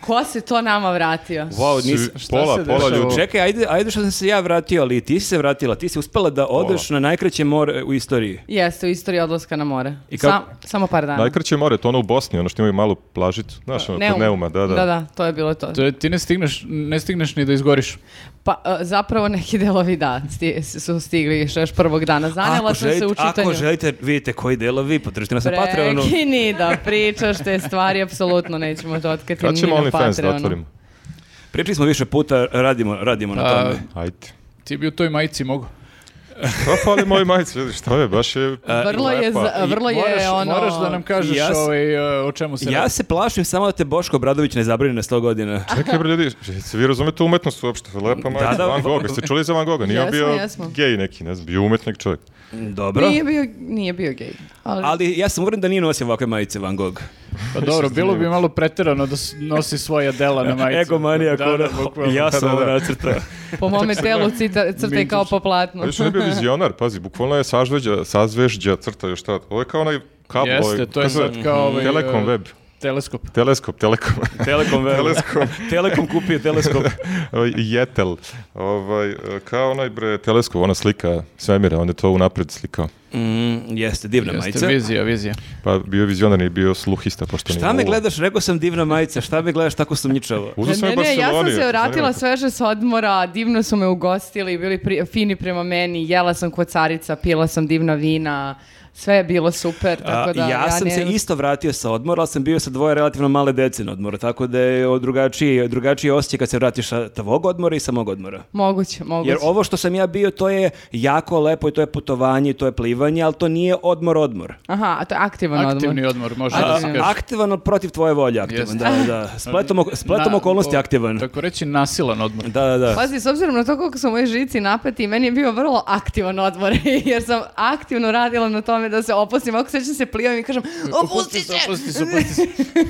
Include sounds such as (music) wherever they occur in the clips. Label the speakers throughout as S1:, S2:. S1: Ko se to nama vratio?
S2: Wow, nis,
S3: Svi-
S2: šta
S3: pola,
S2: se
S3: pola
S2: dešava?
S3: ljudi.
S4: Čekaj, ajde, ajde što sam se ja vratio, ali i ti si se vratila, ti si uspela da odeš na najkraće more u istoriji.
S1: Jeste, u istoriji odlaska na more.
S4: I kako-
S1: Sam- samo par dana.
S3: Najkraće more, to ono u Bosni, ono što imaju malu plažicu. Znaš, ono, kod Neuma, da, da.
S1: Da, to je bilo to.
S2: To je- ti ne stigneš, ne stigneš ni da izgoriš.
S1: Pa, e, zapravo neki delovi da sti- su stigli još- još prvog dana. Zanjela sam se u čitanju.
S4: ako želite, vidite koji delovi, podržite nas na Patreonu.
S1: Prekini da pričaš te stvari, apsolutno nećemo to otkriti
S3: Kad
S1: ni
S3: ćemo
S1: na
S3: OnlyFans da
S1: Patreonu.
S3: otvorimo?
S4: Pričali smo više puta, radimo, radimo na
S2: Pa,
S4: tome.
S3: Ajde.
S2: Ti bi u toj majici mogu.
S3: To Pa fali moj majic, vidi što je, baš je...
S1: E, Vrlo je,
S3: (laughs) lepa.
S1: za- vrlo je
S2: moraš,
S1: ono...
S2: moraš da nam kažeš
S4: Ja s-
S2: ovaj, e, o čemu se
S4: Ja
S2: radi.
S4: se plašim samo da te Boško Obradović ne zabrine na 100 godina.
S3: Čekaj bre ljudi, se vi razumete umetnost uopšte, lepa majica,
S4: da.
S3: Van Gogh, jeste čuli za Van Gogha? Nije on
S1: Jesmo,
S3: bio
S1: jesmo.
S3: gej neki, ne znam, bio umetnik čovjek.
S4: Dobro.
S1: Nije bio, nije bio gej. Ali,
S4: Ali ja sam uvjeren da nije nosio ovakve majice Van Gogh.
S2: Pa dobro, bilo
S4: (laughs)
S2: bi malo preterano da s- nosi svoja dela na majici.
S4: Egomanija
S2: Da, da,
S4: kora.
S2: bukvalno.
S4: Ja sam
S3: Da, da,
S4: ovo
S3: da.
S4: nacrtao.
S1: po mome telu cita, crte kao po platnu.
S3: A još
S1: (laughs)
S3: on je bio vizionar, pazi, bukvalno je sažveđa, sazvežđa crta još šta. Ovo je kao onaj kablo.
S2: Jeste,
S3: ovaj,
S2: to je
S3: kako se zove?
S2: sad kao ovaj,
S3: Telekom
S2: e,
S3: web,
S2: Teleskop.
S3: teleskop, telekom.
S4: Telekom, verujem.
S3: Teleskop.
S4: Telekom kupio
S2: (laughs)
S4: teleskop.
S3: Ovaj, Jetel. Ovaj, kao onaj bre teleskop, ona slika svemira, on je to unapred slikao.
S4: Mm, jeste, divna
S2: Jeste,
S4: majica.
S2: vizija, vizija.
S3: Pa bio je vizionar i bio sluhista, pošto
S4: Šta me gledaš? Rekao sam divna majica. Šta me gledaš tako sumnjičavo?
S3: Uzao sam
S1: ne,
S3: je
S1: ne, ja sam
S3: Barceloni,
S1: se
S3: zanima
S1: vratila
S3: te.
S1: sveže s odmora, divno su me ugostili, bili pri- fini prema meni, jela sam kod carica, pila sam divna vina, sve je bilo super, tako
S4: A,
S1: da...
S4: ja, sam
S1: ne-
S4: se isto vratio sa odmora, ali sam bio sa dvoje relativno male dece na odmoru, tako da je o- drugačiji, drugačiji osjećaj kad se vratiš sa tvog odmora i sa mog odmora.
S1: Moguće, moguće.
S4: Jer ovo što sam ja bio, to je jako lepo i to je putovanje i to je plivanje, ali to nije odmor odmor.
S1: Aha, a to je aktivan odmor.
S2: Aktivni odmor, može
S4: A,
S2: da se kaže.
S4: aktivan ali protiv tvoje volje aktivan,
S2: Jeste.
S4: da, da. Spletom, ok- spletom
S2: Na-
S4: okolnosti
S2: o-
S4: aktivan.
S2: Tako reći nasilan odmor.
S4: Da, da, da.
S1: Pazi, s obzirom na to koliko su moji žici napeti, meni je bio vrlo aktivan odmor, (laughs) jer sam aktivno radila na tome da se opustim. Ako sećam se plivam i kažem, opusti se!
S2: Opusti se, opusti se.
S1: (laughs) Tek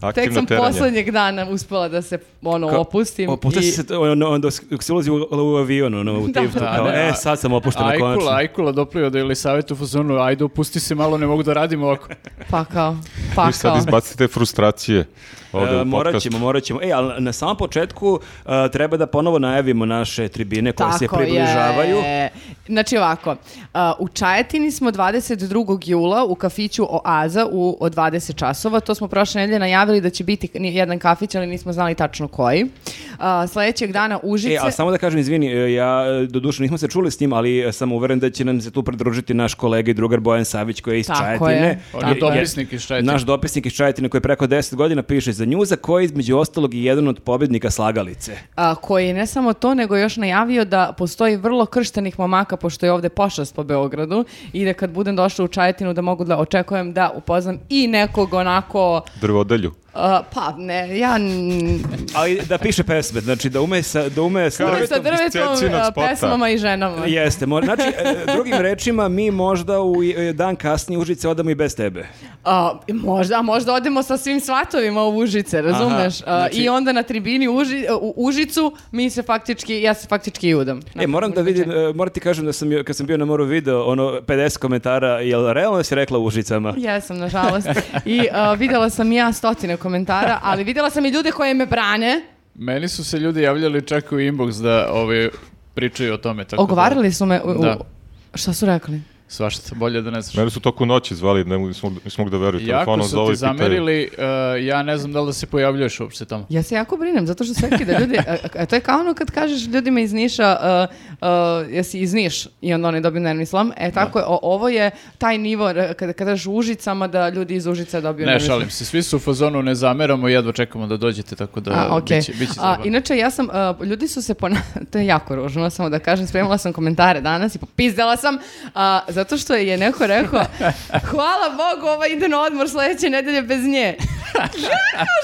S3: Aktivno
S1: sam
S3: teranje.
S1: poslednjeg dana uspela da se ono,
S4: Ka-
S1: opustim.
S4: Opušta
S1: i-
S4: se, t- ono, onda s- dok se ulazi u, u avion, ono, u
S1: (laughs) Da.
S4: tiftu,
S1: Da,
S4: kao,
S2: ne,
S4: e,
S2: a-
S4: sad sam opuštena
S2: Ajkula,
S4: konačno.
S2: ajkula doplio da ili savjet u fazonu, ajde opusti se malo, ne mogu da radim ovako.
S1: Pa kao,
S3: Vi
S1: pa kao.
S3: sad izbacite frustracije ovde
S4: E,
S3: u
S4: morat
S3: podcastu.
S4: ćemo, morat ćemo. E, ali na samom početku e, treba da ponovo najavimo naše tribine koje se
S1: Tako je.
S4: približavaju.
S1: Znači ovako, a, u Čajetini smo 22. jula u kafiću Oaza u, od 20 časova. To smo prošle nedelje najavili da će biti ni- jedan kafić, ali nismo znali tačno koji. A, sledećeg dana Užice...
S4: E, a samo da kažem, izvini, e, ja e, doduše nismo se čuli s njim, ali e, sam uveren da će nam se tu pridružiti naš kolega i drugar Bojan Savić koji je iz
S1: Tako
S4: Čajetine.
S1: je.
S2: On
S1: Tako
S2: je
S1: je.
S2: dopisnik iz Čajetine.
S4: Naš dopisnik iz Čajetine koji preko 10 godina piše za njuza, koji je između ostalog i jedan od pobjednika slagalice.
S1: a, uh, koji je ne samo to, nego još najavio da postoji vrlo krštenih momaka, pošto je ovde pošast po Beogradu, i da kad budem došla u Čajetinu da mogu da očekujem da upoznam i nekog onako,
S3: Drvodelju.
S1: a, pa ne, ja... n-
S4: Ali da piše pesme, znači da ume sa, da ume sa
S3: Kao-
S1: sa
S3: iz
S1: drvetom,
S3: Cecinog
S1: a,
S3: spota.
S1: pesmama i ženama.
S4: Jeste, mo- znači e, drugim rečima mi možda u e, dan kasnije u Užice odamo i bez tebe.
S1: A, možda, a možda odemo sa svim svatovima u Užice, razumeš?
S4: Aha,
S1: A,
S4: znači-
S1: I onda na tribini Uži- u Užicu mi se faktički, ja se faktički i udam. Znači,
S4: E, moram da vidim, e, moram ti kažem da sam, jo- kad sam bio na moru video, ono, 50 komentara, jel realno si rekla u Užicama?
S1: Ja sam, nažalost. I a, videla sam ja stotine komentara, ali videla sam i ljude koje me brane.
S2: Meni su se ljudi javljali čak u inbox da ove, pričaju o tome. Tako
S1: Ogovarali su me. U, u-
S2: Da.
S1: Šta su rekli?
S2: Da, svašta, bolje da ne znaš.
S3: Mene su toku noći zvali, ne mogu- nismo, nismo mogli da veruju.
S2: Jako
S3: Telefonom
S2: su
S3: zovu
S2: ti
S3: i pitaju.
S2: zamerili, uh, ja ne znam da li da se pojavljuješ uopšte tamo.
S1: Ja se jako brinem, zato što sveki da ljudi, a, a, to je kao ono kad kažeš ljudima iz Niša, a, a, jesi iz Niš i onda oni dobiju nervni slom. E tako je, o- ovo je taj nivo, r- kada kada kažeš u Užicama da ljudi iz Užica dobiju
S2: Ne,
S1: nervni slom.
S2: šalim se, svi su u fazonu, ne zameramo, jedva čekamo da dođete, tako da
S1: A, okej.
S2: biće, biće
S1: A,
S2: zabavno.
S1: inače, ja sam, a, ljudi su se pona... (laughs) to je jako ružno, samo da kažem, spremila sam komentare danas i popizdala sam, a, zato što je neko rekao, (laughs) hvala Bogu, ova ide na odmor sledeće nedelje bez nje.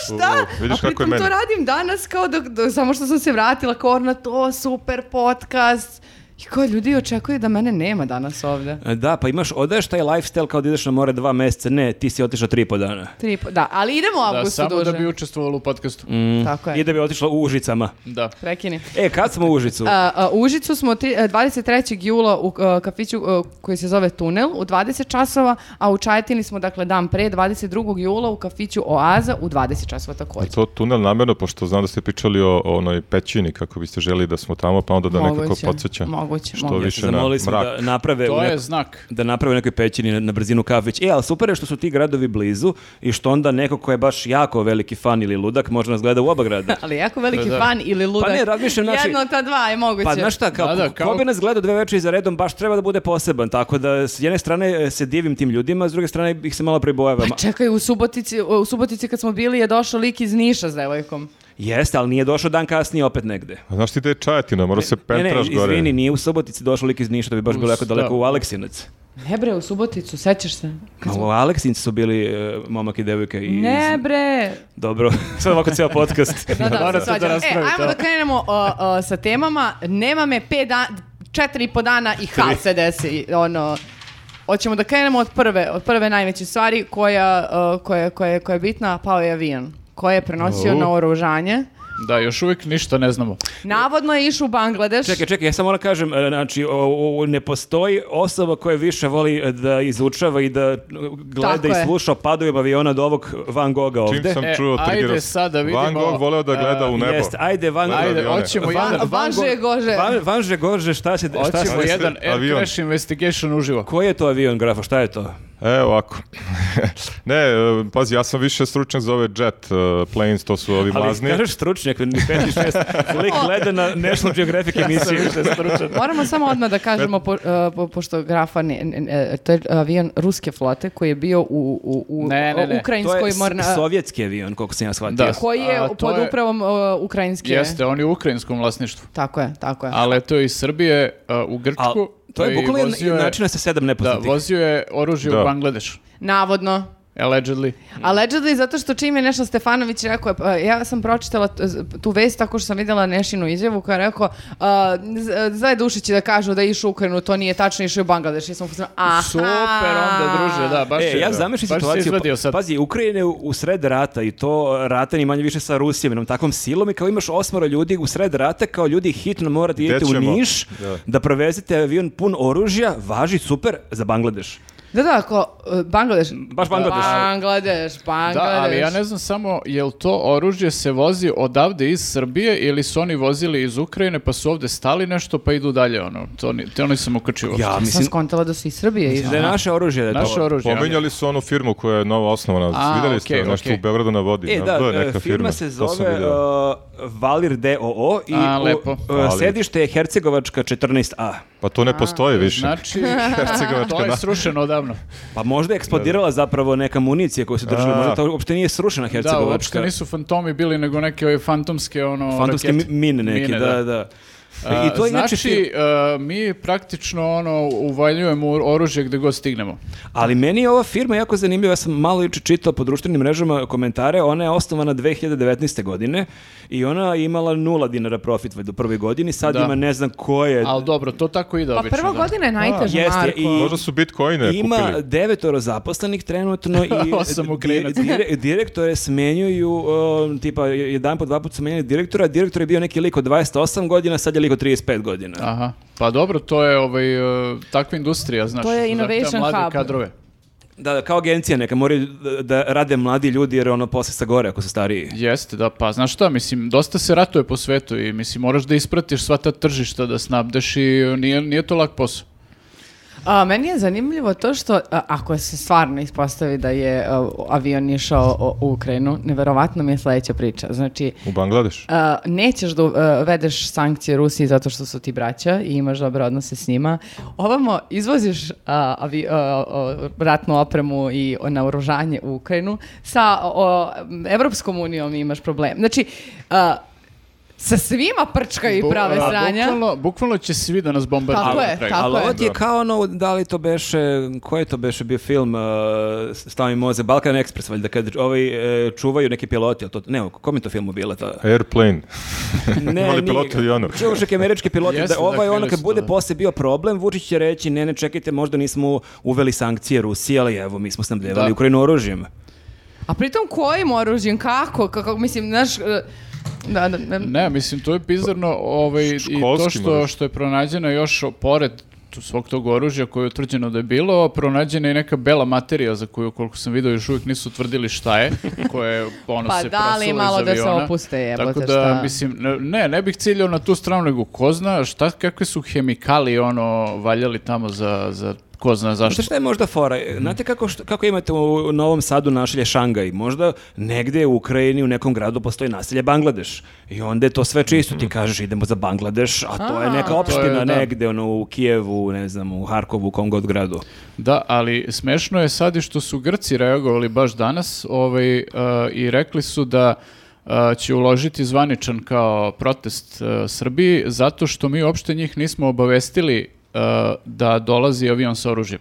S1: Šta?
S3: U, vidiš
S1: a
S3: kako je
S1: pritom
S3: meni.
S1: to radim danas kao dok, dok- samo što sam se vratila kao na to, super podcast. I kao ljudi očekuju da mene nema danas ovde.
S4: E, Da, pa imaš, odeš taj lifestyle kao da ideš na more dva meseca, ne, ti si otišao tri i po dana.
S1: Tri i po- da, ali idemo u
S2: Da,
S1: avgustu
S2: samo
S1: duže.
S2: da bi učestvovalo u podcastu.
S3: Mm.
S2: Pa
S1: Tako je.
S4: I da bi otišla u Užicama.
S2: Da.
S1: Prekini.
S4: E, kad smo u Užicu?
S1: A, a, u Užicu smo ti, e, 23. jula u e, kafiću e, koji se zove Tunel u 20 časova, a u Čajetini smo dakle dan pre 22. jula u kafiću Oaza u 20 časova
S3: A
S1: također.
S3: to tunel namjerno, pošto znam da ste pričali o, o onoj pećini, kako biste želi da smo tamo, pa onda da nekako podsjeća.
S1: Moguće,
S3: Što
S1: moguće.
S3: više na
S4: Zamolili smo
S3: mrak.
S4: da naprave... u
S2: To
S4: neko-
S2: je znak.
S4: da naprave u nekoj pećini na, na brzinu kafić. E, ali super je što su ti gradovi blizu i što onda neko ko je baš jako veliki fan ili ludak može nas gleda u oba grada.
S1: Ali jako veliki
S2: Da, Pa da.
S1: fan ili ludak.
S4: ne, razmišljam, znači-
S1: Jedno od ta dva je moguće.
S4: Pa znaš šta, kao,
S2: Da, da,
S4: ko- ko
S2: kao-
S4: bi nas gledao dve večeri za redom, baš treba da bude poseban, tako da s jedne strane e, se divim tim ljudima, s druge strane ih se malo prebojavam.
S1: Pa čekaj, u Subotici, u Subotici kad smo bili je došao lik iz Niša s devojkom.
S4: Jeste, ali nije došao dan kasnije opet negde.
S3: A Znaš ti da je Čajetina, mora se
S4: Ne, ne,
S3: pentraš gore.
S4: izvini, nije u Subotici došao lik iz Niša, da bi baš bilo jako
S2: Usta.
S4: daleko u Aleksinac.
S1: Ne bre, u Suboticu, sećaš se?
S4: Ma, u Aleksincu su bili e, momak i devojka i...
S1: Ne bre.
S4: Dobro, (laughs) sad ovako cijel podcast.
S1: (laughs) Da, da,
S2: Mora
S1: se
S2: to da
S1: svađamo.
S2: raspravi,
S1: E, ajmo
S2: da.
S1: da krenemo o, o, sa temama. Nema me pet da, četiri i po dana i ha se desi. Ono, hoćemo da krenemo od prve, od prve najveće stvari koja, o, koja, koja, koja je bitna, a pao je avion koji je prenosio
S2: Au.
S1: na oružanje.
S2: Da, još uvijek ništa ne znamo.
S1: Navodno je išao u Bangladeš.
S4: Čekaj, čekaj, ja samo moram kažem, e, znači, o, o, o, ne postoji osoba koja više voli e, da izučava i da e, gleda
S1: Tako
S4: i
S1: je.
S4: sluša o padovijem aviona od ovog Van Gogha
S3: Čim
S4: ovde.
S3: sam
S2: E,
S3: čuo,
S2: ajde
S3: trigirao sam.
S2: sad da vidimo,
S3: Van Gogh voleo da gleda
S2: e,
S3: u nebo.
S4: Jeste, ajde, Van,
S3: Gleda
S2: Ajde,
S3: avione.
S2: hoćemo
S1: Van-
S2: jedan...
S1: Vanže je Gože.
S4: Van, Vanže Gože, šta se... Šta se
S2: Hoćemo
S3: je-
S2: jedan Air
S3: avion.
S2: Crash Investigation uživo.
S4: koji je to avion, grafo, šta je to?
S3: E, ovako. (laughs) ne, e, pazi, ja sam više stručan za ove jet e, planes, to su ovi
S4: Ali
S3: mlazni.
S4: kažeš stručnjak, ni pet ni
S2: (laughs)
S4: šest, lik gleda na National Geographic emisiju.
S1: Moramo samo odmah da kažemo, po, e, po- pošto grafa, ne, ne- ne, to je e, avion ruske flote koji je bio u, u, u
S2: Ne, ne, ne.
S4: to
S1: ukrajinskoj
S4: je
S1: morna...
S4: s- sovjetski avion, koliko sam ja shvatio.
S2: Da.
S1: Koji je
S2: A, to
S1: pod
S2: je-
S1: upravom e, ukrajinske...
S2: Jeste, on je u ukrajinskom vlasništvu.
S1: Tako je, tako je.
S2: Ali to je iz Srbije a, u
S4: A,
S2: Grčku.
S4: to je
S2: i
S4: bukvalno jedan-
S2: vozio je-
S4: način da se sedam
S2: Da,
S4: nepoznatih.
S2: vozio je oružje
S3: Da.
S2: u Bangladeš.
S1: Navodno.
S2: Mm. Allegedly.
S1: Allegedly, zato što čim je Neša Stefanović rekao, pa, ja sam pročitala t- z- tu vest tako što sam vidjela Nešinu izjavu koja je rekao, a, z- zle duši će da kažu da je išao u Ukrajinu, to nije tačno, išao je u Bangladeš. Ja sam u fazonu, aha.
S2: Super onda, druže, da, baš
S4: E,
S2: je-
S4: ja zamišljam
S2: baš si
S4: situaciju.
S2: izvadio
S4: pa-
S2: sad.
S4: Pazi, Ukrajina je u, u sred rata i to e, rata ni manje više sa Rusijom, jednom takvom silom i kao imaš osmora ljudi u sred rata, kao ljudi hitno morate idete u
S3: ćemo?
S4: Niš da.
S3: Da.
S4: provezete avion pun oružja, važi super za Bangladeš.
S1: Da, da, ako, e, Bangladeš.
S4: Baš Bangladeš.
S1: Bangladeš, Bangladeš.
S2: Da, ali ja ne znam samo, jel to oružje se vozi odavde iz Srbije ili su oni vozili iz Ukrajine pa su ovde stali nešto pa idu dalje, ono, to, ni, to nisam uključio.
S4: Ja e,
S1: Sam
S4: mislim
S1: skontala da su iz Srbije. išli.
S4: da je naše oružje da je to.
S2: Naše oružje.
S3: Pominjali su onu firmu koja je nova osnovana,
S2: A,
S3: videli ste,
S2: okej,
S3: nešto
S2: okej.
S3: u Beogradu na vodi.
S4: E,
S3: na
S4: da,
S3: B
S4: e,
S3: neka
S4: firma, se
S3: to sam
S4: zove
S3: video.
S4: e, Valir DOO i
S2: A,
S4: u-
S2: lepo.
S4: e,
S3: Valir.
S4: sedište je Hercegovačka 14A.
S2: e,
S3: Pa to ne postoji više.
S1: (laughs)
S2: Znači,
S3: Hercegovačka,
S2: to
S3: da.
S2: je srušeno odavno.
S4: Pa možda je eksplodirala zapravo neka municija koju su držali,
S3: A.
S4: možda to uopšte nije srušena
S2: Da,
S4: Hercegovačka.
S2: uopšte nisu fantomi bili, nego neke ove fantomske, ono,
S4: Fantomske mi-
S2: rakete.
S4: mine neke, da, da.
S2: A,
S4: Pa I to je inače
S2: znači, e, mi praktično ono, uvaljujemo oružje gde god stignemo.
S4: Ali meni je ova firma jako zanimljiva, ja sam malo juče čitao po društvenim mrežama komentare, ona je osnovana 2019. godine i ona je imala nula dinara profit valjda u prvoj godini, sad
S2: Da.
S4: ima ne znam koje...
S2: Ali dobro, to tako ide
S1: Pa
S2: obično.
S1: prva
S2: da.
S1: godina je najteža,
S4: Jeste,
S1: Marko.
S4: i-
S3: Možda su bitcoine
S4: Ima
S3: kupili.
S4: devetoro zaposlenih
S1: (laughs)
S4: trenutno i
S2: Osam Ukrajinaca.
S4: di- dire- direktore smenjuju, um, tipa jedan po dva put su menjali direktora, a direktor je bio neki lik od 28 godina, sad je lik od 35 godina.
S2: Aha. Pa dobro, to je ovaj, e, takva industrija, znaš.
S1: To je
S2: zahteva
S1: innovation
S2: mlade
S1: hub.
S2: kadrove.
S4: Da, da, kao agencija neka, moraju da, da rade mladi ljudi jer ono posle sa gore ako su stariji.
S2: Jeste, da, pa znaš šta, mislim, dosta se ratuje po svetu i mislim, moraš da ispratiš sva ta tržišta, da snabdeš i nije, nije to lak posao.
S1: A, meni je zanimljivo to što, a, ako se stvarno ispostavi da je a, avion išao o- u Ukrajinu, neverovatno mi je sledeća priča. Znači,
S3: U Bangladeš.
S1: a, nećeš da a, vedeš sankcije Rusiji zato što su ti braća i imaš dobre odnose s njima. Ovamo izvoziš a, avi- a, o, ratnu opremu i o, naoružanje u Ukrajinu. Sa o, Evropskom unijom imaš problem. Znači, a, sa svima prčkaju i
S2: Bu-
S1: prave
S2: a,
S1: sranja.
S2: Bukvalno, bukvalno će svi da nas bombardiraju.
S1: Tako
S2: na
S1: je,
S2: kraju.
S1: tako
S4: Ali
S1: je.
S4: ovo ti je kao ono, da li to beše, koji je to beše bio film, uh, Stavi moze, Balkan Express, valjda, kad ovaj, e, čuvaju neki piloti, jel to, ne, kom je to filmu bilo? To?
S3: Airplane.
S4: Ne,
S3: Imali
S4: nije
S3: pilot ono?
S4: ga.
S3: avionu.
S4: Čuvaš neki američki pilot. da,
S2: Jeste,
S4: ovo
S2: dakle,
S4: je ono
S2: bili
S4: kad
S2: su
S4: bude
S2: to.
S4: poslije bio problem, Vučić će reći, ne, ne, čekajte, možda nismo uveli sankcije Rusije, ali evo, mi smo snabdevali
S2: Da.
S4: Ukrajinu oružjem.
S1: A pritom kojim oružjem, kako, kako, mislim, znaš... e, Da, da, da.
S2: Ne, mislim, to je bizarno ovaj, i to
S3: Školskim
S2: što,
S3: oružjem.
S2: što je pronađeno još pored tu- svog tog oružja koje je utvrđeno da je bilo, pronađena je i neka bela materija za koju, koliko sam vidio, još uvijek nisu utvrdili šta
S1: (laughs)
S2: je, koja je ono
S1: Pa
S2: se
S1: da, ali
S2: prosula iz
S1: malo da se
S2: aviona.
S1: opuste, jebote,
S2: Tako da,
S1: šta?
S2: mislim, ne, ne bih ciljao na tu stranu, nego ko zna šta, kakve su hemikali ono valjali tamo za, za ko zna zašto.
S4: Šta šta je možda fora? Znate kako, što- kako imate u Novom Sadu našilje Šangaj? Možda negde u Ukrajini, u nekom gradu postoji naselje Bangladeš. I onda je to sve čisto. Ti kažeš idemo za Bangladeš, a to je neka opština
S2: da.
S4: negde, ono, u Kijevu, ne znam, u Harkovu, u kom god gradu.
S2: Da, ali smešno je sad i što su Grci reagovali baš danas ovaj, e, i rekli su da e, će uložiti zvaničan kao protest e, Srbiji zato što mi uopšte njih nismo obavestili e, da dolazi avion sa oružjem.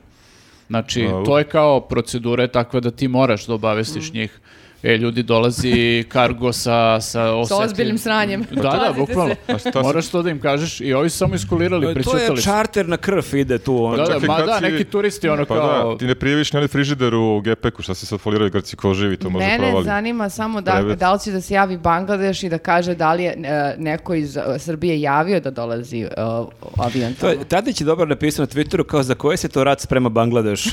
S2: Znači,
S3: Au.
S2: to je kao procedura je takva da ti moraš da obavestiš
S1: Mm.
S2: njih. E, ljudi dolazi kargo sa... Sa,
S1: Sa
S2: osetljivim-
S1: ozbiljnim sranjem.
S2: Da, da,
S1: Pazite
S2: bukvalno.
S1: se.
S3: se-
S2: Moraš to da im kažeš i ovi su samo iskulirali,
S4: to je
S2: prećutali su.
S4: čarter na krv ide tu. Ono.
S2: Da, da,
S3: Čekaj,
S2: ma
S3: kad
S2: da,
S3: si-
S2: neki turisti ono
S3: pa
S2: kao...
S3: da, ti ne prijaviš ni onaj frižider u GPK-u, šta se sad foliraju Grci ko živi, to možda
S1: Mene
S3: provali.
S1: zanima samo da,
S3: Prevet.
S1: da li će da se javi Bangladeš i da kaže da li je e, neko iz e, Srbije javio da dolazi e, avion.
S4: To je, Tadić je dobro napisao na Twitteru kao za koje se to rat sprema Bangladeš.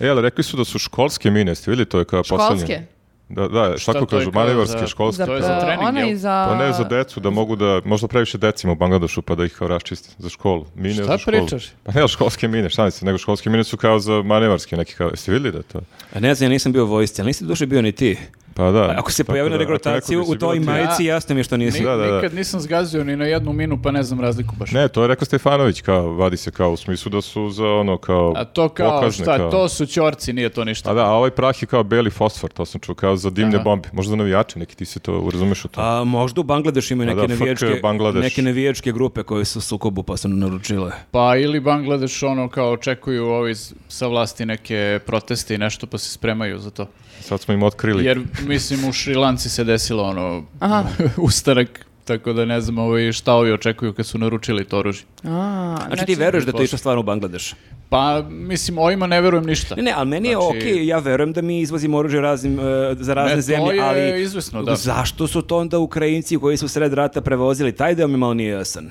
S3: E, ali rekli su da su školske mine, ste vidjeli to je kao
S1: Školske?
S3: poslednje. Da, da, šta
S2: Šta
S3: tako
S2: to je
S3: kažu,
S2: kao
S3: manevarske,
S2: za-
S3: školske.
S2: to je za
S1: e,
S2: trening,
S1: ona
S2: jel?
S1: i za...
S3: Pa ne za decu, da mogu da, možda previše decima u Bangladešu pa da ih kao raščiste za školu. Mine
S2: Šta
S3: za školu.
S2: pričaš?
S3: Pa ne, ali školske mine, šta mislim, nego školske mine su kao za manevarske neki kao, jeste vidjeli da to?
S4: A ne znam, ja nisam bio u vojsci, ali nisi duše bio ni ti.
S3: Pa da.
S4: Ako se
S3: Tako
S4: pojavi na
S3: da, ako neko
S4: rekrutaciju
S3: bi se
S4: u toj
S3: bilo ti-
S4: majici,
S2: Ja.
S4: jasno mi je što nisi.
S2: Ni-
S3: Da, da, da.
S2: Nikad nisam zgazio ni na jednu minu, pa ne znam razliku baš.
S3: Ne, to je rekao Stefanović, kao, vadi se kao, u smislu da su za ono, kao,
S2: A to kao,
S3: pokazne,
S2: šta,
S3: kao.
S2: to su ćorci, nije to ništa.
S3: A da, a ovaj prah je kao beli fosfor, to sam čuo, kao za dimne
S2: Aha.
S3: bombe. Možda za navijače, neki ti se to, razumeš u to.
S4: A Pa, možda u Bangladešu imaju
S3: Pa
S4: neke,
S3: da, fuck
S4: navijačke,
S3: Bangladeš.
S4: neke navijačke grupe koje su u sukobu pa su naručile.
S2: Pa ili Bangladeš ono kao očekuju ovi s- sa vlasti neke proteste i nešto pa se spremaju za to.
S3: Sad smo im otkrili.
S2: Jer mislim u Šrilanci se desilo ono
S1: Aha.
S2: (laughs) ustanak, tako da ne znam ovaj, šta ovi očekuju kad su naručili to oružje.
S1: A,
S4: Znači, ti veruješ da to je išlo stvarno u Bangladeš?
S2: Pa mislim ovima ne verujem ništa.
S4: Ne, ne, ali meni je
S2: Znači-
S4: okej, ja verujem da mi izvozimo oružje raznim, e, za razne
S2: Ne, to
S4: zemlje,
S2: je
S4: ali
S2: izvesno, da.
S4: zašto su to onda Ukrajinci koji su sred rata prevozili? Taj deo mi malo nije jasan.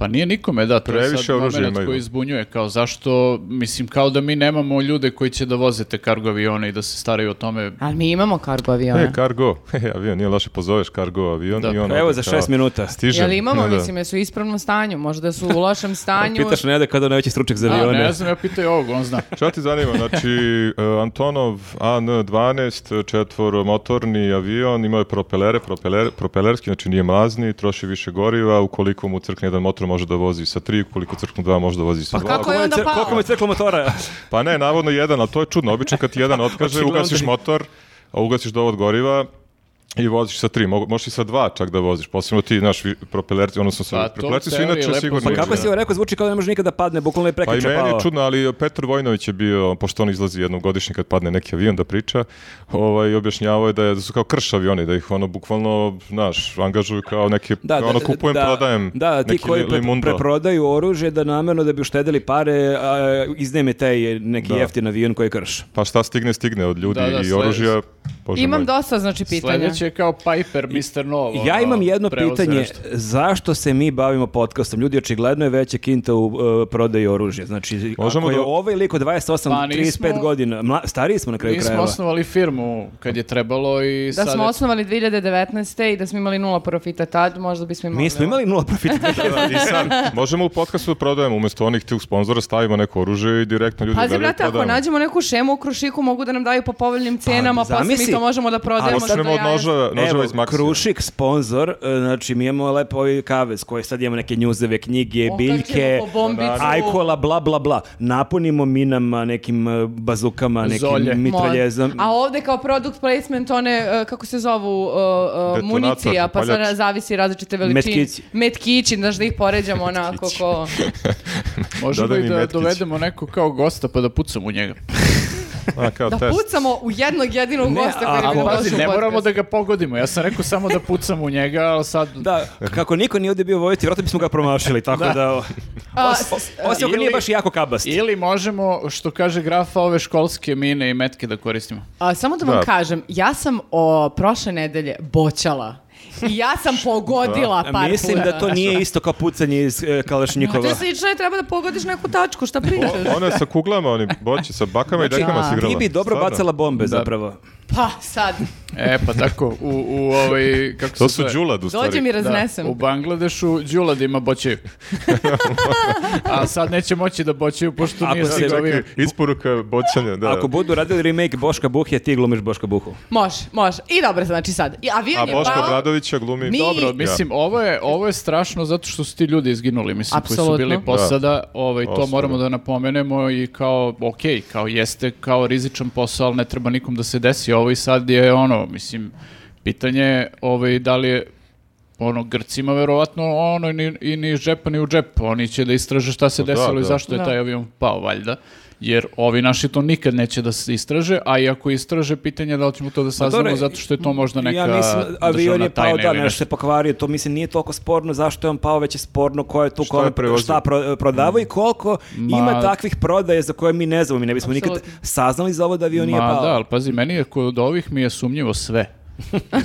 S2: Pa nije nikome, da, to je
S3: Previše
S2: sad
S3: oružja
S2: moment
S3: imaju.
S2: koji izbunjuje, kao zašto, mislim, kao da mi nemamo ljude koji će da voze te kargo avione i da se staraju o tome
S1: Ali mi imamo kargo aviona.
S3: (laughs) E, kargo, He, avion, nije loše, pozoveš kargo avion
S2: Da.
S3: i on...
S4: Pa. Evo
S3: ode
S4: za
S3: kao,
S4: šest minuta.
S3: Stižem.
S1: Jel imamo,
S3: Da, Pa da.
S1: mislim, jesu u ispravnom stanju, možda su u lošem stanju.
S4: Pitaš Nede kada najveći stručak za
S2: A,
S4: avione.
S2: ne znam, ja pitaj ovog, on zna.
S3: Šta ti zanima? Znači, e, Antonov AN-12, četvoromotorni avion, imao je propelere, propeler, propelerski, znači nije mlazni, troši više goriva, ukoliko mu crkne jedan motor može da vozi sa tri, ukoliko crknu dva može da vozi sa
S1: Pa
S3: dva.
S1: kako je onda
S4: Cr-
S1: pao?
S4: Koliko mu je crklo
S3: (laughs)
S4: motora?
S3: Pa ne, navodno jedan, ali to je čudno. Obično kad ti
S4: (laughs)
S3: jedan otkaže,
S4: Očigledno
S3: ugasiš
S4: da-
S3: motor, a ugasiš dovod goriva i voziš sa tri. Mo- Možeš i sa dva čak da voziš, posebno ti, znaš, vi- propelerci, odnosno sa
S2: Pa, to
S3: propelerci
S2: u
S3: su
S2: teoriji
S3: inače
S2: lepo
S3: sigurno.
S2: zvuči,
S1: Pa
S4: Kako si ovo rekao, zvuči kao da ne može nikada padne, bukvalno je
S3: Pa i
S4: prekriče
S3: meni je
S4: pao.
S3: čudno, ali Petar Vojnović je bio, pošto on izlazi jednom godišnje kad padne neki avion da priča, ovaj, objašnjavao je da, je, da su kao krš avioni, da ih ono bukvalno, znaš, angažuju kao neki, ono kupujem, prodajem,
S4: da, da, ti
S3: neki
S4: koji
S3: li-
S4: pre-
S3: limundo.
S4: preprodaju oružje da namerno da bi uštedili pare, a, iznajme taj neki
S3: Da.
S4: jeftin avion koji krš.
S3: Pa šta stigne, stigne od ljudi
S2: Da, da,
S3: i
S2: slede-
S3: oružja. Bože
S1: Imam
S3: moj.
S1: dosta, znači, pitanja.
S2: Sljedeće je kao Piper, Mr. Novo.
S4: Ja
S2: ono,
S4: imam jedno
S2: prevoze
S4: pitanje,
S2: nešto.
S4: zašto se mi bavimo podcastom? Ljudi, očigledno je veća kinta u e, prodaju oružja. Znači,
S3: Možemo
S4: ako je
S3: da-
S4: ovaj lik od 28,
S2: Pa nismo-
S4: 35 godina, mla- stariji smo na kraju
S2: Mi smo
S4: krajeva.
S2: osnovali firmu kad je trebalo i
S1: Da
S2: sad...
S1: smo
S2: je-
S1: osnovali 2019. i da smo imali nula profita tad, možda bismo imali...
S4: Mi smo imali nula profita.
S2: (laughs)
S3: Da, i sad,
S1: (laughs)
S3: možemo u podcastu da prodajemo, umjesto onih tih sponzora stavimo neko oružje i direktno ljudi
S1: Pazi,
S3: gledaju i
S1: brate, ako
S3: prodajemo.
S1: nađemo neku šemu u Krušiku, mogu da nam daju po povoljnim cenama,
S4: Zamisli Pa,
S1: mi
S4: Zamisli.
S1: to možemo da prodajemo. što
S3: Počnemo od
S1: ja-
S3: noža, noževa iz maksija.
S4: Krušik, sponsor, e, znači mi imamo lepo ovi kavez koji sad imamo neke njuzeve, knjige,
S1: Okačimo
S4: biljke,
S1: po bombicu.
S4: ajkola, bla, bla, bla. Napunimo minama, nekim e, bazukama,
S2: Zolje.
S4: nekim
S1: Mod.
S4: mitraljezom.
S1: A ovde kao product placement one, e, kako se zovu, e, e,
S3: Detonator,
S1: municija, pa
S3: paljač.
S1: sad zavisi različite veličine.
S4: Metkići.
S1: Metkići, znaš da ih poređamo onako ko...
S2: Možemo
S3: Dodaj
S2: i
S3: mi
S2: da
S3: metkić.
S2: dovedemo neko kao gosta pa da pucamo u njega.
S3: A, kao
S1: Da
S3: test.
S1: pucamo u jednog jedinog
S4: Ne,
S1: gosta
S4: a-
S1: koji
S2: A
S1: bi nam
S2: pazi,
S1: došao u
S2: ne moramo
S1: podcast.
S2: da ga pogodimo. Ja sam rekao samo da pucamo u njega, ali sad...
S4: Da, kako niko nije ovdje bio vojiti, vjerojatno bismo ga promašili, tako da...
S1: A,
S4: os-
S1: s-
S4: o- osim ako
S2: ili-
S4: nije baš jako kabast.
S2: Ili možemo, što kaže grafa, ove školske mine i metke da koristimo.
S1: A, samo da vam
S3: Da.
S1: kažem, ja sam o, prošle nedelje boćala. I ja sam pogodila par
S4: Mislim
S1: puta.
S4: da to nije isto kao pucanje iz e,
S1: Pa To
S4: Kalašnjikova.
S1: je slično, je, treba da pogodiš neku tačku, šta pričaš?
S3: O, ona sa kuglama, oni boći sa bakama i dekama
S1: Znači,
S3: si igrala.
S4: Ti bi Znači, dobro
S3: Stvarno.
S4: bacala bombe zapravo.
S1: Pa, sad,
S2: E, pa tako, u, u ovaj... Kako se
S3: To su
S2: zove?
S3: džulad u stvari.
S1: dođem i raznesem.
S2: Da, u Bangladešu Đulad ima boćeju.
S4: (laughs)
S2: A sad neće moći da boćeju, pošto
S4: Ako
S2: nije
S4: se-
S2: stigao
S3: Čekaj,
S2: avion.
S3: isporuka boćanja, da.
S4: Ako budu radili remake Boška Buhe, ti glumiš Boška Buhu.
S1: Može, može. I dobro, znači sad. I avion
S3: A
S1: je
S3: Boško
S1: pao.
S3: Obradovića glumi...
S1: Mi- Dobro,
S2: Mislim, ovo je, ovo je strašno zato što su ti ljudi izginuli, mislim, koji
S1: Apsolutno.
S2: su bili posada. Ovaj, to
S3: Posada.
S2: moramo da napomenemo i kao, ok, kao jeste, kao rizičan posao, ali ne treba nikom da se desi. Ovo i sad je ono, mislim, pitanje je, ovaj, da li je ono, Grcima verovatno ono i ni, i ni iz džepa ni u džep. Oni će da istraže šta se
S3: Pa Da,
S2: desilo i
S3: da.
S2: zašto je
S1: Da.
S2: taj avion pao, valjda. Jer ovi naši to nikad neće da se istraže, a i ako istraže, pitanje je da li ćemo to da saznamo,
S4: Pa dobro,
S2: zato što je to možda neka
S4: ja mislim, avion
S2: državna
S4: je pao,
S2: tajna
S4: da,
S2: ili
S4: nešto se pokvario, to mislim nije toliko sporno zašto je on pao, već je sporno ko je tu,
S3: Šta
S4: ko
S3: je prevozio?
S4: šta pro, prodavao i koliko ima
S2: Mm. Ma-
S4: takvih prodaje za koje mi ne znamo, mi ne bismo nikad
S1: Apsolutno.
S4: saznali za ovo da avion nije
S2: Ma
S4: pao.
S2: da, ali pazi, meni je kod ovih mi je sumnjivo
S4: (laughs)
S2: sve.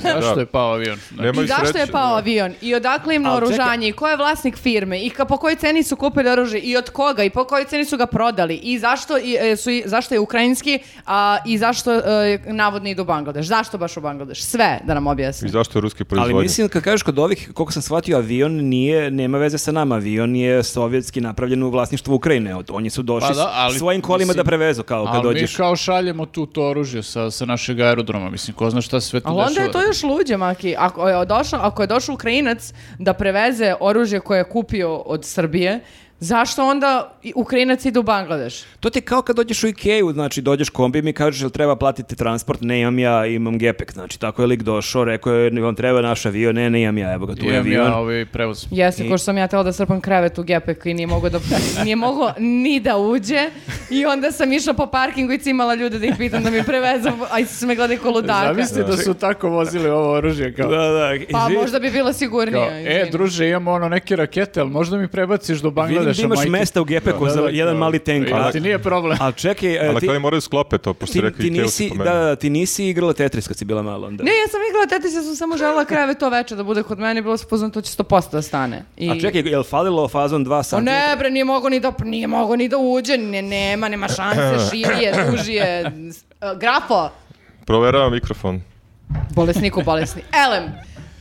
S2: Zašto
S3: Da.
S2: je pao avion? Znači,
S3: Nemaju
S1: I zašto je
S3: sreće,
S1: pao
S3: da.
S1: avion? I odakle im
S4: Ali čekaj.
S1: naoružanje? I ko je vlasnik firme? I ka, po kojoj ceni su kupili oružje? I od koga? I po kojoj ceni su ga prodali? I zašto, i, e, su, i- zašto je ukrajinski? A, I zašto e, navodno idu u Bangladeš? Zašto baš u Bangladeš? Sve da nam
S3: I
S1: objasni.
S3: zašto je ruski proizvodnje?
S4: Ali mislim kad kažeš kod ovih, koliko sam shvatio, avion nije, nema veze sa nama. Avion je sovjetski napravljen u vlasništvu Ukrajine. Od- Oni su došli
S2: Pa da, ali,
S4: svojim kolima
S2: mislim,
S4: da prevezu kao kad
S2: ali
S4: dođeš.
S2: mi kao šaljemo tu to oružje sa, sa našeg aerodroma, mislim, ko zna šta se sve tu
S1: Ali onda je to još luđe, Maki. Ako je, došao, ako je došao Ukrajinac da preveze oružje koje je kupio od Srbije, zašto onda i- Ukrajinac ide u Bangladeš?
S4: To ti je kao kad dođeš u Ikeju, znači dođeš kombijem i kažeš jel treba platiti transport, ne imam ja, imam gepek, znači tako je lik došao, rekao je vam treba naš avion, ne, ne imam ja, evo ga tu je
S2: Imam
S4: avion.
S2: ja ovaj prevoz.
S1: Jeste,
S4: I-
S1: ko što sam ja tela da srpam krevet u gepek i nije
S4: (laughs)
S1: mogao da, nije mogao ni da uđe i onda sam išla po parkingu i cimala ljude da ih pitam da mi prevezu, a i su me gledali ko ludaka.
S2: Zamisli da su tako vozili ovo oružje kao...
S4: Da, da,
S1: Pa
S4: izvini,
S1: možda bi bila
S2: kao,
S1: sigurnija.
S2: e,
S1: izvini.
S2: druže, imamo ono neke rakete, ali možda mi prebaciš do
S4: vidim da
S2: Bangladeša,
S4: imaš
S2: majke.
S4: mesta u gepeku za jedan mali tenk.
S2: Ali
S4: (laughs) A,
S2: ti nije problem.
S4: ali čekaj, e,
S3: Ali na
S4: ti,
S3: kraju moraju sklope to, pošto
S4: ti,
S3: je rekao
S4: ti
S3: Ikeu
S4: nisi, da, da, ti nisi igrala Tetris kad si bila malo onda.
S1: Ne, ja sam igrala tetis, ja sam samo želela krevet to večer da bude kod mene, bilo se poznam, to će 100% da stane. I...
S4: A čekaj, jel falilo fazon 2
S1: O
S4: sata?
S1: ne bre, nije mogao ni da, nije mogao ni da uđe, ne, nema, nema
S4: (laughs)
S1: šanse, širi je, duži je, s- e, grafo,
S3: Proveravam mikrofon.
S1: bolesniku bolesni, elem,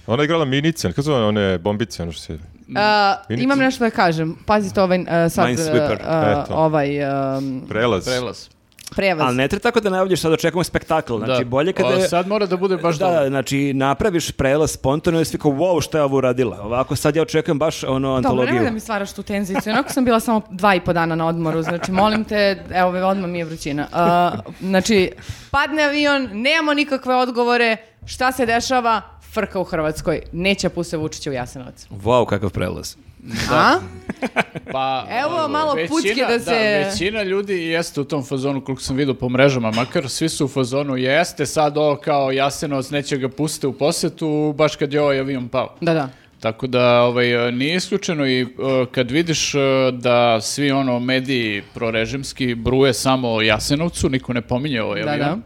S3: Ona je igrala minice, kako zove one bombice, ono što se...
S1: Uh, imam nešto da kažem. Pazite ovaj uh, sad
S4: Minesweeper,
S1: uh,
S3: eto.
S1: ovaj um,
S3: Prelaz.
S2: (laughs) Prelaz.
S1: prevaz.
S4: Ali ne treba tako da najavljaš sad očekujemo spektakl, znači
S2: Da.
S4: bolje kada
S2: O,
S4: je...
S2: Sad mora da bude baš
S4: da,
S2: dobro.
S4: znači napraviš prelaz spontano i svi kao wow šta je ovo uradila. Ovako sad ja očekujem baš ono
S1: Dobro,
S4: antologiju.
S1: nemoj da mi stvaraš tu tenziciju. Onako sam bila samo dva i po dana na odmoru. Znači, molim te, evo, odmah mi je vrućina. Uh, znači, padne avion, nemamo nikakve odgovore, šta se dešava, frka u Hrvatskoj. Neće puse Vučića u Jasenovac.
S4: Wow, kakav prelaz.
S1: A?
S2: Pa,
S1: Evo,
S2: ono,
S1: malo pucke da se-
S2: većina ljudi jeste u tom fazonu, koliko sam vidio po mrežama, makar svi su u fazonu, jeste sad ovo kao Jasenovac, neće ga puste u posetu, baš kad je ovaj avion pao.
S1: Da, da.
S2: Tako da ovaj, nije isključeno i eh, kad vidiš eh, da svi ono mediji prorežimski bruje samo o Jasenovcu, niko ne pominje ovaj
S1: Da,
S2: avion,
S1: da.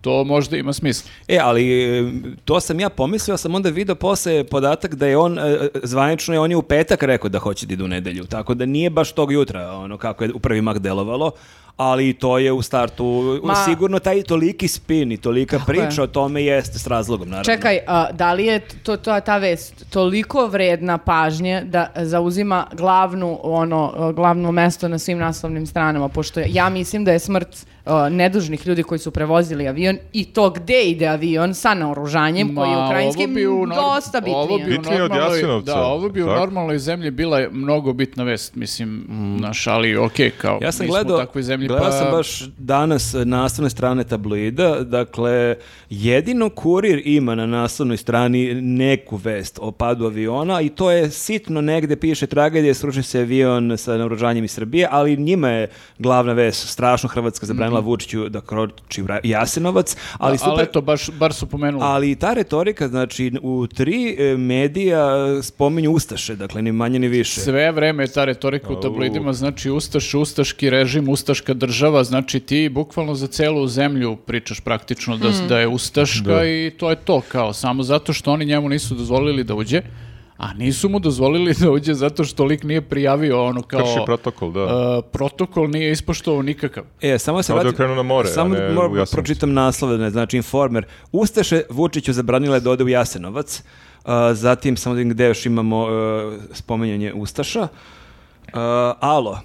S2: to možda ima smisla.
S4: E, ali e, to sam ja pomislio, sam onda vidio posle podatak da je on, e, e, zvanično je on je u petak rekao da hoće da ide u nedelju, tako da nije baš tog jutra, ono kako je u prvi mak delovalo, ali to je u startu,
S1: Ma-
S4: sigurno taj toliki spin i tolika
S1: je.
S4: priča o tome jeste s razlogom, naravno.
S1: Čekaj, a, da li je to, to, ta vest toliko vredna pažnje da zauzima glavnu, ono, a, glavno mesto na svim naslovnim stranama, pošto ja mislim da je smrt a, nedužnih ljudi koji su prevozili avion avion i to gde ide avion sa naoružanjem koji je
S2: Ma,
S1: ukrajinskim
S2: ovo bi u nor-
S1: dosta bitnije.
S2: Ovo bi u
S3: Bitnije od
S2: normalnoj-
S3: Jasenovca,
S2: Da, ovo bi u
S3: tako? Mm.
S2: normalnoj zemlji bila mnogo bitna vest, mislim, naš, ali okej, kao,
S4: Ja sam
S2: Pa mi smo u
S4: gledao,
S2: takvoj zemlji,
S4: gledao
S2: pa...
S4: sam baš danas e, naslovne strane tablida, dakle, jedino kurir ima na naslovnoj strani neku vest o padu aviona i to je sitno negde piše tragedija, sruši se avion sa naoružanjem iz Srbije, ali njima je glavna vest, strašno Hrvatska zabranila Vučiću da kroči Vra- Jasenovac, ali super...
S2: Mhm. Ali eto, baš, bar su pomenuli.
S4: Ali i ta retorika, znači, u tri e, medija e, spominju Ustaše, dakle, ni manje ni više.
S2: Sve vreme je ta retorika u tablidima, znači Ustaš, Ustaški režim, Ustaška država, znači ti bukvalno za celu zemlju pričaš praktično da,
S1: Hmm.
S2: da je Ustaška
S3: Da.
S2: i to je to kao, samo zato što oni njemu nisu dozvolili da uđe, a nisu mu dozvolili da uđe zato što lik nije prijavio ono kao...
S3: Krši protokol, da.
S2: e, protokol nije ispoštovao nikakav.
S4: E, samo se
S3: Kao da je
S4: vratim-
S3: krenuo na more,
S4: Samo
S3: a ne
S4: moram
S3: u
S4: da
S3: Jasenovac.
S4: pročitam naslove, ne, znači Informer. Ustaše Vučiću zabranile da ode u Jasenovac. A, zatim, samo da vidim gde još imamo e, spominjanje Ustaša. A, alo.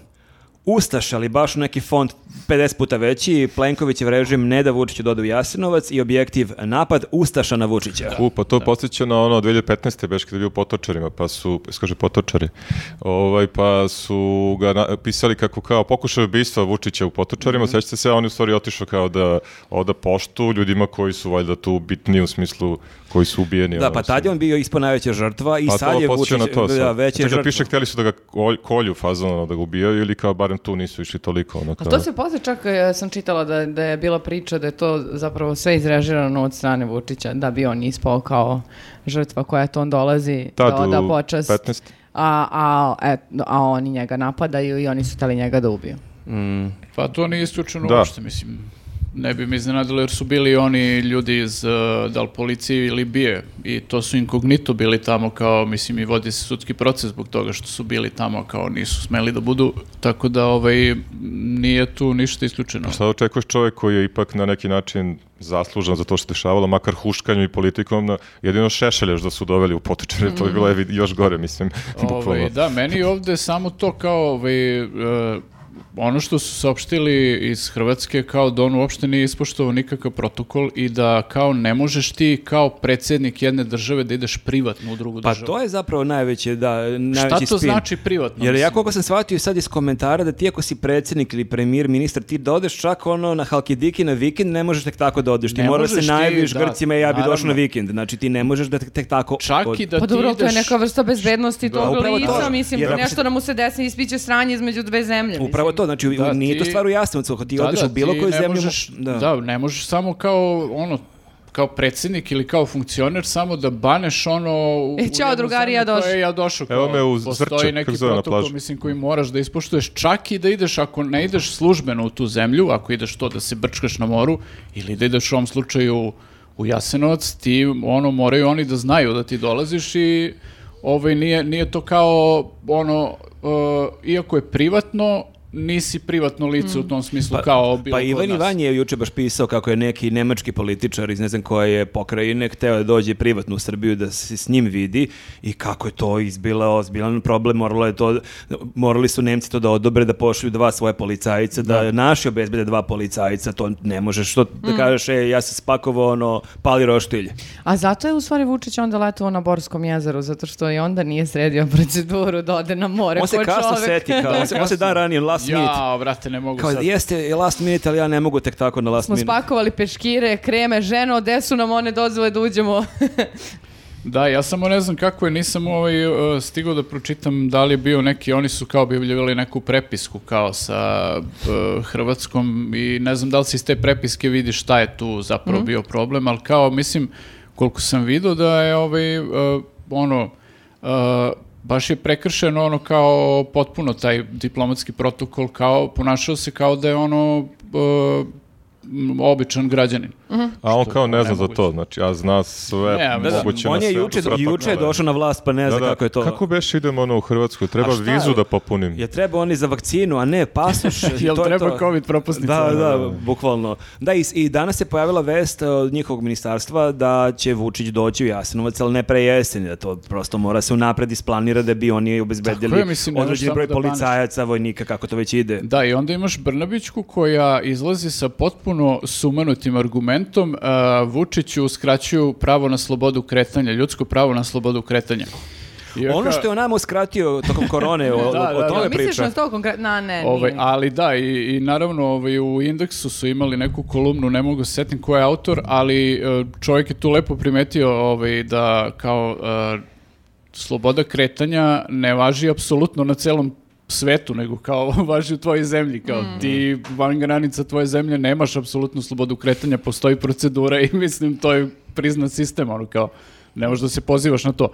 S4: Ustaše, ali baš u neki fond 50 puta veći, Plenkovićev režim ne da Vučiću dode u Jasenovac i objektiv napad Ustaša na Vučića.
S3: U, pa to podsjeća na ono 2015. beš kada je bio u potočarima, pa su, skaže potočari, ovaj, pa su ga na- pisali kako kao pokušaj ubistva Vučića u potočarima,
S4: Mhm.
S3: sećate se, a on je u stvari otišao kao da oda poštu ljudima koji su valjda tu bitni u smislu koji su ubijeni.
S4: Da,
S3: ono,
S4: pa tad je on bio ispod najveća žrtva i
S3: Pa
S4: sad
S3: to
S4: je
S3: podsjeća
S4: Vučić
S3: na to sad.
S4: da, veća
S3: Čekaj,
S4: žrtva.
S3: piše, hteli su da ga kolj- kolju fazon, ono, da ga ubijaju ili kao barem tu nisu išli toliko. Ono,
S1: A
S3: kao-
S1: to se posle čak e, sam čitala da, da je bila priča da je to zapravo sve izrežirano od strane Vučića da bi on ispao kao žrtva koja to on dolazi
S3: Tad
S1: da oda
S3: u
S1: počast.
S3: 15.
S1: A, a, et, a oni njega napadaju i oni su hteli njega da ubiju.
S2: Pa to nije isključeno
S3: Da.
S2: uopšte, mislim. Ne bi mi iznenadilo jer su bili oni ljudi iz, e, da li policije ili bije i to su inkognito bili tamo kao, mislim i vodi se sudski proces zbog toga što su bili tamo kao nisu smeli da budu, tako da ovaj, nije tu ništa isključeno.
S3: Šta očekuješ čovjek koji je ipak na neki način zaslužan za to što se dešavalo, makar huškanju i politikom, na, jedino Šešelj još da su doveli u potičare, to je bilo evi- još gore,
S4: (laughs)
S3: mislim, bukvalno.
S2: Ovaj, da, meni je ovde samo to kao ovaj, e, ono što su saopštili iz Hrvatske kao da on uopšte nije ispoštovao nikakav protokol i da kao ne možeš ti kao predsjednik jedne države da ideš privatno u drugu
S4: Pa
S2: državu.
S4: to je zapravo najveće, da, najveći
S2: Šta to
S4: spin.
S2: znači privatno?
S4: Jer ja
S2: mislim?
S4: koliko sam shvatio sad iz komentara da ti ako si predsjednik ili premijer, ministar, ti da odeš čak ono na Halkidiki na vikend, ne možeš tek tako da odeš. Ti
S2: Ne
S4: moraš se
S2: možeš ti,
S4: najaviš
S2: da,
S4: Grcima i ja bi
S2: naravno.
S4: došao na vikend. Znači ti ne možeš da tek, tek tako
S2: Čak
S4: od-
S2: i da
S1: pa
S2: ti
S1: dobro, ali to je
S2: ideš-
S1: neka vrsta bezbednosti
S4: Da,
S1: tog
S4: upravo to.
S1: lica, mislim,
S4: Jer ako
S1: nešto
S4: se-
S1: da mu se desne i ispiće sranje između dve zemlje.
S4: Upravo to, znači u-
S2: Da,
S4: nije to
S2: ti-
S4: stvar u Jasenovcu, ako ti
S2: Da,
S4: odeš
S2: da,
S4: u bilo
S2: ti
S4: koju
S2: ne
S4: zemlju...
S2: možeš-
S4: da.
S2: da. ne možeš samo kao ono kao predsjednik ili kao funkcioner samo da baneš ono u
S1: E,
S2: u
S1: ćao,
S2: jednu
S1: drugari,
S2: zemlju
S1: ja
S2: koja je
S1: došao.
S2: ja došao
S3: Evo
S2: kao,
S3: me u
S2: postoji
S3: Zrče,
S2: neki
S3: kako zove na
S2: protokol,
S3: plaži.
S2: mislim koji moraš da ispoštuješ čak i da ideš ako ne ideš službeno u tu zemlju ako ideš to da se brčkaš na moru ili da ideš u ovom slučaju u Jasenovac ti ono moraju oni da znaju da ti dolaziš i ovaj nije nije to kao ono e, iako je privatno nisi privatno lice u tom smislu kao bilo
S4: Pa
S2: ko od
S4: Ivan
S2: nas.
S4: Ivan je juče baš pisao kako je neki nemački političar iz ne znam koje je pokrajine hteo da dođe privatno u Srbiju da se s njim vidi i kako je to izbila ozbiljan problem, moralo je to, morali su Nemci to da odobre, da pošalju dva svoje policajca, da, naši obezbede dva policajca, to ne možeš što
S2: Mm.
S4: da kažeš, e, ja sam spakovao ono, pali roštilj.
S1: A zato je u stvari Vučić onda letovao na Borskom jezeru, zato što i onda nije sredio proceduru da ode na more.
S4: On se
S1: ko
S4: kasno
S1: čovek.
S4: seti,
S2: (laughs)
S4: kao, on se, on se dan ranije, last minute.
S2: Ja, brate, ne mogu
S4: Kao,
S2: sad.
S4: jeste je last minute, ali ja ne mogu tek tako na last
S1: (laughs) smo
S4: minute.
S1: spakovali peškire, kreme, ženo, gde su nam one dozvole da uđemo? (laughs)
S2: Da, ja samo ne znam kako je, nisam ovaj, e, stigao da pročitam da li je bio neki, oni su kao objavljivali neku prepisku kao sa e, Hrvatskom i ne znam da li se iz te prepiske vidi šta je tu zapravo bio problem, ali kao mislim koliko sam vidio da je ovaj, e, ono, e, baš je prekršeno ono kao potpuno taj diplomatski protokol kao ponašao se kao da je ono e, m, običan građanin.
S3: A on kao ne zna za
S2: nemoguće.
S3: to, znači, a zna sve,
S2: Ne, da, da,
S3: moguće
S4: on
S3: na
S4: je
S3: sve,
S4: juče,
S3: protokole.
S4: juče je došao na vlast, pa ne
S3: Da,
S4: znam
S3: da,
S4: kako je to.
S3: Kako beš idem ono u Hrvatsku, treba
S4: A šta
S3: vizu
S4: je?
S3: da popunim.
S4: Je treba oni za vakcinu, a ne
S2: (laughs)
S4: pasoš. i
S2: Jel
S4: to je
S2: treba
S4: to.
S2: COVID propusnica?
S4: Da, da, bukvalno. Da, i, i danas se pojavila vest e, od njihovog ministarstva da će Vučić doći u Jasenovac, ali ne pre jeseni, da to prosto mora se unapred isplanira da bi oni
S2: Tako
S4: obezbedili
S2: je, mislim, ne možeš
S4: određeni
S2: samo
S4: broj
S2: da baneš.
S4: policajaca, vojnika, kako to već ide.
S2: Da, i onda imaš Brnabićku koja izlazi sa potpuno sumanutim argumentom uh, Vučiću uskraćuju pravo na slobodu kretanja, ljudsko pravo na slobodu kretanja. I
S4: Ono
S2: kao-
S4: što je on nama uskratio tokom
S2: (laughs)
S4: korone, o,
S2: Da,
S4: o- o
S2: da,
S4: tome
S2: da.
S1: Misliš
S4: priča.
S1: na to konkretno? A, ne,
S2: Ovaj,
S1: nije.
S2: ali da, i, i naravno ovaj, u indeksu su imali neku kolumnu, ne mogu se setim ko je autor, ali e, čovjek je tu lepo primetio ovaj, da kao e, sloboda kretanja ne važi apsolutno na celom svetu, nego kao (laughs) važi u tvojoj zemlji, kao ti van granica tvoje zemlje nemaš apsolutnu slobodu kretanja, postoji procedura i (laughs) mislim to je priznat sistem, ono kao ne možeš da se pozivaš na to.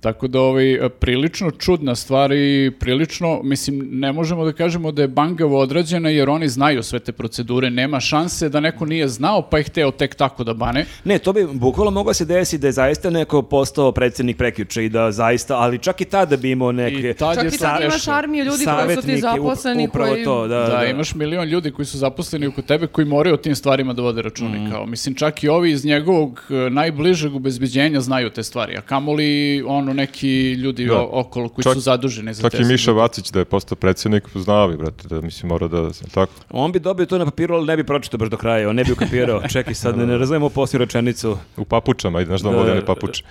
S2: Tako da ovaj, prilično čudna stvar i prilično, mislim, ne možemo da kažemo da je bangavo odrađena jer oni znaju sve te procedure, nema šanse da neko nije znao pa je hteo tek tako da bane.
S4: Ne, to bi bukvalno moglo se desiti da je zaista neko postao predsjednik prekjuče i da zaista, ali čak i tada bi imao neke...
S2: I tad
S1: Čak
S2: je
S1: i
S2: sad
S1: sad imaš
S2: nešto.
S1: armiju ljudi koji su ti
S4: savetnike, up-
S1: zaposleni
S4: upravo
S1: koji...
S4: to, da,
S2: Da,
S4: da.
S2: imaš milion ljudi koji su zaposleni oko tebe koji moraju o tim stvarima da vode račune.
S3: Mm.
S2: Kao, mislim, čak i ovi iz njegovog e, najbližeg obezbeđenja znaju te stvari, a kamoli ono neki ljudi
S3: Da.
S2: o- okolo koji
S3: Čak-
S2: su zaduženi za
S3: Čak
S2: te
S3: i Miša
S2: stvari.
S3: Vacić da je postao predsjednik, znao bi, brate, da mislim mora da... Tako.
S4: On bi dobio to na papiru, ali ne bi pročitao baš do kraja, on ne bi
S2: (laughs)
S4: ukapirao. Čekaj sad, ne, ne razumemo posliju rečenicu.
S3: U papučama, ide, znaš da on
S4: Da,
S3: voli
S4: da,
S3: one papuče.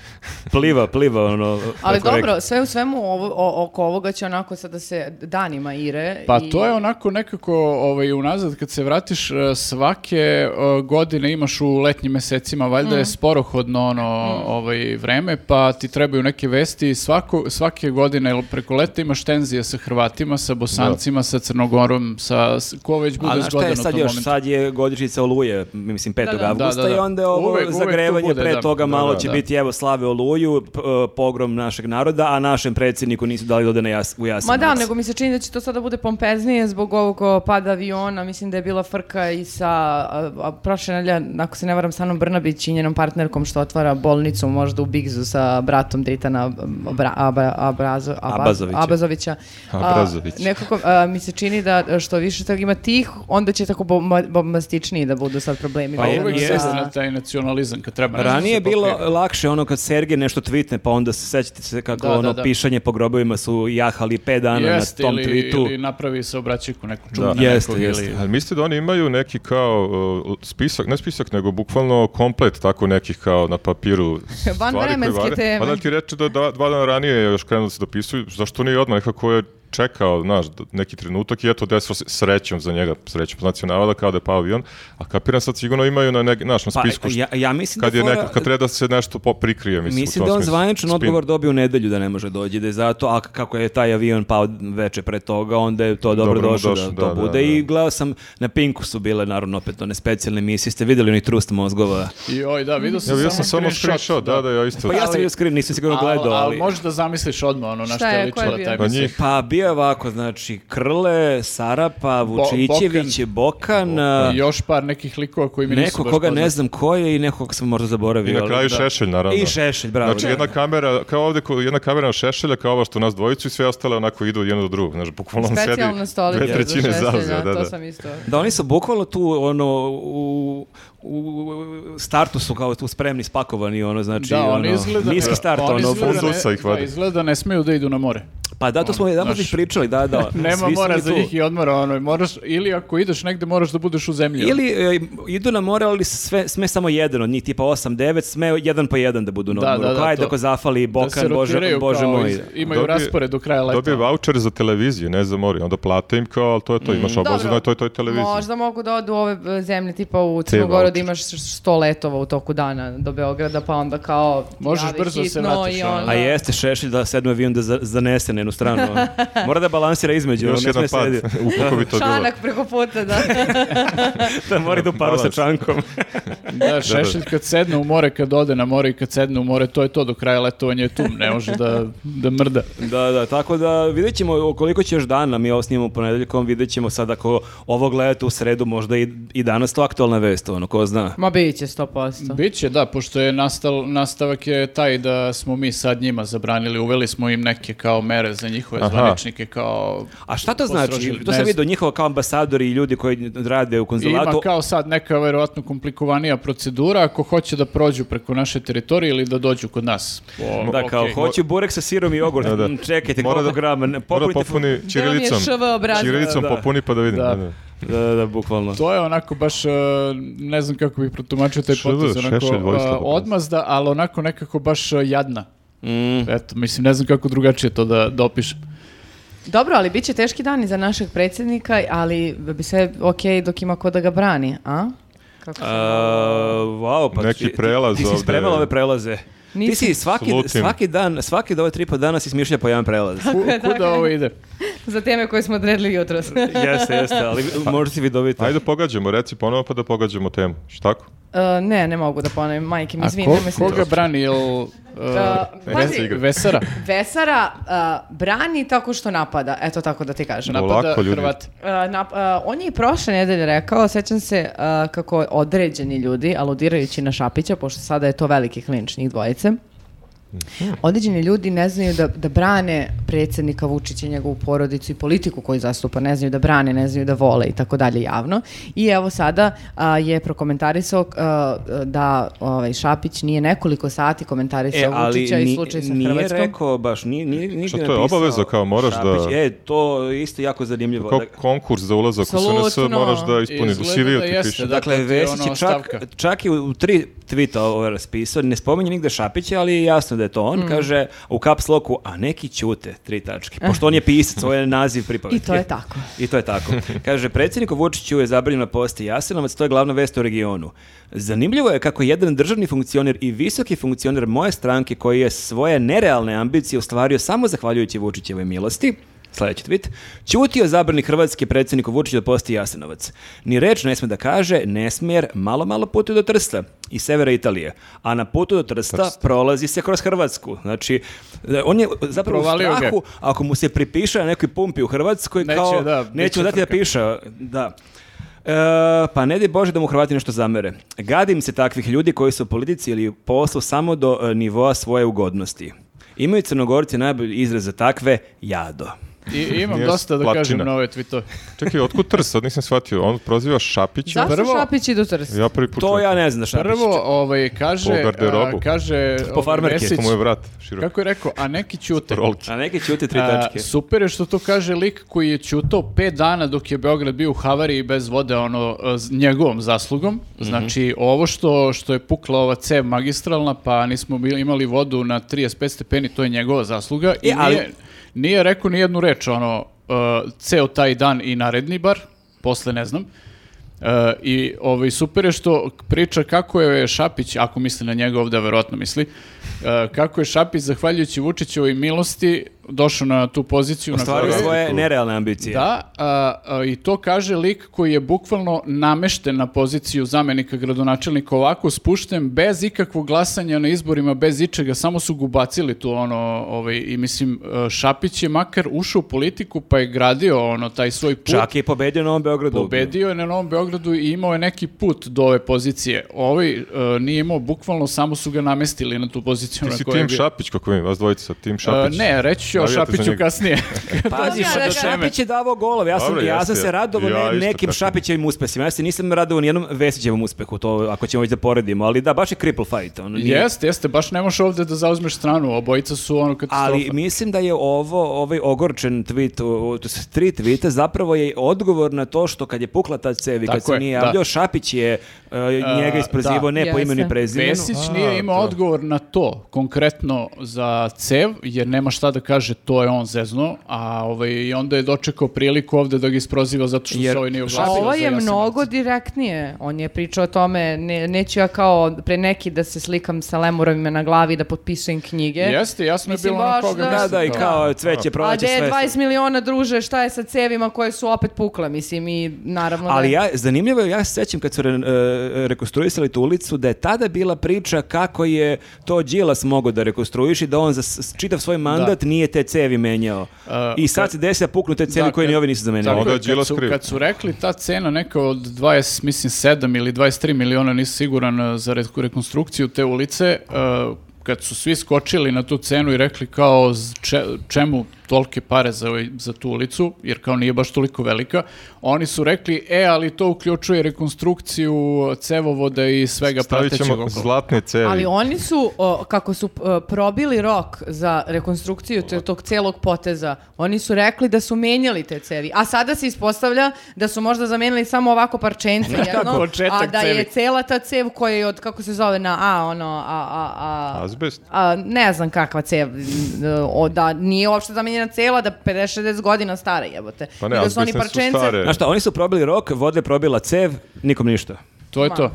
S4: Pliva, pliva, ono...
S1: Ali
S4: kako
S1: dobro,
S4: rekao.
S1: sve u svemu ovo, o- oko ovoga će onako sad da se danima ire.
S2: Pa
S1: i-
S2: to je onako nekako ovaj, unazad kad se vratiš e, svake e, godine imaš u letnjim mesecima, valjda je sporohodno ono, ovaj, vreme, pa ti trebaju neke vesti i svako, svake godine jel, preko leta imaš tenzije sa Hrvatima, sa Bosancima, sa Crnogorom, sa s- ko već bude
S4: A znaš šta
S2: zgodan
S4: je
S2: u tom
S4: sad još?
S2: momentu.
S4: Sad je godišnjica Oluje, mislim 5.
S1: Da, da.
S4: avgusta
S2: Da, da, da.
S4: i onda je ovo
S2: Uvek- uvek to
S4: zagrevanje
S2: bude,
S4: pre
S2: da.
S4: toga malo
S2: da,
S4: će
S2: da.
S4: biti evo slave Oluju, p- pogrom našeg naroda, a našem predsjedniku nisu dali da ode na jas, u
S1: Ma
S4: Jasenovac.
S1: da, nego mi se čini da će to sada bude pompeznije zbog ovog o, pada aviona. Mislim da je bila frka i sa a, a, prošle nedelje, ako se ne varam, sa Anom Brnabić i njenom partnerkom što otvara bolnicu možda u Bigzu sa bratom Dritana Abra, Abra, Abrazo, Abaz-
S4: Abazovića.
S1: Abazovića. A,
S3: Abrazović.
S1: nekako a, mi se čini da što više toga ima tih, onda će tako bomba- bombastičniji da budu sad problemi.
S4: Pa
S2: Pa
S4: je-
S1: vezano
S2: uvek
S4: je-
S1: za-
S2: se na taj nacionalizam kad
S3: Pa
S2: treba. nešto
S4: Ranije je
S2: se
S4: bilo
S2: pokrije.
S4: lakše ono kad Sergej nešto tvitne, pa onda se sećate se kako
S2: Da, da,
S4: ono
S2: da.
S4: pišanje po grobovima su jahali 5 dana
S2: Jeste,
S4: na tom
S2: ili,
S4: twitu.
S2: ili napravi se obraćiku neku čudnu
S4: Da. Jeste,
S2: nekog
S4: jeste.
S2: ili-
S3: Ali mislite da oni imaju neki kao uh, spisak, ne spisak, nego bukvalno komplet tako nekih kao na papiru stvari koje
S1: Vanvremenske
S3: vare?
S1: teme.
S3: Pa da ti reče da dva, dva dana ranije je još krenulo da se dopisuju, zašto nije odmah nekako je čekao, znaš, d- neki trenutak i eto desilo se srećom za njega, srećom znači navada kao da je pao avion, a kapiram sad sigurno imaju na, neg, naš, na
S4: Pa
S3: spisku št-
S4: ja, ja mislim
S3: kad,
S4: da
S3: je
S4: fora-
S3: neka, kad treba da se nešto po- prikrije, mislim, u
S4: Mislim
S3: tom
S4: da je on
S3: smislu.
S4: zvaničan
S3: Spin.
S4: odgovor dobio u nedelju da ne može dođi, da je zato, a kako je taj avion pao veče pre toga, onda je to dobro,
S3: Dobro mu
S4: došlo,
S3: došlo,
S4: da to
S3: da, da,
S4: bude.
S3: da.
S4: I gledao sam, na Pinku su bile, naravno, opet one specijalne misije, ste vidjeli oni trust mozgova.
S2: I oj, da, vidio sam
S3: Ja, ja sam
S2: samo
S3: samo screenshot, da, da, ja isto.
S4: Pa ja sam
S2: Ali-
S4: bio skrin, nisam sigurno
S2: Ali,
S4: gledao, ali...
S2: ali možeš da zamisliš odmah ono na
S1: Šta
S2: što je
S1: je, ko je
S2: ličila
S1: bio?
S2: taj
S3: Pa
S2: mesec.
S3: njih
S4: Pa bio je ovako, znači, Krle, Sarapa, Vučićević, Bokan,
S2: I još par nekih likova koji mi nisu
S4: Pa- neko
S2: baš
S4: koga ne
S2: poznati.
S4: znam ko je i nekog sam možda
S3: I
S4: zaboravio.
S3: na kraju
S4: ali da.
S3: Šešelj, naravno.
S4: I Šešelj, bravo.
S3: Znači,
S4: da.
S3: jedna kamera, kao ovdje, ko- jedna kamera na šešelja, kao ova što nas dvojicu i sve ostale onako idu jedno do drugog. Znači, bukvalno on sedi
S1: Specijalna stolica
S3: dve
S1: za
S3: trećine
S1: šestelja,
S3: zauzeo. Da,
S1: to
S3: da.
S1: sam isto...
S4: Da, oni su bukvalno tu, ono, u, u startu su kao tu spremni, spakovani, ono, znači,
S2: Da,
S4: ono,
S2: oni izgleda...
S4: niski start,
S2: oni
S4: ono,
S2: izgleda
S4: full-
S2: ne-
S3: fundusa ih
S2: da,
S3: vade.
S2: izgleda ne smeju da idu na more.
S4: (laughs) Pa da, to smo jedan put
S2: znaš.
S4: pričali, da, da.
S2: Nema
S4: svi su
S2: mora
S4: oni
S2: za
S4: tu.
S2: njih i odmora, ono, moraš, ili ako ideš negde moraš da budeš u zemlji. ono.
S4: Ili e, idu na more, ali sve, sme samo jedan od njih, tipa 8-9, sme jedan po jedan da budu na
S2: Da,
S4: odmoru.
S2: da, da,
S4: Ajde
S2: to.
S4: ako zafali
S2: da se
S4: Bokan, Bože,
S2: rotiraju
S4: Bože
S2: kao
S4: moj.
S2: iz- imaju
S3: Dobije-
S2: raspored do kraja leta.
S3: Dobije voucher za televiziju, ne za mori. Onda plate im kao, ali to je to, imaš obavezno, to je to je televizija.
S1: Možda mogu da odu u ove e, zemlje, tipa u Crnogoru da
S3: voucher.
S1: imaš 100 letova u toku dana do Beograda, pa onda kao ti
S2: Možeš
S1: javi
S2: brzo se
S1: hitno
S2: vratiš,
S1: i
S2: ono.
S1: onda-
S4: A jeste šešelj da sedme avion da za- zanese na jednu stranu.
S2: (laughs)
S4: ono. Mora da balansira između, ono,
S3: Još
S4: ne
S3: jedan
S4: sme
S3: pad,
S4: sedi.
S3: (laughs) u kako bi to bilo.
S1: Čanak preko puta,
S2: (laughs)
S1: da.
S4: (laughs) Da mora da u paru sa
S3: Balans. (laughs)
S4: čankom.
S2: Da, šešelj kad sedne u more, kad ode na more i kad sedne u more, to je to, do kraja letovanja je tu, ne može da, da mrda.
S4: Da, da, tako da vidjet ćemo koliko će još dana, mi ovo snimamo ponedeljkom, vidjet ćemo sad ako ovo gledate u sredu, možda i, i danas to aktualna vest, ono, ko zna.
S1: Ma bit će 100%.
S2: Biće, da, pošto je nastal, nastavak je taj da smo mi sad njima zabranili, uveli smo im neke kao mere za njihove
S3: Aha.
S2: zvaničnike, kao...
S4: A šta to
S2: Postrožili,
S4: znači? To
S2: ne
S4: sam
S2: znam.
S4: vidio njihova kao ambasadori i ljudi koji rade u konzulatu.
S2: Ima kao sad neka verovatno komplikovanija procedura ako hoće da prođu preko naše teritorije ili da dođu kod nas.
S4: Da, kao,
S2: O, okej.
S4: Pa, dakle, hoću burek sa sirom i jogurt.
S3: Da, da.
S4: Mm, Čekajte,
S3: Mora
S4: koliko
S3: da-
S4: grama? Ne,
S3: Mora da
S4: popunite-
S3: popuni
S1: Gde vam je
S3: čirilicom.
S1: ŠV obrazac?
S3: Čirilicom
S4: Da, da.
S3: popuni pa da vidim. da,
S2: Da.
S3: da.
S4: Da, da, da, bukvalno.
S2: To je onako baš, e, ne znam kako bih protumačio taj
S3: Šr-
S2: potez,
S3: Šešelj
S2: onako
S3: Vojislav
S2: e,
S3: pokazuje.
S2: odmazda, ali onako nekako baš e, jadna.
S4: Mm,
S2: Eto, mislim, ne znam kako drugačije to da, da opišem.
S1: Dobro, ali bit će teški dani za našeg predsjednika, ali bi sve okej dok ima ko da ga brani, a? Kako se-
S4: wow, pa
S3: Neki
S4: ti- ti-
S3: prelaz
S4: ti, si
S3: ovde.
S4: spremala ove prelaze. Ti
S1: Nisam.
S4: si svaki,
S3: Slutim.
S4: svaki dan, svaki do ove tri po dana si smišlja po jedan
S3: (laughs)
S4: prelaz.
S2: Ku, kuda ovo ide?
S1: Za teme koje smo odredili jutros.
S4: jeste, jeste, ali (laughs) možda si vidovita.
S3: Ajde pogađamo, reci ponovo pa da pogađamo temu. Šta tako?
S1: E, ne, ne mogu da ponovim, majke mi,
S2: A
S1: izvini,
S2: ko,
S1: nemoj se
S2: koga
S1: ljuti.
S2: brani? Jel, uh,
S1: pazi.
S2: Ves- Vesara?
S1: Vesara e, brani tako što napada, eto tako da ti kažem.
S2: Napada
S3: Polako, ljudi.
S2: Hrvate.
S1: E, nap- e, on je i prošle nedelje rekao, sećam se e, kako određeni ljudi, aludirajući na Šapića, pošto sada je to veliki klinč njih dvojice,
S4: Mhm.
S1: određeni ljudi ne znaju da, da brane predsjednika Vučića i njegovu porodicu i politiku koju zastupa, ne znaju da brane, ne znaju da vole i tako dalje javno. I evo sada a, je prokomentarisao a, da ovaj, Šapić nije nekoliko sati
S3: E,
S1: komentarisao Vučića i
S4: E, ni-
S1: slučaj sa
S4: nije
S1: Hrvatskom.
S4: rekao baš, nije, nije, nije
S3: Šta, to je obaveza kao moraš da-
S4: E, to je isto jako zanimljivo.
S3: Kao
S4: Da-
S3: konkurs za ulazak u SNS
S1: Apsolutno.
S3: moraš da ispuniš, u
S2: Izgleda
S3: CV-u
S2: da
S3: ti
S2: jeste,
S3: piše.
S2: da.
S4: Dakle,
S2: to ti je
S4: Vesić je
S2: ono
S4: čak,
S2: stavka.
S4: čak i u tri tvita ovo raspisao, ne spominje nigde Šapića, ali je jasno da je to on, kaže u caps locku, a neki ćute, tri tačke, pošto on je pisac, ovo je naziv pripovetke.
S1: I to je tako.
S4: I to je tako. Kaže, predsjedniku Vučiću je zabranjeno na posti Jasenovac, to je glavna vest u regionu. Zanimljivo je kako jedan državni funkcioner i visoki funkcioner moje stranke koji je svoje nerealne ambicije ostvario samo zahvaljujući Vučićevoj milosti, Sljedeći tweet. Ćutio zabrani hrvatski predsjedniku Vučiću da posti Jasenovac. Ni reč ne sme da kaže, ne smije jer malo malo putuje do Trsta i severa Italije. A na putu do Trsta prolazi se kroz Hrvatsku. Znači, on je zapravo
S2: Provalio
S4: u
S2: ga.
S4: strahu ako mu se pripiše na nekoj pumpi u Hrvatskoj,
S2: Neće,
S4: kao
S2: da,
S4: neću
S2: biće
S4: dati da
S2: frka.
S4: piše, da. E, pa ne di Bože da mu Hrvati nešto zamere. Gadim se takvih ljudi koji su u politici ili u poslu samo do e, nivoa svoje ugodnosti. Imaju crnogorci najbolji izraz za takve jado.
S2: I, imam
S3: Nije
S2: dosta da
S3: plačina.
S2: kažem na ove tweetove.
S3: Čekaj, otkud trs? Sad nisam shvatio. On proziva Šapića.
S1: Zašto
S2: Prvo-
S1: Šapić idu Trst?
S3: Ja prvi put
S4: To
S3: čujem.
S4: ja ne znam šta bi
S2: Prvo,
S4: će-
S2: ovaj, kaže,
S3: Po garderobu.
S2: a, kaže
S4: Po farmerki.
S2: Vesić,
S3: To mu je vrat širok.
S2: kako je rekao, a neki ćute.
S3: Rolki.
S4: A neki ćuti tri
S2: A,
S4: tačke.
S2: super je što to kaže lik koji je ćutao pet dana dok je Beograd bio u havariji bez vode, ono, s njegovom zaslugom.
S4: Mhm.
S2: Znači, ovo što, što je pukla ova cev magistralna, pa nismo bili, imali vodu na 35 stepeni, to je njegova zasluga. I
S4: E, ali-
S2: nije, nije rekao ni jednu reč, ono, uh, ceo taj dan i naredni bar, posle ne znam. Uh, I ovaj, super je što priča kako je Šapić, ako misli na njega ovdje, verovatno misli, uh, kako je Šapić, zahvaljujući Vučićevoj milosti, došao na tu poziciju. na
S4: Ostvario
S2: kojoj-
S4: svoje nerealne ambicije.
S2: Da, a, a, i to kaže lik koji je bukvalno namešten na poziciju zamenika gradonačelnika ovako spušten, bez ikakvog glasanja na izborima, bez ičega, samo su ga ubacili tu ono, ovaj, i mislim, e, Šapić je makar ušao u politiku pa je gradio ono, taj svoj put.
S4: Čak je pobedio na ovom Beogradu.
S2: Pobedio je na Novom Beogradu i imao je neki put do ove pozicije. Ovaj e, nije imao, bukvalno samo su ga namestili na tu poziciju.
S3: Ti
S2: na
S3: si
S2: kojoj
S3: Tim
S2: je bio.
S3: Šapić, kako vidim, vas dvojica, Tim
S2: E,
S3: Šapić.
S2: ne, reći ću o
S3: Navijate za
S2: Šapiću
S4: (laughs)
S3: njega. (laughs)
S2: kasnije.
S4: Pazi,
S1: Ja
S4: pa
S1: da
S4: da
S1: kažem.
S4: Šapić je davao golove. Ja sam,
S3: Dobro,
S4: ja sam
S3: jeste.
S4: se radovao
S3: Ja
S4: ne,
S3: isto
S4: nekim
S3: tako.
S4: Šapićevim uspesima. Ja se nisam radovao nijednom Vesićevom uspehu, to ako ćemo već da poredimo. Ali da, baš je cripple fight. Ono, nije-
S2: Jeste, jeste, baš ne možeš ovdje da zauzmeš stranu, obojica su ono katastrofa.
S4: Ali mislim da je ovo, ovaj ogorčen tweet, o- o- to su tri tweeta, zapravo je odgovor na to što kad je pukla ta cevi, kad
S2: Tako
S4: se
S2: je,
S4: nije
S2: da.
S4: javljao, Šapić je e, njega
S2: da.
S4: isprozivao ne po
S1: Jeste.
S4: imenu i prezimenu.
S2: Vesić nije imao odgovor na to, konkretno za cev, jer nema šta da kaže, to je on zezno, a ovaj, i onda je dočekao priliku ovdje da ga isproziva zato što
S4: Jer
S2: se ovaj nije
S1: A
S2: oglasio.
S1: ovo
S2: za
S1: je
S2: Jasenovac.
S1: mnogo direktnije. On je pričao o tome, ne, neću ja kao pre neki da se slikam sa lemurovima na glavi i da potpisujem knjige.
S2: Jeste, jasno je
S1: Mislim,
S2: bilo na
S1: baš
S2: koga
S1: da-
S4: Da,
S2: mislim
S4: da, i
S2: to.
S4: kao cveće
S1: A
S4: proleće
S1: gde
S4: sve.
S1: je 20 miliona druže, šta je sa cevima koje su opet pukle, mislim, i naravno
S4: Ali
S1: da...
S4: ja, zanimljivo je, ja se sećam kad su re, e, rekonstruisali tu ulicu, da je tada bila priča kako je to Đilas mogao da rekonstruiši, da on za s- čitav svoj mandat nije te cevi menjao. I sad se desi da puknu te cevi
S2: E, da,
S4: koje ni
S2: kad-
S4: ovi nisu zamenili.
S2: Tako
S3: Onda
S2: je,
S3: je Đilas
S2: kad, su,
S3: kriv.
S2: kad su rekli ta cena neka od 20, mislim 7 ili 23 miliona, nisam siguran e, za re- rekonstrukciju te eh, ulice, e, kad su svi skočili na tu cenu i rekli kao z- če- čemu tolke pare za, ovaj- za tu ulicu, jer kao nije baš toliko velika, oni su rekli, e, ali to uključuje rekonstrukciju cevovoda i svega
S3: Stavit
S2: pratećeg
S3: ćemo
S2: okolo.
S3: zlatne cevi.
S1: Ali oni su, o, kako su e, probili rok za rekonstrukciju te- tog celog poteza, oni su rekli da su menjali te cevi. A sada se ispostavlja da su možda zamenili samo ovako parčence jedno,
S2: početak
S1: a da je
S2: cevi.
S1: cela ta cev koja je od, kako se zove, na A, ono, a, a, a,
S3: Azbest?
S1: a, ne znam kakva cev, m, o, da nije uopšte zamenjena cela, da 50-60 godina stara jebote.
S3: Pa ne,
S1: I da su oni
S3: azbestne su
S1: parčence,
S3: stare.
S4: Znaš šta, oni su probili rok, vode probila cev, nikom ništa. Pa
S2: To je to.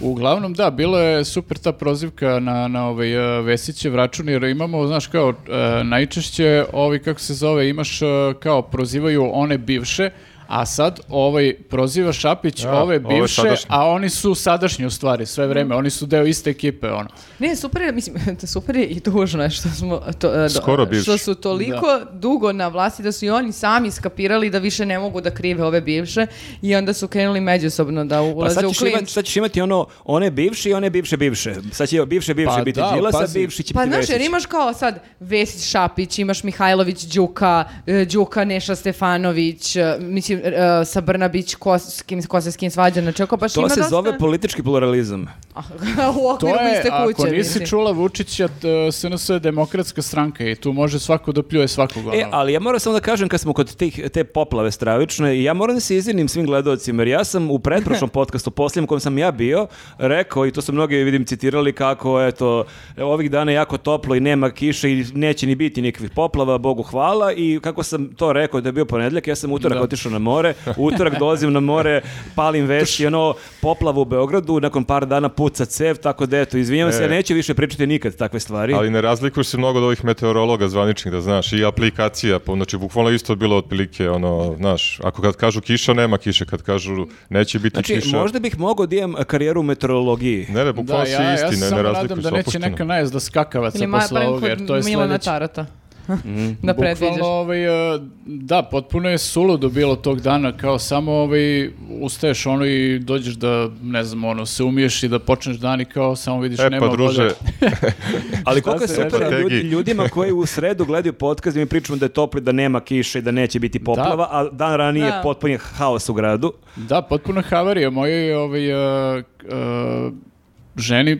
S2: Uglavnom, da, bilo je super ta prozivka na, na ovaj, e, Vesićev račun, jer imamo, znaš, kao, e, najčešće, ovi, kako se zove, imaš, e, kao, prozivaju one bivše, a sad ovaj proziva Šapić
S3: Da,
S2: ove
S3: ove
S2: bivše,
S3: sadašnje.
S2: a oni su sadašnji u stvari
S1: Mhm.
S2: sve vreme, oni su deo iste ekipe, ono.
S1: Ne, super je, mislim, (laughs) to super je i tužno je što smo to, e, do-
S3: Skoro bivši.
S1: što su toliko dugo na vlasti da su i oni sami skapirali da više ne mogu da krive ove bivše i onda su krenuli međusobno da
S4: Pa
S1: ulaze
S4: sad
S1: u
S4: ćeš, imati,
S1: klinč.
S4: sad ćeš imati ono, one bivši i one bivše bivše. Sad će bivše bivše
S2: Pa
S4: biti
S2: da,
S4: Đilas, a
S2: pazi.
S4: bivši će
S1: Pa
S4: biti
S1: znaš, jer
S4: Vesić.
S1: imaš kao sad Vesić Šapić, imaš Mihajlović Đuka, e, Đuka Neša Stefanović, e, mislim, e, sa Brnabić, ko, s kim, ko se s kim svađa, znači ako baš
S4: To
S1: ima
S4: se
S1: dosta-
S4: zove politički pluralizam.
S1: Ah, (laughs) u
S2: To
S1: okviru
S2: je,
S1: iste kuće.
S2: ako nisi
S1: mislim.
S2: čula Vučića, t- SNS je demokratska stranka i tu može svako da pljuje svakog ono.
S4: E, ali ja moram samo da kažem kad smo kod tih, te poplave stravične, ja moram da se izvinim svim gledalcima, jer ja sam u pretprošlom podcastu, posljednjem kojem sam ja bio, rekao, i to su mnogi vidim citirali kako, eto, ovih dana je jako toplo i nema kiše i neće ni biti nikakvih poplava, Bogu hvala, i kako sam to rekao da je bio ponedljak, ja sam utorak
S2: Da.
S4: otišao na more, utorak dolazim na more, palim veš i ono, poplava u Beogradu, nakon par dana puca cev, tako da eto, izvinjam se,
S3: E.
S4: ja neću više pričati nikad takve stvari.
S3: Ali ne razlikuješ se mnogo od ovih meteorologa zvaničnih, da znaš, i aplikacija, pa, znači bukvalno isto je bilo otprilike, ono, znaš, ako kad kažu kiša, nema kiše, kad kažu neće biti
S4: Znači,
S3: kiša.
S4: možda bih mogao da imam karijeru u meteorologiji.
S3: Ne, ne,
S2: Da,
S3: bukvalno si
S2: ja, ja se
S3: isti, ne, ne
S2: samo nadam
S3: razlikuju
S2: da
S3: se,
S2: neće
S3: opušteno.
S2: neka najezda skakavaca
S1: Ili
S2: posle
S1: barem
S2: ovoga,
S1: kod
S2: jer to je
S1: Milana
S2: sledeće. (laughs)
S1: Tarota. da predviđaš.
S2: Bukvalno, ovaj, e, da, potpuno je suludo bilo tog dana, kao samo ovaj, ustaješ ono i dođeš da, ne znam, ono, se umiješ i da počneš dan i kao samo vidiš
S3: E,
S2: nema
S3: pa druže,
S2: vode.
S4: Ali koliko je
S2: Šta se
S4: super
S2: reče?
S4: ljudi,
S3: Strategiji.
S4: ljudima koji u sredu gledaju podcast i mi pričamo da je toplo, i da nema kiše i da neće biti poplava,
S2: Da.
S4: a dan ranije
S1: Da.
S4: potpun je haos u gradu.
S2: Da, potpuno havarija. Moje ovaj, e, k- e, ženi e,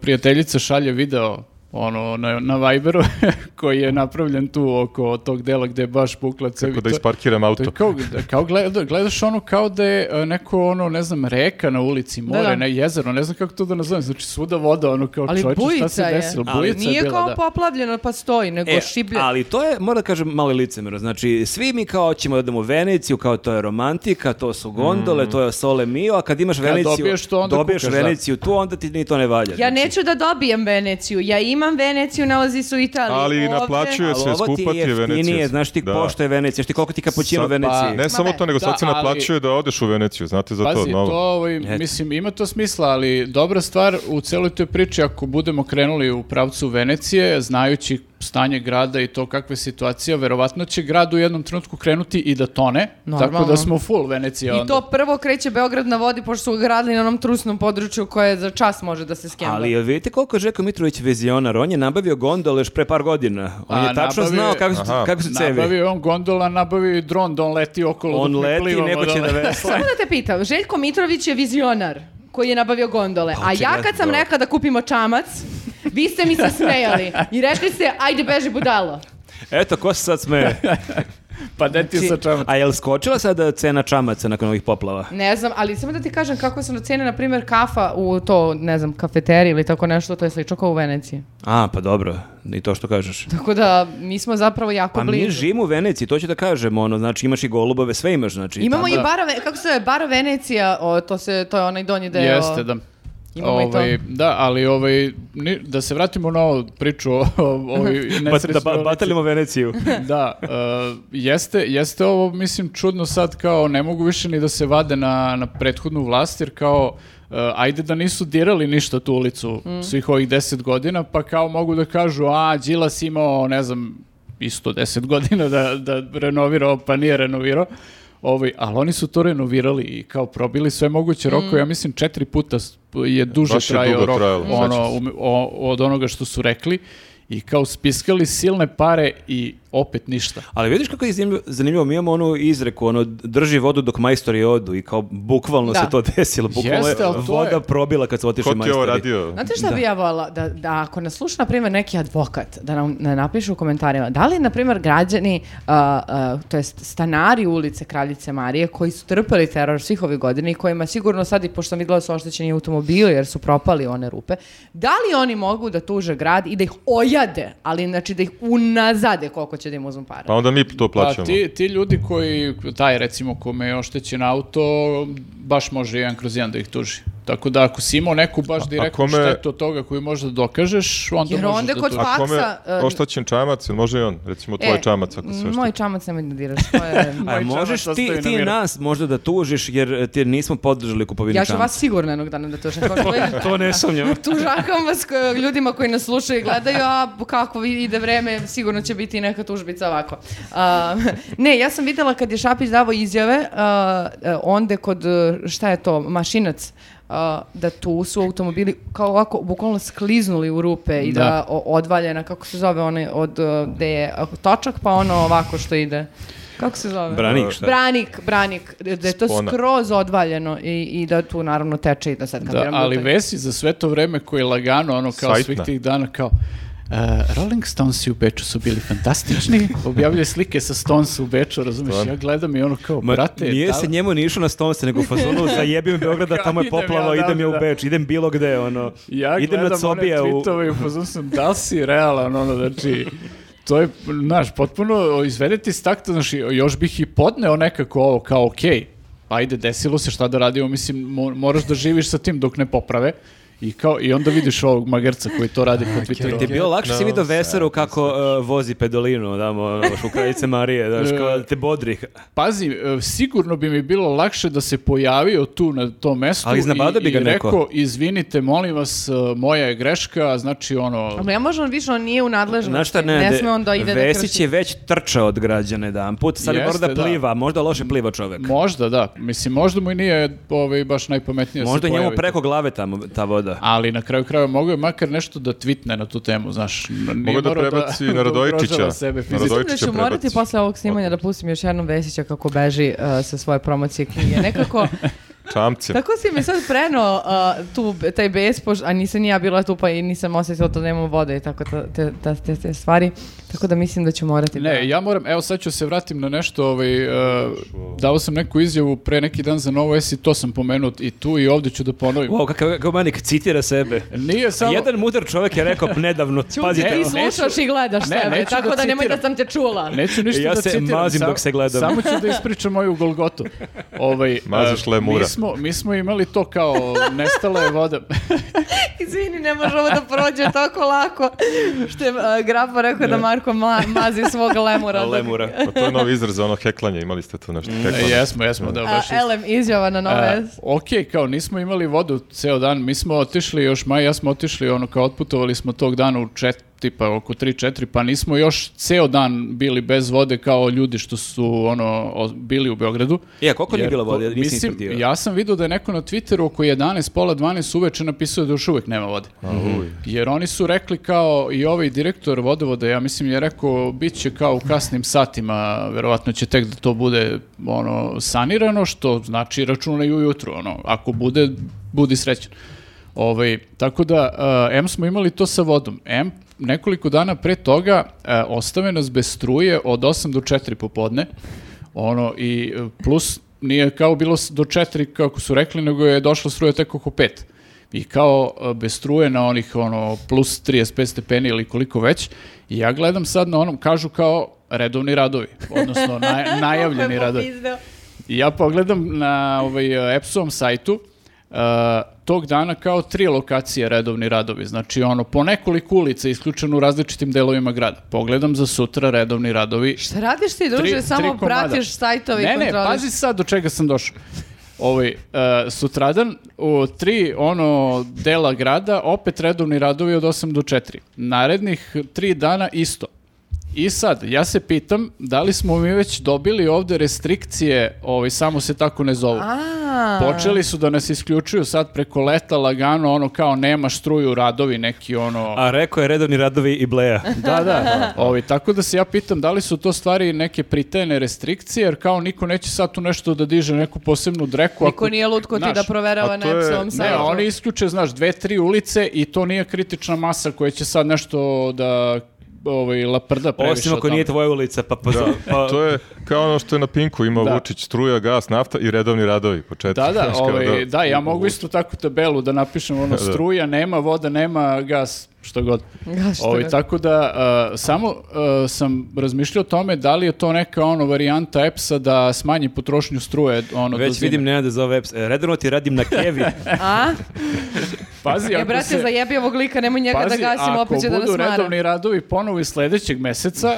S2: prijateljica šalje video ono, na, na Viberu (laughs) koji je napravljen tu oko tog dela gde je baš pukla cevi.
S3: kako da
S2: To-
S3: isparkiram
S2: To
S3: auto.
S2: je kao, kao gleda- gledaš ono kao da je e, neko ono, ne znam, reka na ulici, more,
S1: da.
S2: ne, jezero, ne znam kako to da nazovem, znači svuda voda, ono kao
S1: Ali
S2: čovječe, šta se
S1: bujica je.
S2: desilo,
S1: Ali
S2: bujica
S1: nije
S2: je bila,
S1: kao
S2: da.
S1: poplavljeno pa stoji, nego
S4: E,
S1: šiblje.
S4: ali to je, moram da kažem, mali licemero. Znači, svi mi kao ćemo da odemo u Veneciju, kao to je romantika, to su gondole, to je sole mio, a kad imaš Veneciju,
S2: dobiješ to, onda
S4: dobiješ
S2: kukaš, da.
S4: Veneciju tu, onda ti ni to ne valja.
S1: Ja
S4: Znači,
S1: neću da dobijem Veneciju. Ja imam Veneciju, nalazi se u Italiji.
S3: Ali
S1: Ovde-
S3: naplaćuje
S4: ali
S3: se,
S4: ovo ti
S3: skupa ti
S4: je
S3: je
S4: jeftinije,
S3: Venecija.
S4: znaš ti
S3: Da.
S4: pošto je Venecija, znaš ti koliko ti kapućino u
S3: Sad, pa,
S4: Veneciji.
S3: Ne samo
S1: Ma
S3: to, nego
S2: da,
S3: sad se naplaćuje
S2: ali-
S3: da odeš u Veneciju, znate za to,
S2: Pazi, to,
S3: novo.
S2: ovaj, mislim, ima to smisla, ali dobra stvar u celoj toj priči, ako budemo krenuli u pravcu Venecije, znajući stanje grada i to kakva je situacija, verovatno će grad u jednom trenutku krenuti i da tone, tako
S1: Normalno.
S2: da smo full ono. Venecija
S1: I
S2: onda.
S1: to prvo kreće Beograd na vodi, pošto su gradili na onom trusnom području koje za čas može da se skemba.
S4: Ali jel vidite koliko je Žeko Mitrović vizionar? On je nabavio gondole još pre par godina. On
S2: A,
S4: je tačno
S2: nabavio-
S4: znao kako su,
S3: Aha.
S4: kako su cevi.
S2: Nabavi on gondola, nabavi dron da on leti okolo.
S4: On
S2: dok mi
S4: leti i
S2: plivamo
S4: neko će da
S2: dole.
S4: vesla.
S2: (laughs)
S1: Samo da te pitam, Željko Mitrović je vizionar koji je nabavio gondole.
S4: Pa,
S1: A ja
S4: očigledno,
S1: kad sam
S4: da.
S1: rekla da kupimo čamac, vi ste mi se smejali i rekli ste, ajde beži budalo.
S4: Eto, ko se sad smeje?
S2: Pa da
S1: Znači,
S2: ti (laughs) sa čamac.
S4: A jel skočila sada cena čamaca nakon ovih poplava?
S1: Ne znam, ali samo da ti kažem kako sam ocene, na primjer, kafa u to, ne znam, kafeteriji ili tako nešto, to je slično kao u Veneciji.
S4: A, pa dobro, i to što kažeš.
S1: Tako da, mi smo zapravo jako
S4: Pa mi
S1: blizu.
S4: živimo u Veneciji, to ću da kažem, ono, znači imaš i golubove, sve imaš, znači.
S1: Imamo
S4: tamo-
S1: i barove, kako se zove, baro Venecija, o, to, se, to je onaj donji deo.
S2: Jeste, da.
S1: Imamo i to.
S2: Ovaj, Da, ali ovaj, ni- da se vratimo na ovu priču o, o, ovoj
S4: Ba-
S2: nesrećnoj
S4: pa da ba-
S2: ulici.
S4: batalimo Veneciju. (laughs)
S2: da, e, jeste, jeste ovo, mislim, čudno sad kao ne mogu više ni da se vade na, na prethodnu vlast, jer kao e, ajde da nisu dirali ništa tu ulicu svih ovih deset godina, pa kao mogu da kažu, a, Đilas imao, ne znam, isto deset godina da, da renovirao, pa nije renovirao. Ovaj, ali oni su to renovirali i kao probili sve moguće rokove, ja mislim četiri puta s- je duže
S3: Baš je
S2: trajao
S3: dugo
S2: rok
S3: trajalo,
S2: ono,
S3: sećam se.
S2: ume- o- od onoga što su rekli i kao spiskali silne pare i opet ništa.
S4: Ali vidiš kako je zanimljivo, zanimljivo, mi imamo onu izreku, ono drži vodu dok majstori odu i kao bukvalno
S1: Da.
S4: se to desilo, bukvalno
S2: Jeste,
S4: je
S2: ali to
S4: voda
S2: je-
S4: probila kad su otišli
S3: Ko ti je ovo
S4: majstori.
S2: Znači,
S3: radio?
S1: Znate šta bi ja voljela? Da, da ako nas sluša, na primjer, neki advokat, da nam ne napiše u komentarima, da li, na primjer, građani, a, a, to jest stanari ulice Kraljice Marije, koji su trpali teror svih ovih godina i kojima sigurno sad, i pošto sam vidjela da su oštećeni automobili jer su propali one rupe, da li oni mogu da tuže grad i da ih ojade, ali znači da ih unazade koliko će da im uzmu para?
S3: Pa onda mi to plaćamo.
S2: Pa ti, ti ljudi koji, taj recimo kome je oštećen auto, baš može jedan kroz jedan da ih tuži. Tako da ako si imao neku baš direktnu
S3: kome-
S2: štetu od toga koju možeš da dokažeš, onda
S1: Jer
S2: možeš
S1: onda
S2: da
S1: kod
S2: tužiš.
S1: pa-
S3: A kome
S1: faksa, e,
S3: oštaćen čamac, jel može i on? Recimo tvoj
S1: E,
S3: čamac ako se oštaćen.
S1: Moj čamac nemoj da diraš, to
S3: (laughs)
S1: je...
S4: A
S2: Moj
S4: možeš
S2: čamac
S4: ti,
S2: ostavi na
S4: ti
S2: miru.
S4: nas možda da tužiš jer e, ti nismo podržali kupovinu
S1: Ja ću
S4: čamca.
S1: vas sigurno jednog dana da tužem. Kao
S3: (laughs)
S1: što vidim,
S4: To ne (laughs) sumnjam.
S1: tužakam vas ko- ljudima koji nas slušaju i gledaju, a kako ide vreme, sigurno će biti i neka tužbica ovako. A, ne, ja sam videla kad je Šapić davao izjave, a, e, onda kod, e, šta je to, mašinac, a, da tu su automobili kao ovako bukvalno skliznuli u rupe i da,
S2: Da.
S1: o- odvaljena, kako se zove one od e, gde je a, točak pa ono ovako što ide. Kako se zove?
S4: Branik, šta?
S1: Branik, branik, da je to
S3: Spona.
S1: skroz odvaljeno i, i da tu naravno teče i da sad
S2: Da,
S1: kapiram
S2: ali
S1: to je-
S2: Vesi za sve to vreme koji je lagano, ono kao
S3: Sajtna.
S2: svih tih dana, kao e, Rolling Stones u Beču su bili fantastični, objavljaju slike sa Stones u Beču, razumiješ, ja gledam i ono kao,
S4: Ma,
S2: brate,
S4: nije
S2: da-
S4: se njemu ni išao na stonce, nego u
S2: (laughs)
S4: fazonu zajebim Beograda, tamo je
S2: Idem ja
S4: poplava, idem ja u
S2: odavde, da.
S4: Beč, idem bilo gde, ono.
S2: ja
S4: idem na
S2: gledam one
S4: Cobija u...
S2: tweetove i u fazonu sam, da li si realan, ono, znači, to je, znaš, potpuno izvedeti iz takta, znaš, još bih i podneo nekako ovo, kao, okej, ajde, desilo se, šta da radimo, mislim, mo- moraš da živiš sa tim dok ne poprave, I, kao, I onda vidiš ovog magarca koji to radi po Twitteru.
S4: Ti je bilo lakše si vidio Veseru kako uh, vozi pedolinu, damo, ono, u Kraljice Marije, znaš, kao te bodri.
S2: Pazi, e, sigurno bi mi bilo lakše da se pojavio tu na tom mestu
S4: Ali iznenada
S2: i,
S4: bi ga
S2: i
S4: neko.
S2: rekao, izvinite, molim vas, e, moja je greška, znači ono...
S1: A ne može on više, on nije u nadležnosti.
S4: Znaš šta, ne, de-
S1: sme on da ide da
S4: Vesić
S1: krši.
S4: je već trčao od građana jedan put, sad je
S2: Jeste,
S4: mora da
S2: da.
S4: pliva, možda loše pliva čovek.
S2: Možda, da. Mislim, možda mu i nije ovaj, baš najpametnije da se
S4: Možda je njemu
S2: pojavi tu.
S4: preko glave tamo ta voda.
S2: Ali na kraju krajeva mogu je makar nešto da tvitne na tu temu, znaš. N- nije
S3: Mogu da
S2: morao (laughs)
S3: prebaci na Radojičića.
S2: ugrožava sebe fizički.
S3: Radojičić.
S1: Mislim da
S3: Dojčića
S1: ću morati
S3: prebaci.
S1: posle ovog snimanja da pustim još jednom Vesića kako beži uh, sa svoje promocije knjige.
S2: (laughs)
S1: Nekako,
S3: Čamce.
S1: tako si mi sad preno uh, tu, taj bes, poš- a nisam ni ja bila tu pa i nisam osjetila to da nemam vode i tako ta- te, ta- te, te stvari. Tako da mislim da ću morati. da-
S2: Ne, ja moram, evo sad ću se vratim na nešto, ovaj, e, dao sam neku izjavu pre neki dan za Novo S i to sam pomenuo i tu i ovdje ću da ponovim.
S4: Wow, kakav kako manik citira sebe.
S2: Nije samo...
S4: Jedan mudar čovek je rekao nedavno, pazite,
S1: Ti
S2: ne,
S4: ovo.
S1: slušaš e, i gledaš
S2: Ne,
S1: sebe,
S2: neću
S1: tako
S2: da
S1: da, nemoj da
S2: citiram.
S1: sam te čula.
S2: Neću ništa
S4: Ja
S2: da
S4: se
S2: citiram.
S4: mazim
S2: samo-
S4: dok se gledam.
S2: Samo ću da ispričam moju Golgotu.
S4: (laughs)
S2: Ovaj,
S3: Maziš
S2: a,
S3: lemura.
S2: Mi smo, mi smo imali to kao nestala je voda.
S1: Izvini, ne može ovo da prođe tako lako. Što je uh, Grapo rekao da Marko ma- mazi svog
S2: (laughs)
S1: lemura. dok-
S4: lemura.
S3: Pa to je novi izraz za ono heklanje, imali ste tu nešto heklanje.
S2: (laughs) Mm, e, jesmo, jesmo, da,
S1: A,
S2: baš isto.
S1: Elem izjava na nove.
S2: A, ok, kao nismo imali vodu ceo dan, mi smo otišli, još maj, ja smo otišli, ono kao otputovali smo tog dana u čet, tipa oko 3-4, pa nismo još ceo dan bili bez vode kao ljudi što su ono o- bili u Beogradu.
S4: Ja, E, koliko nije
S2: Jer,
S4: bilo vode?
S2: po-
S4: Ja nisam
S2: mislim,
S4: ispratio.
S2: ja sam vidio da je neko na Twitteru oko 11, pola 12 uveče napisao da još uvek nema vode. Jer oni su rekli kao i ovaj direktor vodovoda, ja mislim je rekao bit će kao u kasnim satima, verovatno će tek da to bude ono sanirano, što znači računaju ujutru, ono, ako bude, budi srećan. Ovaj, tako da, eh, em smo imali to sa vodom, em nekoliko dana pre toga eh, ostave nas bez struje od 8 do 4 popodne, ono, i eh, plus nije kao bilo s- do 4 kako su rekli, nego je došla struja tek oko 5 i kao e, bez struje na onih ono plus 35 stepeni ili koliko već i ja gledam sad na onom kažu kao redovni radovi odnosno na- najavljeni radovi i ja pogledam na ovaj e, Epsom sajtu e, tog dana kao tri lokacije redovni radovi znači ono po nekoliko ulica isključeno u različitim delovima grada pogledam za sutra redovni radovi
S1: Šta radiš ti, druže?
S2: Tri- tri
S1: Samo
S2: komada.
S1: pratiš sajtove i
S2: ne,
S1: kontroliš.
S2: Ne, pazi sad do čega sam došao. Ovaj, e, sutradan u tri ono dela grada opet redovni radovi od 8 do 4. Narednih tri dana isto. I sad, ja se pitam, da li smo mi već dobili ovde restrikcije, ovaj, samo se tako ne zovu.
S1: A,
S2: Počeli su da nas isključuju sad preko leta lagano, ono kao nema struju radovi, neki ono...
S4: A rekao je redovni radovi i bleja.
S2: Da, (laughs) da. Ovi, Ovaj, tako da se ja pitam da li su to stvari neke pritajene restrikcije, jer kao niko neće sad tu nešto da diže neku posebnu dreku.
S1: niko nije lud ko ti
S2: Znaš,
S1: da proverava
S3: a
S1: na
S3: to je-
S1: Epsilon
S3: ne,
S2: Ne,
S1: sajtu.
S2: oni isključe, znaš, dve, tri ulice i to nije kritična masa koja će sad nešto da ovaj, laprda previše.
S4: Osim
S2: o
S4: ako
S2: tome.
S4: nije tvoja ulica, pa... pa, pa
S3: To je kao ono što je na Pinku imao
S2: Da.
S3: Vučić, struja, gas, nafta i redovni radovi. Početak.
S2: Da, da,
S3: Znaš, kao
S2: ovaj, da, ja mogu isto takvu tabelu da napišem, ono, struja, nema voda, nema gas, što god.
S1: Ga, što
S2: Ovaj,
S1: ne-
S2: tako da, a, samo a, sam razmišljao o tome da li je to neka ono varijanta EPS-a da smanji potrošnju struje. Ono, do
S4: Već
S2: zime.
S4: vidim Nenada zove apps. E, Redovno ti radim na
S2: (laughs)
S4: kevi.
S1: A?
S2: Pazi,
S1: E,
S2: ako
S1: brate,
S2: se...
S1: zajebi ovog lika, nemoj njega da
S2: Pazi,
S1: gasimo, opet će da
S2: ako
S1: nas
S2: budu
S1: mara.
S2: redovni radovi ponovi sledećeg
S1: (laughs)
S2: meseca,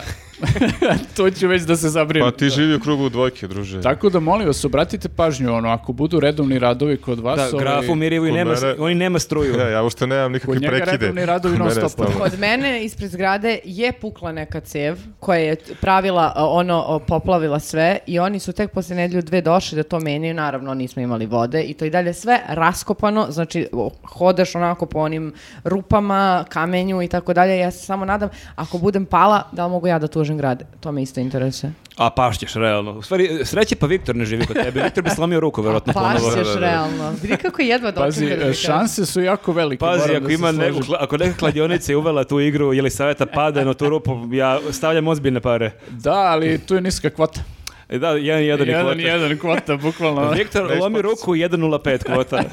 S2: to ću već da se zabrinu.
S3: Pa ti živi u krugu dvojke, druže.
S2: Tako da molim vas, obratite pažnju, ono, ako budu redovni radovi kod vas...
S4: Da,
S2: ovaj,
S4: grafu Mirijevu i
S3: kod
S4: nema,
S3: mene-
S4: oni nema struju.
S3: E, Ja, ja uopšte nemam nikakve
S2: Kod njega
S3: prekide.
S2: redovni radovi
S3: Kod mene
S2: non-stop.
S3: stalno.
S1: Kod mene ispred zgrade je pukla neka cev koja je pravila, a, ono, o, poplavila sve i oni su tek posle nedelju dve došli da to menjaju, naravno nismo imali vode i to i dalje sve raskopano, znači o, hodaš onako po onim rupama, kamenju i tako dalje, ja se samo nadam, ako budem pala, da li mogu ja da tužim grad, to me isto interesuje.
S4: A pašćeš, realno. U stvari, sreće pa Viktor ne živi kod tebe. Viktor bi slomio ruku,
S2: Pa,
S4: verovatno,
S2: ono
S4: ponovo.
S1: Pašćeš
S3: da, da.
S1: realno, vidi kako je jedva
S2: Pazi,
S1: dočekao da
S2: e,
S1: mi kaže.
S2: šanse su jako velike.
S4: Pazi,
S2: pa, moram
S4: ako,
S2: da se
S4: ima neku,
S2: složim.
S4: kla- ako neka kladionica je uvela tu igru ili saveta pada na tu rupu, ja stavljam ozbiljne pare.
S2: Da, ali tu je niska kvota.
S4: E, Da, jedan, jedan, je
S2: Jedan,
S4: kvota.
S2: jedan kvota,
S4: (laughs)
S2: bukvalno.
S4: Viktor,
S3: Da
S4: lomi
S3: isplati se.
S4: ruku 1.05 (laughs) kvota.
S2: (laughs)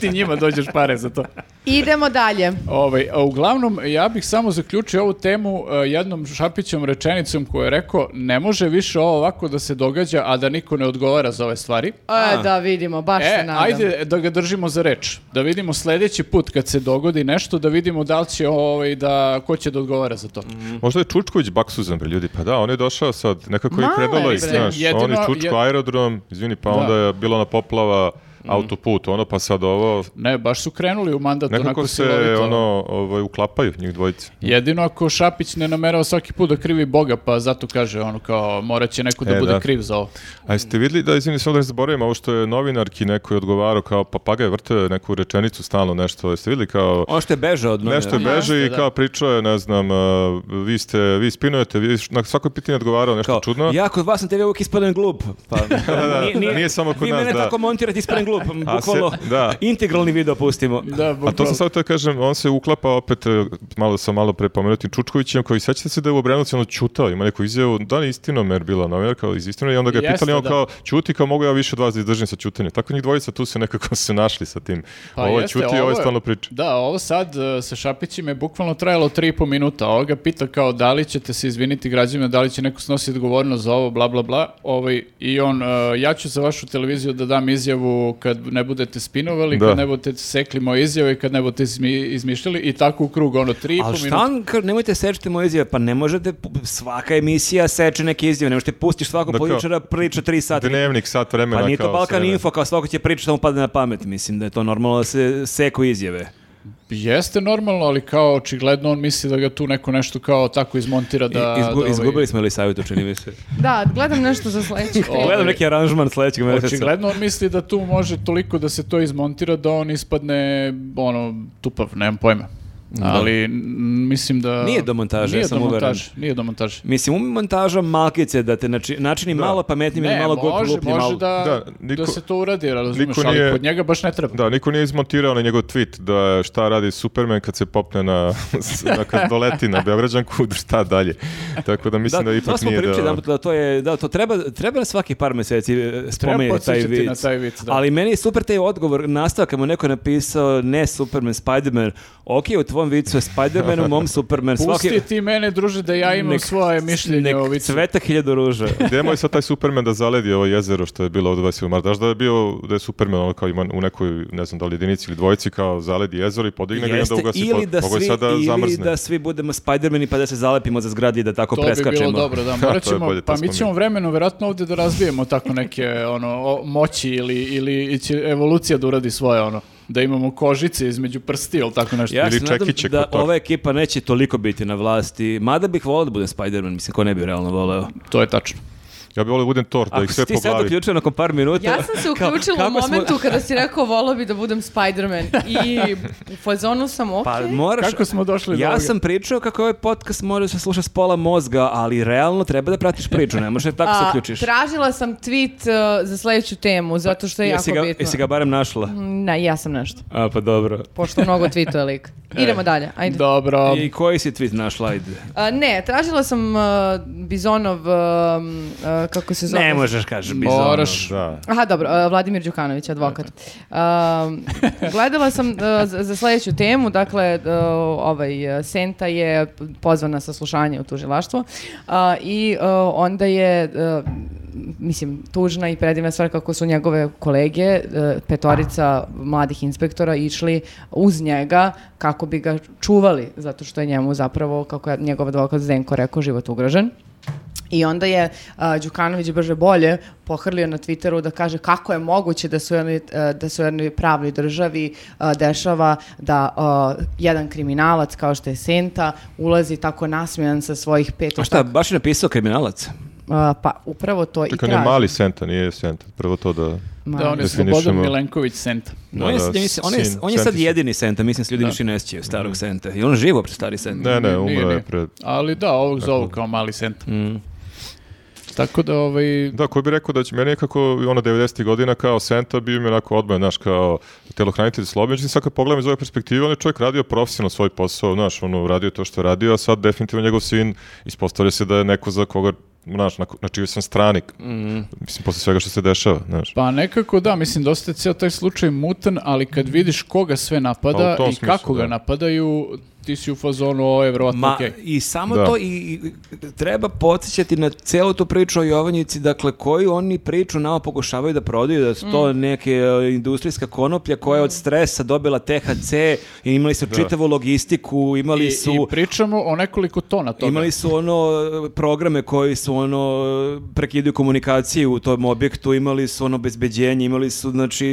S2: Ti njima dođeš pare za to.
S1: Idemo dalje. E,
S2: Ovaj, a uglavnom, ja bih samo zaključio ovu temu eh, jednom Šapićom rečenicom koja je rekao ne može više ovo ovako da se događa, a da niko ne odgovara za ove stvari.
S1: E, da vidimo, baš se
S2: E,
S1: nadam.
S2: ajde da ga držimo za reč. Da vidimo sljedeći put kad se dogodi nešto, da vidimo da li će ovaj, da, ko će da odgovara za to.
S3: Možda je Čučković baksuzan, bre, ljudi. Pa da, on je došao sad, nekako je
S1: Malo je,
S3: krenulo
S1: bre.
S3: i, znaš,
S2: Jedino
S3: on je Čučko
S2: je- Mhm.
S3: aerodrom, izvini, pa onda je bila ona poplava, autoput, ono, pa sad ovo,
S2: Ne, baš su krenuli u mandat. onako
S3: nekako se,
S2: silovito.
S3: ono, ovaj, uklapaju njih dvojice.
S2: Jedino ako Šapić ne namerao svaki put da krivi Boga, pa zato kaže ono kao morat će neko da
S3: E,
S2: bude
S3: da.
S2: kriv za ovo.
S3: A jeste vidjeli da, izvini, samo da ne zaboravim, ovo što je novinarki neko je odgovarao kao papagaj vrte neku rečenicu stalno nešto, jeste vidjeli kao...
S4: Ono što je bežao od
S3: Nešto je
S4: novinara.
S3: beže i
S2: da.
S3: kao pričao je, ne znam, a, vi ste, vi spinujete, vi, š- na svako pitanje je odgovarao nešto
S4: Kao,
S3: čudno.
S4: ja kod vas na TV uvijek ispadam glup.
S3: (laughs)
S4: Pa,
S3: Nije samo kod
S4: vi
S3: nas,
S4: mene
S3: da.
S4: tako montirate ispadam glup.
S3: (laughs) A
S4: Bukvalno,
S3: se- da.
S4: integralni video pustimo.
S2: Da,
S3: A to
S2: bukvalno.
S3: sam sad da kažem, on se uklapa opet, e, malo sam malo pre pomenutim Čučkovićem, koji sećate se da je u Obrenovcu ono čutao, ima neku izjavu, da li je istinomer bila novinarka iz istine, i onda ga je
S2: Jeste,
S3: pitali, on
S2: da.
S3: kao, čuti, kao mogu ja više od vas da izdržim sa čutanjem. Tako njih dvojica tu se nekako (laughs) se našli sa tim.
S2: Pa
S3: ovo je
S2: jeste,
S3: čuti, ovo je
S2: je-
S3: stalno priča.
S2: Da, ovo sad e, sa Šapićem je bukvalno trajalo tri i po minuta. Ovo ga pita kao da li ćete se izviniti građanima, da li će neko snositi odgovornost za ovo, bla, bla, bla. Ovaj, I on, e, ja ću za vašu televiziju da dam izjavu kad ne budete spinovali,
S3: Da.
S2: kad ne budete sekli moje izjave, kad ne budete izmi- izmišljali i tako u krug, ono, tri i po
S4: Ali šta
S2: minuta.
S4: on, kao, nemojte sečiti moje izjave, pa ne možete, pu- svaka emisija seče neke izjave, ne možete pustiš svakog
S3: Da, kao-
S4: političara priča tri sata.
S3: Dnevnik, sat vremena.
S4: Pa nije to
S3: kao,
S4: Balkan
S3: sve, ne.
S4: Info, kao svako će pričati što mu padne na pamet, mislim da je to normalno da se seku izjave.
S2: Jeste normalno, ali kao očigledno on misli da ga tu neko nešto kao tako izmontira
S4: I-
S2: da...
S4: izgu-
S2: da, ovaj,
S4: Izgubili smo ili savjetu, čini mi se.
S1: Da, gledam nešto
S2: (laughs)
S1: za sledećih
S2: Ovo-
S4: Gledam neki aranžman sledećeg meseca.
S2: Ovaj- Očigledno on misli da tu može toliko da se to izmontira da on ispadne ono tupav, nemam pojma. Ali n- mislim da...
S4: Nije do montaže,
S2: nije
S4: ja sam
S2: do
S4: uveren.
S2: montaže, Nije do montaže.
S4: Mislim, umi montaža malkice da te nači- načini malo pametnim ili
S2: Ne,
S4: malo glup-
S2: može,
S4: glupljim,
S2: može
S4: ali-
S2: da,
S3: Da,
S2: da,
S3: niko-
S2: se to uradi, razumiješ,
S3: niko
S2: ali
S3: nije-
S2: kod njega baš ne treba.
S3: Da, niko nije izmontirao na njegov tweet da je šta radi Superman kad se popne na, (laughs) na kad doleti na Beograđanku, (laughs) šta dalje. Tako da mislim da,
S4: to
S3: ipak
S4: smo
S3: nije
S4: pričali
S3: da...
S4: jedanput da to je da to treba treba na svaki par mjeseci e, spomenuti taj
S2: podsjećati
S4: vic.
S2: na taj vic, da.
S4: Ali meni je super taj odgovor nastavak kad mu je neko napisao ne Superman Spiderman. Ok, u tvom vicu je Spiderman, u
S2: (laughs)
S4: mom Superman.
S2: Pusti
S4: Svaki
S2: ti mene, druže, da ja imam
S4: Nek-
S2: svoje mišljenje
S4: nek
S2: o vicu.
S4: cveta hiljadu ruža.
S3: Idemo Pa je sad taj Superman da zaledi ovo jezero što je bilo ovdje 20. marta. Znaš da je bio, da je Superman ono kao ima u nekoj, ne znam da li jedinici ili dvojici, kao zaledi jezero i podigne ga i onda
S4: Jeste,
S3: ugasi.
S4: ili
S3: pot-
S4: da
S3: Mogao je
S4: svi,
S3: sad da
S4: ili
S3: zamrzne.
S4: da svi budemo Spidermani pa da se zalepimo za zgradi i da tako
S2: To bi
S4: preskačemo.
S2: bilo dobro, da, morat
S3: (laughs) to je
S2: ćemo,
S3: bolje, to
S2: pa
S3: smo
S2: mi ćemo
S3: mi.
S2: vremenu vjerojatno ovdje da razvijemo tako neke ono, o- moći ili, ili će evolucija da uradi svoje ono. da imamo kožice između prsti ili tako nešto.
S4: Ja
S3: Ili
S4: se nadam
S3: čekiće
S4: da
S3: kod torte.
S4: ova ekipa neće toliko biti na vlasti, mada bih volio da budem Spider-Man, mislim, ko ne bi realno voleo.
S2: To je tačno.
S3: Ja bih volio da budem tort, da
S4: Ako
S3: ih
S4: si
S3: sve
S4: ti
S3: po
S4: sad
S3: glavi.
S4: uključio nakon par minuta...
S1: Ja sam se
S4: Ka-
S1: uključila u
S4: kako smo-
S1: momentu kada si rekao volao bi da budem Spider-Man i u fazonu sam ok.
S4: Pa moraš...
S2: Kako smo došli do
S4: Ja
S2: ovoga?
S4: sam pričao kako ovaj podcast mora da se sluša s pola mozga, ali realno treba da pratiš priču, ne možeš da tako se
S1: A,
S4: uključiš. Pa,
S1: tražila sam tweet uh, za sledeću temu, zato što je jako
S4: jesi ga,
S1: bitno. Mm.
S4: Jesi ga barem našla?
S1: Ne, ja sam nešto.
S4: A, pa dobro.
S1: Pošto mnogo tweetuje
S4: (laughs)
S1: lik.
S4: E,
S1: Idemo dalje, ajde.
S2: Dobro.
S4: I koji si tweet našla, ajde?
S1: A, ne, tražila sam uh, Bizonov, um, uh, kako se zove?
S4: Ne možeš kažeš bizarno.
S2: Moraš.
S3: Da.
S1: Aha, dobro, uh, Vladimir Đukanović, advokat. Um, gledala sam uh, za za sledeću temu, dakle, uh, ovaj, uh, Senta je pozvana sa slušanje u tužilaštvo uh, i uh, onda je, uh, mislim, tužna i predivna stvar kako su njegove kolege, uh, petorica mladih inspektora, išli uz njega kako bi ga čuvali, zato što je njemu zapravo, kako je njegov advokat Zdenko rekao, život ugrožen. I onda je a, Đukanović brže bolje pohrlio na Twitteru da kaže kako je moguće da su jednoj, e, da su jednoj pravnoj državi a, dešava da a, jedan kriminalac kao što je Senta ulazi tako nasmijan sa svojih pet
S4: A šta, baš je napisao kriminalac?
S1: A, pa upravo to i
S3: Čekaj, on je
S1: traži.
S3: mali Senta, nije Senta. Prvo to da...
S1: Mali.
S2: Da, on je
S3: Definišemo.
S2: Slobodan Milenković Senta.
S3: Da,
S4: on je,
S3: da,
S4: ja mislim, on je,
S3: sin,
S4: on je sad
S3: Sentić.
S4: jedini Senta, mislim se ljudi više ne sjećaju starog Senta. I on živo pre stari Senta.
S3: Ne, ne,
S2: Nije,
S3: umro
S2: nije.
S3: je pred... Mm.
S2: Ali da, ovog zovu kao mali Senta. Tako da, ovaj,
S3: Da, ko bi rekao da će meni nekako ono 90. godina kao Senta bio mi onako odmah, znaš, kao telohranitelj slobodno. Međutim, sad kad pogledam iz ove perspektive, on je čovjek radio profesionalno svoj posao, znaš, ono, radio je to što je radio, a sad definitivno njegov sin ispostavlja se da je neko za koga, znaš, na, ko- na čijoj sam stranik.
S4: Mhm.
S3: Mislim, posle svega što se dešava, znaš.
S2: Pa nekako da, mislim dosta je cijel taj slučaj mutan, ali kad vidiš koga sve
S3: Pa
S2: napada
S3: u tom
S2: i
S3: smislu,
S2: kako ga
S3: da.
S2: napadaju, ti si u fazonu, o, je verovatno
S4: Ma,
S2: okej."
S4: i samo
S3: Da.
S4: to i, i treba podsjećati na celu tu priču o Jovanjici, dakle, koju oni priču nama pokušavaju da prodaju, da su to neke e, industrijska konoplja koja je od stresa dobila THC, i imali su čitavu logistiku, imali
S2: I,
S4: su...
S2: I pričamo o nekoliko tona toga.
S4: Imali su ono e, programe koji su ono e, prekidaju komunikaciju u tom objektu, imali su ono bezbeđenje, imali su znači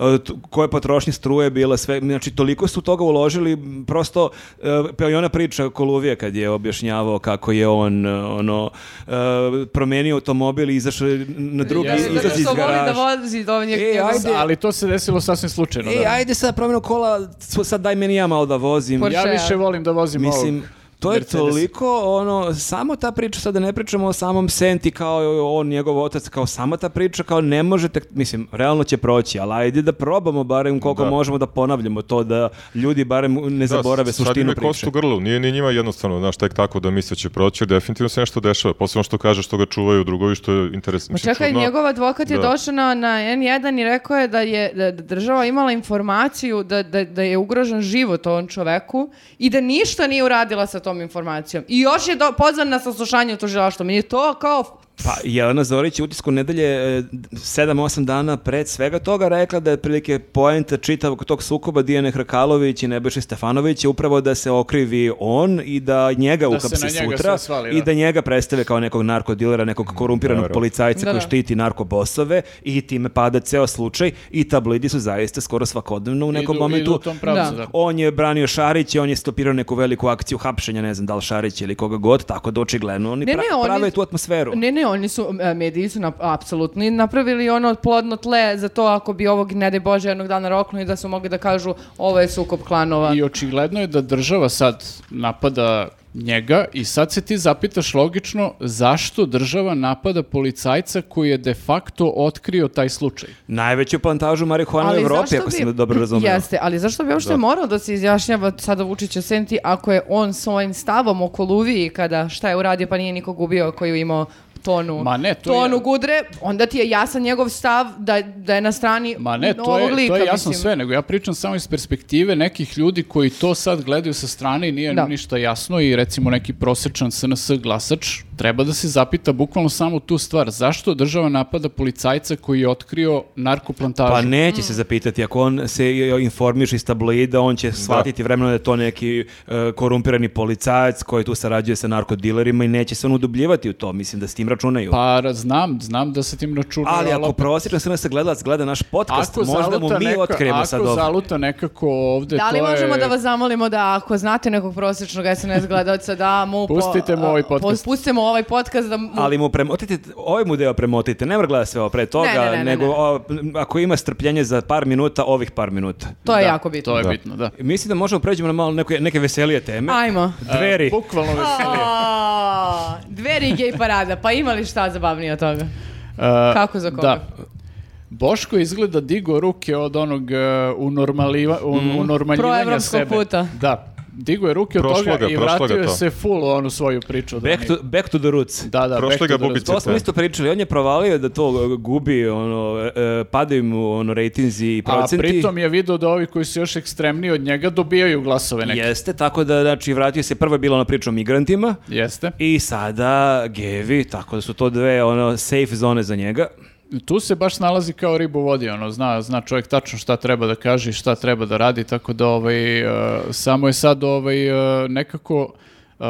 S4: e, t- koje potrošnje struje bila sve, znači toliko su toga uložili m, prosto e, pa i ona priča Koluvije kad je objašnjavao kako je on e, ono e, promenio automobil i izašao je na drugi
S2: Ja
S1: Zato
S2: sam-
S1: što
S4: izlaz iz
S1: voli da
S4: garaža.
S1: vozi do njeg-
S4: E,
S1: njegov-
S4: ajde.
S2: Ali to se desilo sasvim slučajno.
S4: Ej,
S2: da.
S4: E, ajde sad promenu kola, s- sad daj meni ja malo da vozim.
S1: Por-
S2: Ja
S1: Porsche,
S2: više
S1: ali-
S2: volim da vozim
S4: Mislim,
S2: ovog
S4: to je
S2: Mercedesa.
S4: toliko ono, samo ta priča, sad da ne pričamo o samom Senti kao on, njegov otac, kao samo ta priča, kao ne možete, mislim, realno će proći, ali ajde da probamo barem koliko
S3: Da.
S4: možemo da ponavljamo to, da ljudi barem ne zaborave suštinu
S3: Sad im je kost
S4: priče.
S3: u grlu, nije ni njima jednostavno, znaš, tek tako da misle će proći, jer definitivno se nešto dešava, posebno što kaže što ga čuvaju drugovi, što je interesantno.
S1: Ma Pa čekaj, njegov advokat je
S3: Da.
S1: došao na, na N1 i rekao je da je da, da država imala informaciju da, da, da je ugrožen život ovom čoveku i da ništa nije uradila sa tom informacijom. I još je do, pozvan na saslušanje u tužilaštvo. Meni je to kao...
S4: Pa Jelena Zorić je u utisku nedelje 7-8 dana pred svega toga rekla da je prilike poenta čitavog tog sukoba Dijane Hrkalović i Nebojše Stefanović je upravo da se okrivi on i da njega
S2: Da se
S4: ukapse
S2: na njega
S4: sutra
S2: sve svali,
S4: i
S2: da.
S4: da njega predstave kao nekog narkodilera, nekog korumpiranog
S3: Naravno.
S4: policajca
S1: Da,
S4: koji
S1: da.
S4: štiti narkobosove i time pada ceo slučaj i tablidi su zaista skoro svakodnevno u nekom
S2: Idu-
S4: momentu
S2: idu u tom pravcu,
S1: Da.
S2: da.
S4: on je branio Šarića, on je stopirao neku veliku akciju hapšenja, ne znam da li Šarić ili koga god, tako da očigledno oni
S1: Ne,
S4: pra-
S1: ne, oni-
S4: prave tu atmosferu.
S1: Ne, ne, oni su, e, mediji su na, apsolutno i napravili ono plodno tle za to ako bi ovog, ne daj Bože, jednog dana roknuli da su mogli da kažu ovo je sukob klanova.
S2: I očigledno je da država sad napada njega i sad se ti zapitaš logično zašto država napada policajca koji je de facto otkrio taj slučaj.
S4: Najveću plantažu marihuana u Pa Evropi,
S1: zašto
S4: ako
S1: bi-
S4: sam
S1: (clears throat)
S4: dobro razumio.
S1: Jeste, ali zašto bi uopšte morao da se izjašnjava sada Vučić o Senti ako je on svojim stavom o Koluviji kada šta je uradio pa nije nikog ubio koji je imao tonu,
S2: Ma ne, to
S1: tonu
S2: je-
S1: gudre, onda ti je jasan njegov stav da, da je na strani
S2: Ma ne, to
S1: ovog
S2: je,
S1: lika,
S2: to je jasno
S1: mislim.
S2: sve, nego ja pričam samo iz perspektive nekih ljudi koji to sad gledaju sa strane i nije
S1: Da.
S2: ništa jasno i recimo neki prosječan SNS glasač Treba da se zapita bukvalno samo tu stvar. Zašto država napada policajca koji je otkrio narkoplantažu?
S4: Pa neće se zapitati, ako on se informiš iz tabloida, on će shvatiti vremenom da je to neki e, korumpirani policajac koji tu sarađuje sa narkodilerima i neće se on udubljivati u to, mislim da s tim računaju.
S2: Pa ra- znam, znam da se tim računa...
S4: Ali ako prosječno se nas gledalac gleda naš podcast, možda mu mi otkrijemo sad
S2: Ako
S4: ovo.
S2: zaluta nekako ovde,
S1: Da li
S2: to je-
S1: možemo da vas zamolimo da ako znate nekog prosječnog SNS gledalca da mu... po-
S2: Pustite mu ovaj
S1: a, po-
S2: podcast.
S1: Pustite mu ovaj podcast da mu...
S4: Ali mu premotite, ovaj mu deo premotite, ne mora gleda sve ovo pre toga,
S1: Ne, ne, ne, ne,
S4: nego
S1: ne.
S4: o, ako ima strpljenje za par minuta, ovih par minuta.
S1: to je jako bitno.
S2: To je
S3: Da.
S2: bitno, da.
S4: Mislim da možemo pređemo na malo neke, neke veselije teme.
S1: Ajmo. (laughs)
S4: Dveri.
S2: E, bukvalno veselije.
S1: A, Dveri i gej parada, pa ima li šta zabavnije od toga?
S2: E,
S1: Kako za koga?
S2: Da. Boško izgleda digo ruke od onog e, unormaliva, un-
S4: Mhm.
S2: unormaljivanja
S1: Proevropskog
S2: sebe.
S1: puta.
S2: Da. Digo je ruke od
S3: Prošlo
S2: toga
S3: ga,
S2: i
S3: prošlo ga
S2: vratio je
S3: to.
S2: se full u onu svoju priču. od
S4: Back
S2: onih-
S4: to, back to the roots.
S2: Da, da,
S3: Prošlo
S2: back to
S3: ga
S2: the
S3: bubice.
S2: roots.
S4: To smo isto pričali, on je provalio da to e, gubi, ono, e, padaju mu ono, rejtinzi i
S2: A
S4: procenti.
S2: pritom je video da ovi koji su još ekstremniji od njega dobijaju glasove neke.
S4: Jeste, tako da, znači, vratio se, prvo je bila ona priča o migrantima
S2: Jeste.
S4: i sada gevi, tako da su to dve, ono, safe zone za njega.
S2: Tu se baš nalazi kao ribu u vodi, ono, zna, zna čovjek tačno šta treba da kaže i šta treba da radi, tako da ovaj, e, samo je sad ovaj, e, nekako e,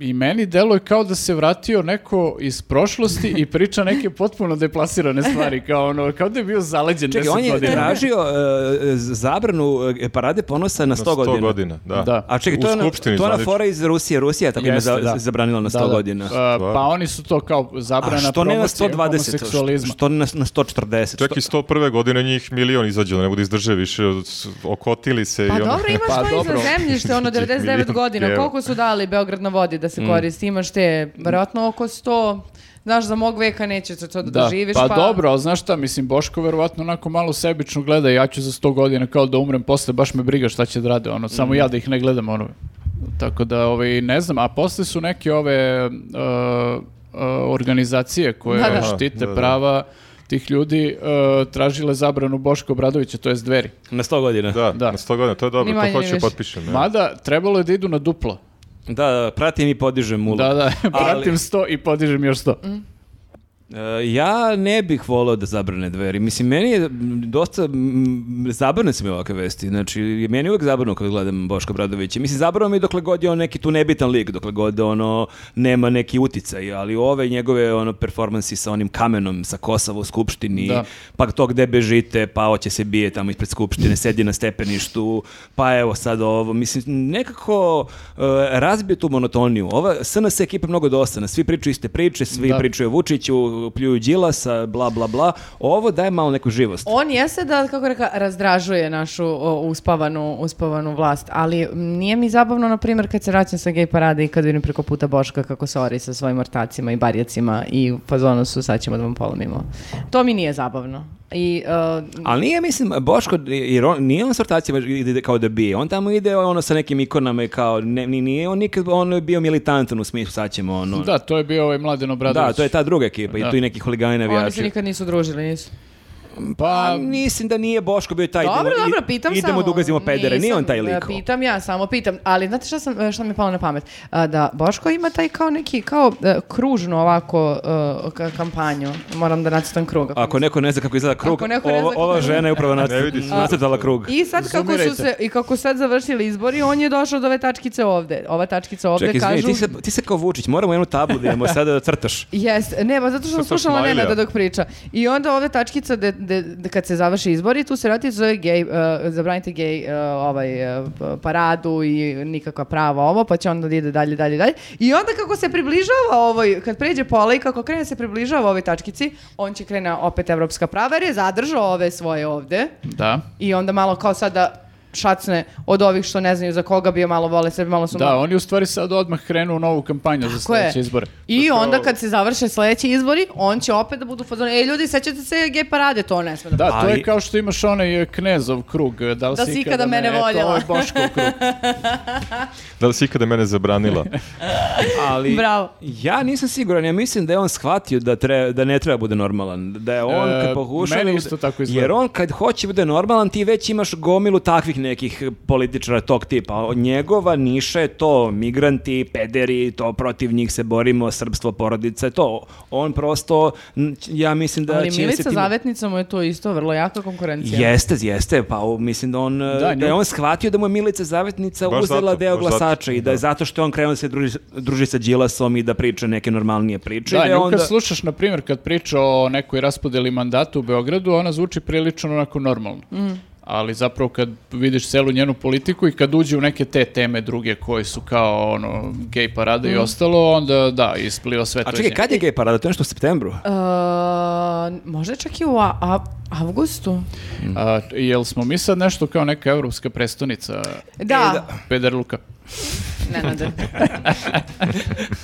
S2: i meni deluje kao da se vratio neko iz prošlosti i priča neke potpuno deplasirane stvari, kao ono, kao da je bio zaleđen
S4: Čekaj,
S2: 10
S4: on je
S2: godina.
S4: tražio e, e, zabranu e, parade ponosa na 100,
S3: Na 100
S4: godina.
S3: godina, da.
S2: Da.
S4: A čekaj,
S3: U
S4: to je, ona, to
S3: skupštini
S4: je ona
S3: zvanično.
S4: fora iz Rusije. Rusija je tako ime
S2: Jeste,
S4: za,
S2: da.
S4: zabranila na 100
S2: Da, da.
S4: godina.
S2: E, pa oni su to kao
S4: A
S2: zabrana
S4: što ne na
S2: promocije
S4: 120? Što,
S2: homoseksualizma.
S4: što ne na, na 140?
S3: Čak i 101. godine njih milion izađe, da ne bude izdrže više, s- okotili se
S1: Pa
S3: i ono.
S1: dobro, imaš
S2: Pa
S1: to i
S2: dobro.
S1: za zemljište, ono 99
S3: Milion
S1: godina.
S3: evra.
S1: Koliko su dali Beograd na vodi da se koristi? Imaš te, vjerojatno oko 100... Znaš, za mog veka neće se to da, doživiš.
S2: pa, dobro, ali znaš šta, mislim, Boško verovatno onako malo sebično gleda, ja ću za 100 godina kao da umrem posle, baš me briga šta će da rade, ono,
S1: Mhm.
S2: samo ja da ih ne gledam, ono. Tako da, ovaj, ne znam, a posle su neke ove uh, uh, organizacije koje
S1: Da, da.
S2: štite
S3: Da, da.
S2: prava tih ljudi uh, tražile zabranu Boško Obradovića, to je dveri.
S4: Na 100 godina.
S3: Da,
S2: Da.
S3: na 100 godina, to je dobro,
S1: Ni
S3: to
S1: manje, ni
S3: hoću
S1: više.
S3: potpišem. ja.
S2: Mada, trebalo je da idu na duplo.
S4: Da, da, pratim i podižem ulog.
S2: Da, da,
S4: Ali-
S2: (laughs) pratim 100 i podižem još 100.
S1: Mhm.
S4: E, ja ne bih volao da zabrane dveri. Mislim, meni je m, dosta... m, Zabrane su mi ovakve vesti. Znači, meni je uvek zabrano kad gledam Boška Bradovića. Mislim, zabrano mi dokle god je on neki tu nebitan lik, dokle god ono, nema neki uticaj, ali ove njegove ono, performansi sa onim kamenom sa Kosova u Skupštini,
S2: Da.
S4: pa to gde bežite, pa hoće se bije tamo ispred Skupštine, sedi na stepeništu, pa evo sad ovo. Mislim, nekako e, razbije tu monotoniju. Ova SNS ekipa je mnogo dosadna. Svi pričaju iste priče, svi
S2: Da.
S4: pričaju pričaju o Vučiću, pljuju Đilasa, bla, bla, bla. Ovo daje malo neku živost.
S1: On jeste da, kako reka, razdražuje našu o, uspavanu, uspavanu vlast, ali m, nije mi zabavno, na primjer, kad se vraćam sa gej parade i kad vidim preko puta Boška kako se ori sa svojim ortacima i barjacima i u fazonu su, sad ćemo da vam polomimo. To mi nije zabavno. I, uh,
S4: Ali nije, mislim, Boško, jer on, nije on s ortacima ide kao da bije. On tamo ide ono sa nekim ikonama i kao, ne, ni- nije on nikad on bio militantan u smislu, sad ćemo ono...
S2: Da, to je bio ovaj Mladen Obradović.
S4: Da, to je ta druga ekipa i
S2: Da.
S4: tu i neki huligani
S1: oni se
S4: navijači.
S1: nikad nisu družili, nisu.
S4: Pa,
S2: Pa,
S4: mislim da nije Boško bio taj...
S1: Dobro,
S4: idemo- i-
S1: dobro, pitam
S4: idemo
S1: samo.
S4: da ugazimo pedere, nije
S1: Nisam,
S4: on taj
S1: e,
S4: lik.
S1: Pitam ja, samo pitam. Ali znate šta, sam, e, šta mi je palo na pamet? A, Da Boško ima taj kao neki, kao e, kružnu ovako e, ka- kampanju. Moram da nacitam kruga.
S4: Ako neko ne zna kako izgleda krug,
S1: Ako neko ne zna
S4: ova,
S1: kako-
S4: ova žena je upravo
S3: Ne vidi
S4: nacrt-
S3: se.
S4: nacrtala krug.
S1: I sad kako su
S2: Zoomirajte.
S1: se, i kako sad završili izbori, on je došao do ove tačkice ovde. Ova tačkica ovde
S4: Čekaj, izvini,
S1: kažu...
S4: ti se, ti se kao Vučić, moramo jednu tablu da idemo sada da crtaš.
S1: (laughs) Jes, ne, pa zato što sam
S3: Crtaš
S1: slušala
S3: smajlija.
S1: Nenada dok priča. I onda ove tačkica de, de- de- kad se završi izbori, tu se vrati zove gej, uh, zabranite gej uh, ovaj, uh, paradu i nikakva prava ovo, pa će onda da ide dalje, dalje, dalje. I onda kako se približava ovoj, kad pređe pola i kako krene se približava ovoj tačkici, on će krene opet evropska prava jer je zadržao ove svoje ovde
S2: da.
S1: i onda malo kao sada šacne od ovih što ne znaju za koga bio malo vole sebe, malo su
S2: Da, on je u stvari sad odmah krenuo u novu kampanju za
S1: Tako je.
S2: sledeće izbore.
S1: I
S3: Kao-
S1: onda kad se završe sledeći izbori, on će opet da budu fazoni. E, ljudi, sećate se gej parade, to ne sme da...
S2: Da, to
S4: Ali-
S2: je kao što imaš onaj e, knezov krug. e, Da li
S1: Da si
S2: si
S1: ikada mene
S2: e, To
S1: voljela.
S2: je Boškov
S1: (laughs)
S2: krug.
S3: Da li si ikada mene zabranila?
S4: Ali
S1: Bravo.
S4: ja nisam siguran, ja mislim da je on shvatio da, tre- da ne treba bude normalan. Da je on
S2: E,
S4: kad pokuša...
S2: meni
S4: da-
S2: isto tako izgleda.
S4: Jer on kad hoće bude normalan, ti već imaš gomilu takvih tih nekih političara tog tipa. O- Njegova niša je to migranti, pederi, to protiv njih se borimo, srpstvo, porodice, to. On prosto, n- ja mislim da...
S1: Ali
S4: će se
S1: Milica
S4: time-
S1: Zavetnica mu je to isto vrlo jaka konkurencija.
S4: Jeste, jeste, pa u- mislim da on, da,
S2: nju-
S4: je on shvatio da mu je Milica Zavetnica
S3: Baš
S4: uzela
S3: zato,
S4: deo
S3: baš zato,
S4: glasača i da je
S3: da.
S4: zato što je on krenuo da se druži, druži sa Đilasom i da priča neke normalnije priče. i da
S2: Da,
S4: je
S2: nju
S4: onda...
S2: kad slušaš, na primjer, kad priča o nekoj raspodeli mandata u Beogradu, ona zvuči prilično onako normalno.
S1: Mm.
S2: Ali zapravo kad vidiš celu njenu politiku i kad uđe u neke te teme druge koje su kao ono, gej parada i
S1: Mm.
S2: ostalo, onda da, ispliva sve to
S4: A
S2: iz
S4: čekaj,
S2: nje.
S4: kad je gej parada? To je nešto u septembru?
S1: E, možda čak i u a, a- avgustu.
S2: A, jel smo mi sad nešto kao neka evropska prestonica
S4: E,
S1: Da,
S2: Pederluka? (laughs)
S1: Nenade.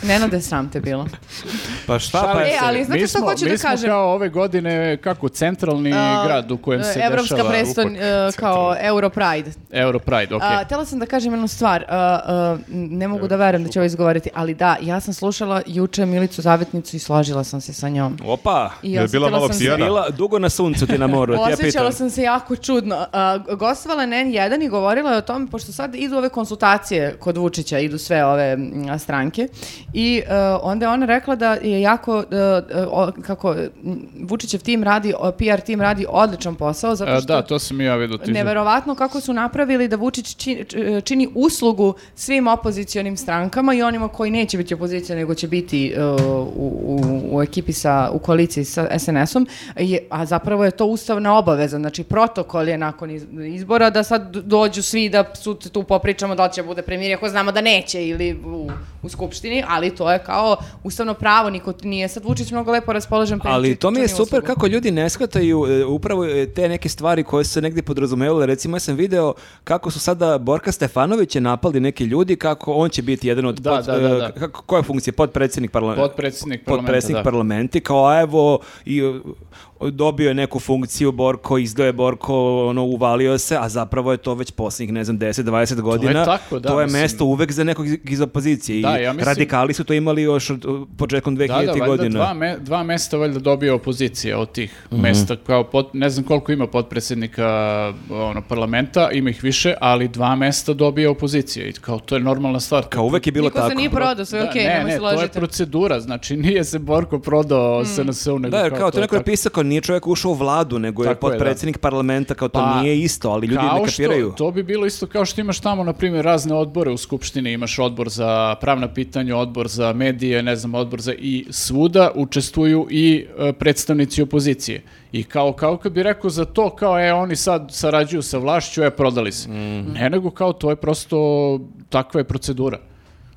S1: Nenade, sram te bilo.
S4: (laughs) Pa šta
S1: pa- E, ali znate
S2: Mi
S1: šta
S2: smo-
S1: hoću
S2: mi
S1: da
S2: smo
S1: kažem? e,
S2: kao ove godine, kako, centralni grad u kojem se
S1: Evropska
S2: dešava
S1: preston, e, kao Europride.
S2: Europride, okej.
S1: A, htjela sam da kažem jednu stvar, a, a, ne mogu da verujem da će ovo izgovoriti, ali da, ja sam slušala juče Milicu Zavetnicu i složila sam se sa njom.
S4: Opa,
S1: I
S3: Je bila
S1: osjetila
S3: malo
S1: sam se-
S3: pijana?
S4: bila dugo na suncu ti na
S1: (laughs)
S4: moru, ti ja
S1: Osjećala
S4: pitam.
S1: sam se jako čudno. A, gostovala je na N1 i govorila je o tome, pošto sad idu ove konsultacije kod Vučića, idu sve ove m, a, stranke, i e, onda je ona rekla da je jako, e, e, o- kako, m, Vučićev tim radi, o, PR tim radi odličan posao, zato
S2: A,
S1: što...
S2: E, da, to sam i ja vidio. ti-
S1: Neverovatno kako su napravili da Vučić čini, č- čini uslugu svim opozicionim strankama i onima koji neće biti opozicija nego će biti uh, u, u, u ekipi sa, u koaliciji sa SNS-om, je- a zapravo je to ustavna obaveza, znači protokol je nakon iz- izbora da sad do- dođu svi da su tu popričamo da li će bude premijer, ako znamo da neće ili u, u skupštini, ali to je kao ustavno pravo, niko nije sad Vučić mnogo lepo raspoložen. pa
S4: Ali
S1: im
S4: to mi je
S1: čini
S4: super
S1: uslugu.
S4: kako ljudi ne shvataju e, upravo e, te neke stvari koje su se negdje podrazumevale. Recimo ja sam video kako su sada Borka Stefanović je napali neki ljudi, kako on će biti jedan od...
S2: Da,
S4: pod-
S2: da, da, da.
S4: e, Kako, koja je funkcija? Podpredsjednik parlamenta.
S2: Potpredsjednik parlamenta,
S4: Potpredsjednik
S2: da.
S4: parlamenti, kao a evo i e, dobio je neku funkciju Borko, izdao je Borko, ono, uvalio se, a zapravo je to već posljednjih, ne znam, 10-20 godina.
S2: tako, da,
S4: To je
S2: mislim.
S4: mesto uvek za nekog iz, iz opozicije.
S2: Da,
S4: I
S2: ja mislim-
S4: radikali su to imali još od, uh, početkom 2000
S2: Da, da, valjda
S4: godina.
S2: dva, me, dva mesta valjda dobio opozicija od tih
S4: Mhm.
S2: mesta, kao pot- ne znam koliko ima potpredsjednika ono, parlamenta, ima ih više, ali dva mesta dobije opozicija i kao to je normalna stvar.
S4: Kao uvek je bilo
S1: Niko
S4: tako.
S1: se nije prodao, sve
S2: Da,
S1: je okej, nemoj
S2: ne, ne,
S1: se
S2: to je
S1: ložiti. Mm.
S2: procedura, znači nije se Borko prodao SNS-u, nego
S4: Da, jer kao
S2: to
S4: to
S2: je
S4: neko je
S2: tako.
S4: pisao, kao nije čovjek ušao u vladu, nego je
S2: Tako je, da.
S4: potpredsjednik parlamenta, kao to
S2: Pa,
S4: nije isto, ali ljudi ne
S2: Kao što-
S4: kapiraju.
S2: to bi bilo isto kao što imaš tamo, na primjer, razne odbore u Skupštini, imaš odbor za pravna pitanja, odbor za medije, ne znam, odbor za i svuda učestvuju i e, predstavnici opozicije. I kao, kao kad bi rekao za to, kao e, oni sad sarađuju sa vlašću, e, prodali se.
S4: Mhm.
S2: Ne, nego kao to je prosto, takva je procedura.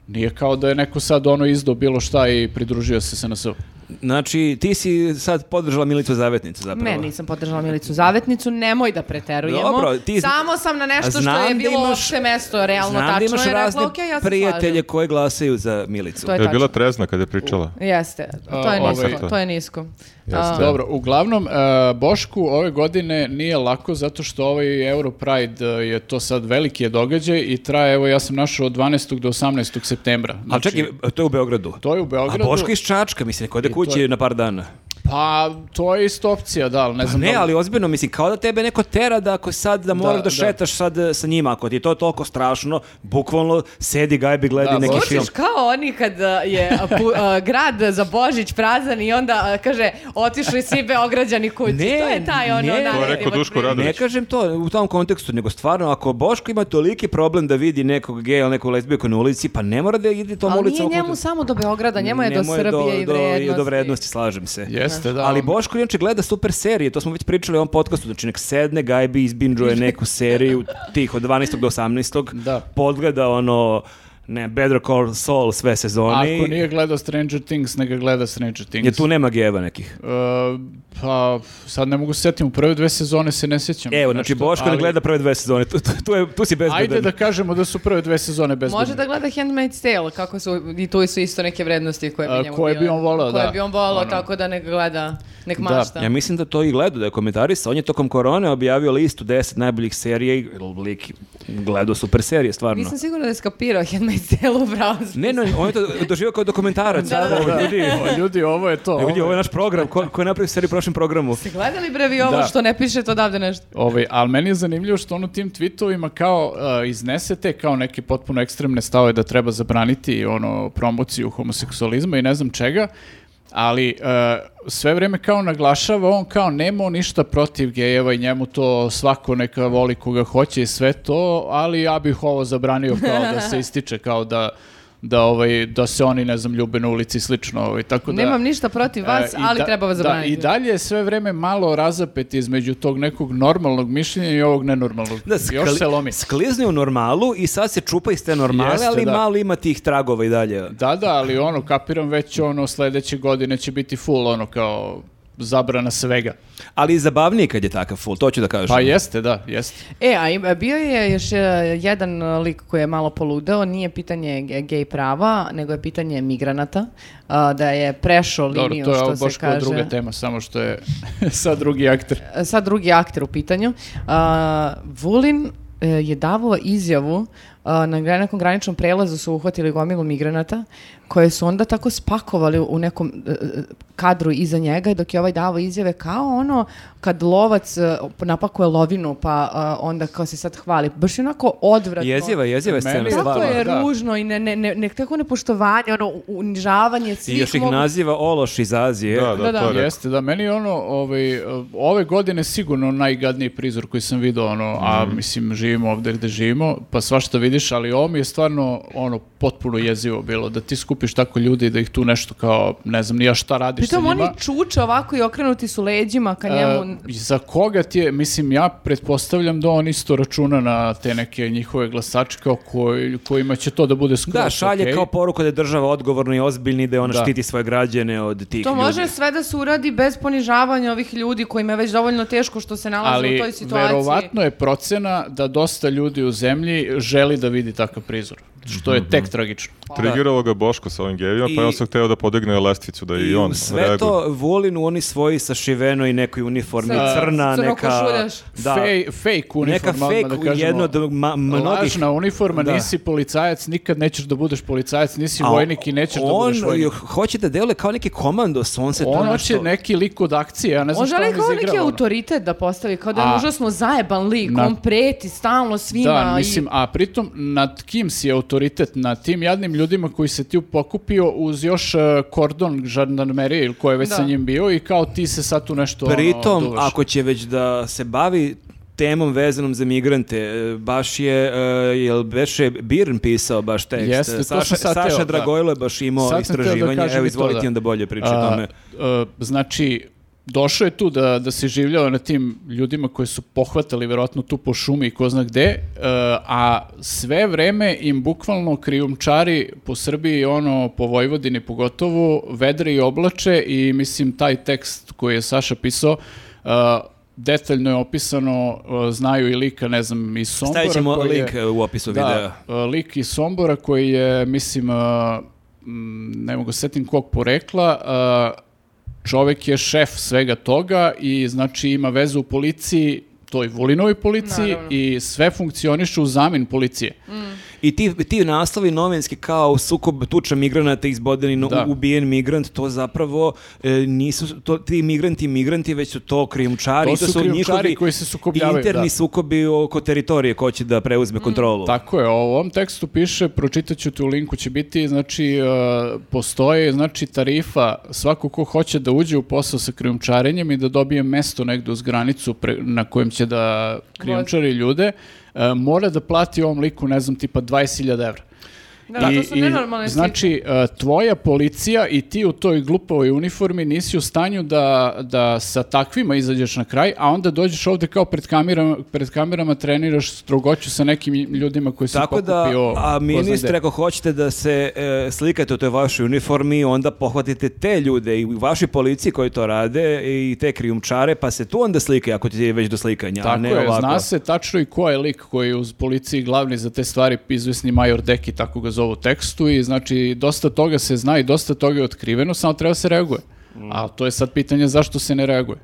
S2: Nije kao da je neko sad ono izdao bilo šta i pridružio se se na
S4: Znači, ti si sad podržala Milicu Zavetnicu zapravo.
S1: Ne, nisam podržala Milicu Zavetnicu, nemoj da preterujemo.
S4: Dobro, ti-
S1: Samo sam na nešto što
S4: Znam
S1: je
S4: da
S1: bilo
S4: imaš-
S1: opšte mesto, realno
S4: Znam da
S1: tačno
S4: imaš
S1: je
S4: razne
S1: rekla, ok, ja se
S4: prijatelje
S1: slažem.
S4: koji glasaju za Milicu.
S1: To je
S3: Je
S1: tačno.
S3: bila trezna kad je pričala.
S1: Jeste, to je
S2: A,
S1: nisko,
S3: ovaj-
S1: to je nisko.
S3: Jeste.
S1: A,
S2: Dobro, uglavnom, e, Bošku ove godine nije lako zato što ovaj Europride e, je to sad veliki je događaj i traje, evo ja sam našao od 12. do 18. septembra.
S4: Ali
S2: Znači,
S4: čekaj, to je u Beogradu.
S2: To je u Beogradu.
S4: A Boško iz Čačka, mislim, kod je kući na par dana.
S2: Pa, to je isto opcija, da, ali ne znam.
S4: Pa Ne,
S2: da li-
S4: ali ozbiljno, mislim, kao da tebe neko tera da ako sad da moraš da,
S2: da.
S4: šetaš sad e, sa njima, ako ti je to toliko strašno, bukvalno sedi gajbi, gledi
S2: Da,
S4: neki
S2: Boško-
S4: film.
S1: Zvučiš kao oni kad a, je a, pu- a, grad za Božić prazan i onda a, kaže otišli svi Beograđani kući.
S4: Ne,
S1: to je taj ono
S4: ne. To je
S1: naredni
S3: rekao
S1: vatromet.
S3: Duško Radović.
S4: Ne
S3: Radović.
S4: kažem to u tom kontekstu, nego stvarno, ako Boško ima toliki problem da vidi nekog geja ili nekog lesbijku na ulici, pa ne mora da ide tom
S1: Ali
S4: ulicom.
S1: nije
S4: oko-
S1: njemu samo do Beograda, njemu je do
S4: Njemu
S1: Srbije i
S4: do-
S1: vrednosti.
S4: do vrednosti, slažem se.
S2: Jeste, da.
S4: Ali
S2: on-
S4: Boško inače gleda super serije, to smo već pričali u ovom podcastu, znači nek sedne, gajbi,
S1: (laughs)
S4: izbinđuje neku seriju tih od 12. do 18.
S2: Da.
S4: Podgleda ono, ne, Better Call Saul sve sezone.
S2: Ako nije gledao Stranger Things, neka gleda Stranger Things.
S4: Jer tu nema geva nekih.
S2: E, pa, sad ne mogu se sjetiti, u prve dve sezone se ne sjećam.
S4: Evo, znači
S2: nešto,
S4: Boško ne
S2: ali-
S4: gleda prve dve sezone, tu, tu, tu je, tu si bezbedan.
S2: Ajde da kažemo da su prve dve sezone bez
S1: Može da gleda Handmaid's Tale, kako su, i tu su isto neke vrednosti koje
S2: A,
S1: bi njemu
S2: koje bi
S1: bile-
S2: on voleo,
S1: koje
S2: da.
S1: bi on volao,
S2: Ono.
S1: tako da nek gleda, nek mašta.
S4: Ja mislim da to i gleda, da je komentarista. On je tokom korone objavio listu 10 najboljih serija i lik gledao super serije, stvarno.
S1: Nisam sigurna da je skapirao Handmaid's taj celu brauz.
S4: Ne, ne, on je
S2: (laughs)
S4: to doživio kao dokumentarac.
S1: Da, da,
S4: Ovo,
S2: Da. (laughs)
S4: Ljudi,
S2: O, ljudi, ovo je to.
S4: evo ljudi,
S2: ovo
S4: ovo je
S2: je-
S4: naš program, ko, ko je napravio seriju u prošlom programu.
S1: Ste gledali brevi ovo
S2: Da.
S1: što ne piše to odavde nešto?
S2: Ovaj, ali meni je zanimljivo što on u tim tweetovima kao uh, iznesete kao neke potpuno ekstremne stave da treba zabraniti ono promociju homoseksualizma i ne znam čega, ali uh, sve vrijeme kao naglašava on kao nema on ništa protiv gejeva i njemu to svako neka voli koga hoće i sve to, ali ja bih ovo zabranio kao da se ističe kao da da ovaj da se oni ne znam ljube na ulici i slično ovaj tako da
S1: Nemam ništa protiv vas,
S2: E, i
S1: ali
S2: da-
S1: treba vas
S2: da,
S1: zabraniti.
S2: I dalje je sve vreme malo razapet između tog nekog normalnog mišljenja i ovog nenormalnog.
S4: Da,
S2: Još se lomi.
S4: sklizni u normalu i sad se čupa iz te normale,
S2: Jeste,
S4: ali
S2: da.
S4: malo ima tih tragova i dalje.
S2: Da, da, ali ono, kapiram već ono, sledeće godine će biti full ono kao zabrana svega.
S4: Ali i zabavnije kad je takav full, to ću da kažem.
S2: Pa jeste, da, jeste.
S1: E, a im- bio je još e, jedan e, lik koji je malo poludeo, nije pitanje ge- gej prava, nego je pitanje migranata, a, da je prešao liniju,
S2: Dobro, to je ovo
S1: što
S2: baš
S1: se
S2: kao
S1: kaže.
S2: druga tema, samo što je (laughs) sad drugi akter.
S1: E, Sad drugi akter u pitanju. A, Vulin e, je davao izjavu a, na gra- nekom graničnom prelazu su uhvatili gomilu migranata koje su onda tako spakovali u nekom e, e, kadru iza njega dok je ovaj davao izjave kao ono kad lovac e, napakuje lovinu pa a, onda kao se sad hvali. Baš je onako odvratno.
S4: Jeziva, jeziva je scena,
S2: Meni je
S1: Tako
S4: stvarno.
S1: je
S2: da.
S1: ružno i ne, ne, ne, ne, tako nepoštovanje, ono u- unižavanje svih
S4: I još ih
S1: mogućih-
S4: naziva Ološ iz Azije.
S3: Da, da,
S1: Da, da.
S3: to je rekao.
S2: Jeste, da, meni je ono, ovaj, ove godine sigurno najgadniji prizor koji sam vidio, ono, a
S4: Mhm.
S2: mislim, živimo ovde gde živimo, pa svašta vidiš, ali ovo mi je stvarno, ono, potpuno jezivo bilo, da ti skupiš tako ljudi, da ih tu nešto kao, ne znam, ni ja šta radiš
S1: Pritom
S2: sa
S1: oni
S2: njima.
S1: čuče ovako i okrenuti su leđima ka njemu.
S2: E, za koga ti je, mislim, ja pretpostavljam da on isto računa na te neke njihove glasače kao koji, kojima će to da bude skroz
S4: Da, šalje
S2: okej.
S4: kao poruku da je država odgovorna i ozbiljna i da ona
S2: Da.
S4: štiti svoje građane od tih
S1: To
S4: ljudi.
S1: može sve da se uradi bez ponižavanja ovih ljudi kojima je već dovoljno teško što se nalaze znači u
S2: ali
S1: toj situaciji.
S2: verovatno je procena da dosta ljudi u zemlji želi da vidi takav prizor, što
S4: Mhm.
S2: je tek tragično.
S3: Trigiralo ga Boško sa ovim gejima, pa
S4: Pa I-
S3: je on sam hteo da podigne lestvicu, da i,
S4: I
S3: on
S4: sve
S3: reaguje.
S4: to Vulin u oni svoji sa šiveno i nekoj uniformi,
S1: Sa-
S4: crna,
S1: crno
S4: neka...
S1: košuljaš.
S4: Da,
S2: Fej, fake uniforma,
S4: neka fake,
S2: da kažemo.
S4: jedno od ma- mnogih...
S2: Lažna uniforma,
S4: Da.
S2: nisi policajac, nikad nećeš da budeš policajac, nisi
S4: A
S2: vojnik i nećeš da
S4: on
S2: budeš vojnik.
S4: hoće da deluje kao neki komandos, on se to
S2: On
S4: nešto...
S2: hoće neki lik od akcije, ja ne znam
S1: On
S2: šta
S1: želi kao
S2: on
S1: neki
S2: izigrava, ono.
S1: autoritet da postavi, kao da je
S2: A-
S1: užasno zajeban lik,
S2: Na-
S1: on preti stalno svima.
S2: Da, mislim,
S1: i...
S2: a pritom nad kim si autoritet? Nad tim jadnim ljudima koji se ti pokupio uz još e, kordon žandarmerije ili ko je već
S1: Da.
S2: sa njim bio i kao ti se sad tu nešto ono,
S4: Pritom,
S2: duvaš.
S4: ako će već da se bavi temom vezanom za migrante, e, baš je, e, jel beše Birn pisao baš tekst,
S2: Jeste, to sam
S4: Saša,
S2: sad teo,
S4: Saša
S2: da.
S4: Dragojlo je baš imao
S2: Sad sam teo da
S4: istraživanje,
S2: kažem
S4: evo
S2: i to,
S4: izvolite
S2: da.
S4: onda bolje priče o
S2: A,
S4: tome.
S2: e, znači, došao je tu da, da se življava na tim ljudima koji su pohvatali verovatno tu po šumi i ko zna gde, e, a sve vreme im bukvalno krijumčari po Srbiji, ono, po Vojvodini pogotovo, vedre i oblače i mislim taj tekst koji je Saša pisao, e, detaljno je opisano, e, znaju i lika, ne znam, iz Sombora.
S4: Stavit ćemo
S2: koji je-
S4: link e, u opisu videa.
S2: e, lik iz Sombora koji je, mislim, e, m, ne mogu se setim kog porekla, e, čovek je šef svega toga i znači ima vezu u policiji, toj Vulinovoj policiji
S1: Naravno.
S2: i sve funkcioniše u zamin policije.
S4: I ti, ti naslovi novinski kao sukob tuča migranata izbodeni, no,
S2: Da.
S4: ubijen migrant, to zapravo e, nisu to, ti migranti migranti, već su to krijumčari.
S2: To
S4: i
S2: su krijumčari
S4: njihovi
S2: koji se sukobljavaju,
S4: Interni
S2: da.
S4: sukobi oko teritorije ko će da preuzme kontrolu.
S2: Tako je, o ovom tekstu piše, pročitat ću ti u linku, će biti, znači, e, postoje, znači, tarifa, svako ko hoće da uđe u posao sa krijumčarenjem i da dobije mesto negde uz granicu pre- na kojem će da krijumčari ljude, e, mora da plati ovom liku, ne znam, tipa 20.000 evra.
S1: Da, to su nenormalne slike.
S2: Znači, e, tvoja policija i ti u toj glupavoj uniformi nisi u stanju da, da sa takvima izađeš na kraj, a onda dođeš ovde kao pred kamerama, pred kamerama treniraš strogoću sa nekim ljudima koji se
S4: Tako
S2: pokupio.
S4: da, a
S2: ko zna
S4: ministre,
S2: gde.
S4: ako hoćete da se e, slikate u toj vašoj uniformi, onda pohvatite te ljude i u vašoj policiji koji to rade i te krijumčare, pa se tu onda slike ako ti je već do slikanja, a
S2: Tako
S4: ne
S2: je,
S4: ovako.
S2: zna se tačno i ko je lik koji je uz policiji glavni za te stvari, izvesni major Deki, tako ga zovu u tekstu i znači dosta toga se zna i
S4: Mm.
S2: dosta toga je otkriveno, samo treba se reaguje. A to je sad pitanje zašto se ne reaguje.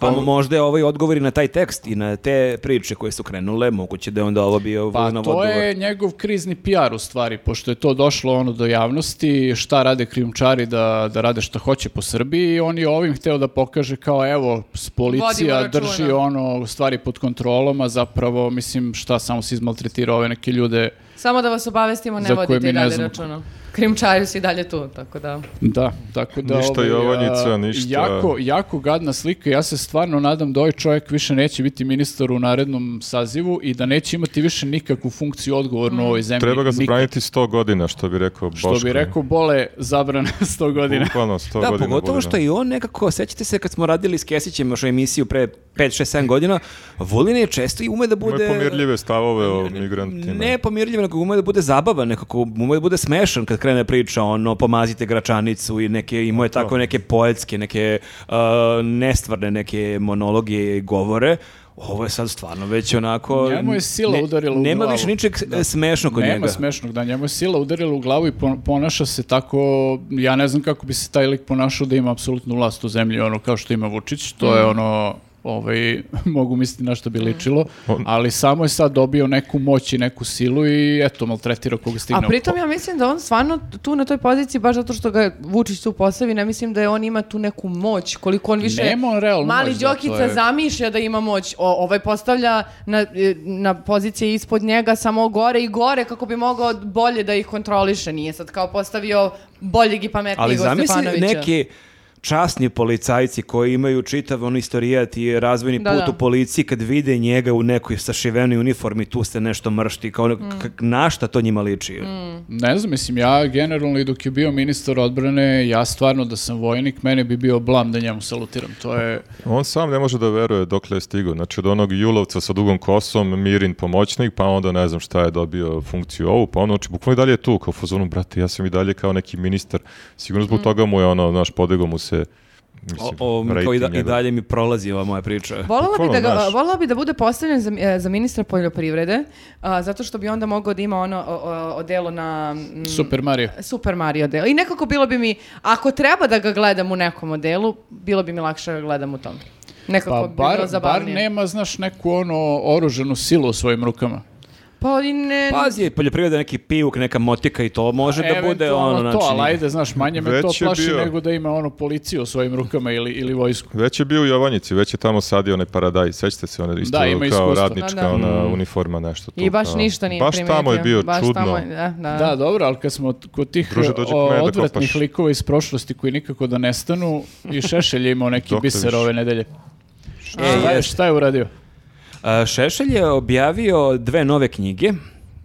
S4: Pa možda je ovaj odgovor i na taj tekst i na te priče koje su krenule, moguće da je onda ovo bio
S2: Pa
S4: Vulinov
S2: to
S4: odgovor.
S2: je njegov krizni PR u stvari, pošto je to došlo ono do javnosti, šta rade krijumčari da, da rade šta hoće po Srbiji i on je ovim hteo da pokaže kao evo, s- policija
S1: Vodimo računa.
S2: drži ono u stvari pod kontrolom, a zapravo mislim šta samo se izmaltretira ove neke ljude.
S1: Samo da vas obavestimo, ne
S2: Za koje mi
S1: vodite i
S2: ne
S1: dalje
S2: znamo.
S1: računa. Krimčari su i dalje tu, tako da...
S2: Da, tako da...
S3: Ništa
S2: ovaj,
S3: Jovanjica,
S2: a,
S3: ništa.
S2: Jako, jako gadna slika. Ja se stvarno nadam da ovaj čovjek više neće biti ministar u narednom sazivu i da neće imati više nikakvu funkciju odgovornu u ovoj zemlji.
S3: Treba ga
S2: Nikakvu.
S3: zabraniti 100 godina, što bi rekao Boško.
S2: Što bi rekao, bole, (laughs) zabrana 100 godina.
S3: Bukvalno 100
S4: Da,
S3: godina.
S4: pogotovo
S3: Vulina.
S4: što i on nekako, sećate se kad smo radili s Kesićem još emisiju pre 5, 6, 7 godina, Vulin je često i ume da
S3: Ima
S4: bude...
S3: pomirljive stavove o migrantima.
S4: Ne pomirljiv, nego ume da bude zabavan, nekako ume da bude smešan kad krene priča, ono, pomazite gračanicu i neke, imao je tako neke poetske, neke uh, nestvarne, neke monologe i govore. Ovo je sad stvarno već onako...
S2: (laughs) Njemu je sila udarila u
S4: Nema
S2: glavu.
S4: više ničeg da. smešnog kod
S2: Nema
S4: njega.
S2: smešnog, da njemu je sila udarila u glavu i pon- ponaša se tako, ja ne znam kako bi se taj lik ponašao da ima apsolutnu vlast u zemlji, ono kao što ima Vučić, to je ono, ovaj, (laughs) mogu misliti na što bi ličilo, ali samo je sad dobio neku moć i neku silu i eto, maltretira koga stigne.
S1: A
S2: u
S1: pritom
S2: po-
S1: ja mislim da on stvarno tu na toj poziciji, baš zato što ga Vučić tu postavi, ne mislim da je on ima tu neku moć, koliko on više...
S2: Nema on realnu
S1: Mali
S2: moć, da, to
S1: Đokica
S2: je-
S1: zamišlja da ima moć, o, ovaj postavlja na, e, na pozicije ispod njega samo gore i gore kako bi mogao bolje da ih kontroliše. Nije sad kao postavio boljeg i pametnijeg
S4: Ali
S1: od
S4: zamisli
S1: Stefanovića.
S4: neki časni policajci koji imaju čitav on istorijat i razvojni
S1: Da,
S4: put
S1: da.
S4: u policiji kad vide njega u nekoj sašivenoj uniformi tu se nešto mršti kao
S1: Mm.
S4: ono, k- na šta to njima liči
S2: Ne znam, mislim, ja generalno i dok je bio ministar odbrane, ja stvarno da sam vojnik, mene bi bio blam da njemu salutiram, to je...
S3: On sam ne može da veruje dokle je stigao. Znači od onog Julovca sa dugom kosom, Mirin pomoćnik, pa onda ne znam šta je dobio funkciju ovu, pa ono, znači bukvalno i dalje je tu, kao fazonu, brate, ja sam i dalje kao neki ministar. Sigurno zbog toga mu je ono, znaš, podego mu se,
S4: o,
S3: mislim,
S4: Mhm. o, kao i,
S3: rating
S4: da, i
S3: njegov.
S4: dalje mi prolazi ova moja priča
S1: Volela bi,
S3: Bukvalno,
S1: da ga,
S3: znaš.
S1: volela bi da bude postavljen za, e, za ministra poljoprivrede, a, zato što bi onda mogao da ima ono o- o- odelo na... mm,
S2: Super Mario.
S1: Super Mario deo. I nekako bilo bi mi, ako treba da ga gledam u nekom modelu, bilo bi mi lakše da ga gledam u tom. Nekako
S2: Pa
S1: bi
S2: bar,
S1: bilo
S2: bar
S1: zabavnije.
S2: nema, znaš, neku ono oruženu silu u svojim rukama.
S1: Pa i ne...
S4: Pazi, poljoprivreda je neki pijuk, neka motika i to može da bude ono,
S2: Pa Eventualno
S4: znači...
S2: to, ali ajde, znaš, manje me
S3: Već
S2: to
S3: je
S2: plaši
S3: bio.
S2: nego da ima ono policiju u svojim rukama ili, ili vojsku.
S3: Već je bio u Jovanjici, već je tamo sadio onaj paradaj, sećate se one isto
S2: Da,
S3: kao
S2: ima iskustvo.
S3: radnička
S1: Da, da.
S3: ona uniforma nešto. tu
S1: Mhm. I baš
S3: kao-
S1: ništa nije
S3: Baš
S1: primetio.
S3: tamo je bio
S1: Baš
S3: čudno.
S1: tamo je- da, da.
S2: Da, dobro, ali kad smo t- kod tih
S3: Druže, dođi
S2: o,
S3: kod mene da
S2: odvratnih
S3: kopaš.
S2: likova iz prošlosti koji nikako da nestanu i Šešelj je imao neki
S3: Dokle
S2: biser
S3: više?
S2: ove nedelje.
S4: E,
S2: Šta je,
S4: jest.
S2: šta je uradio? (laughs)
S4: A, Šešelj je objavio dve nove knjige.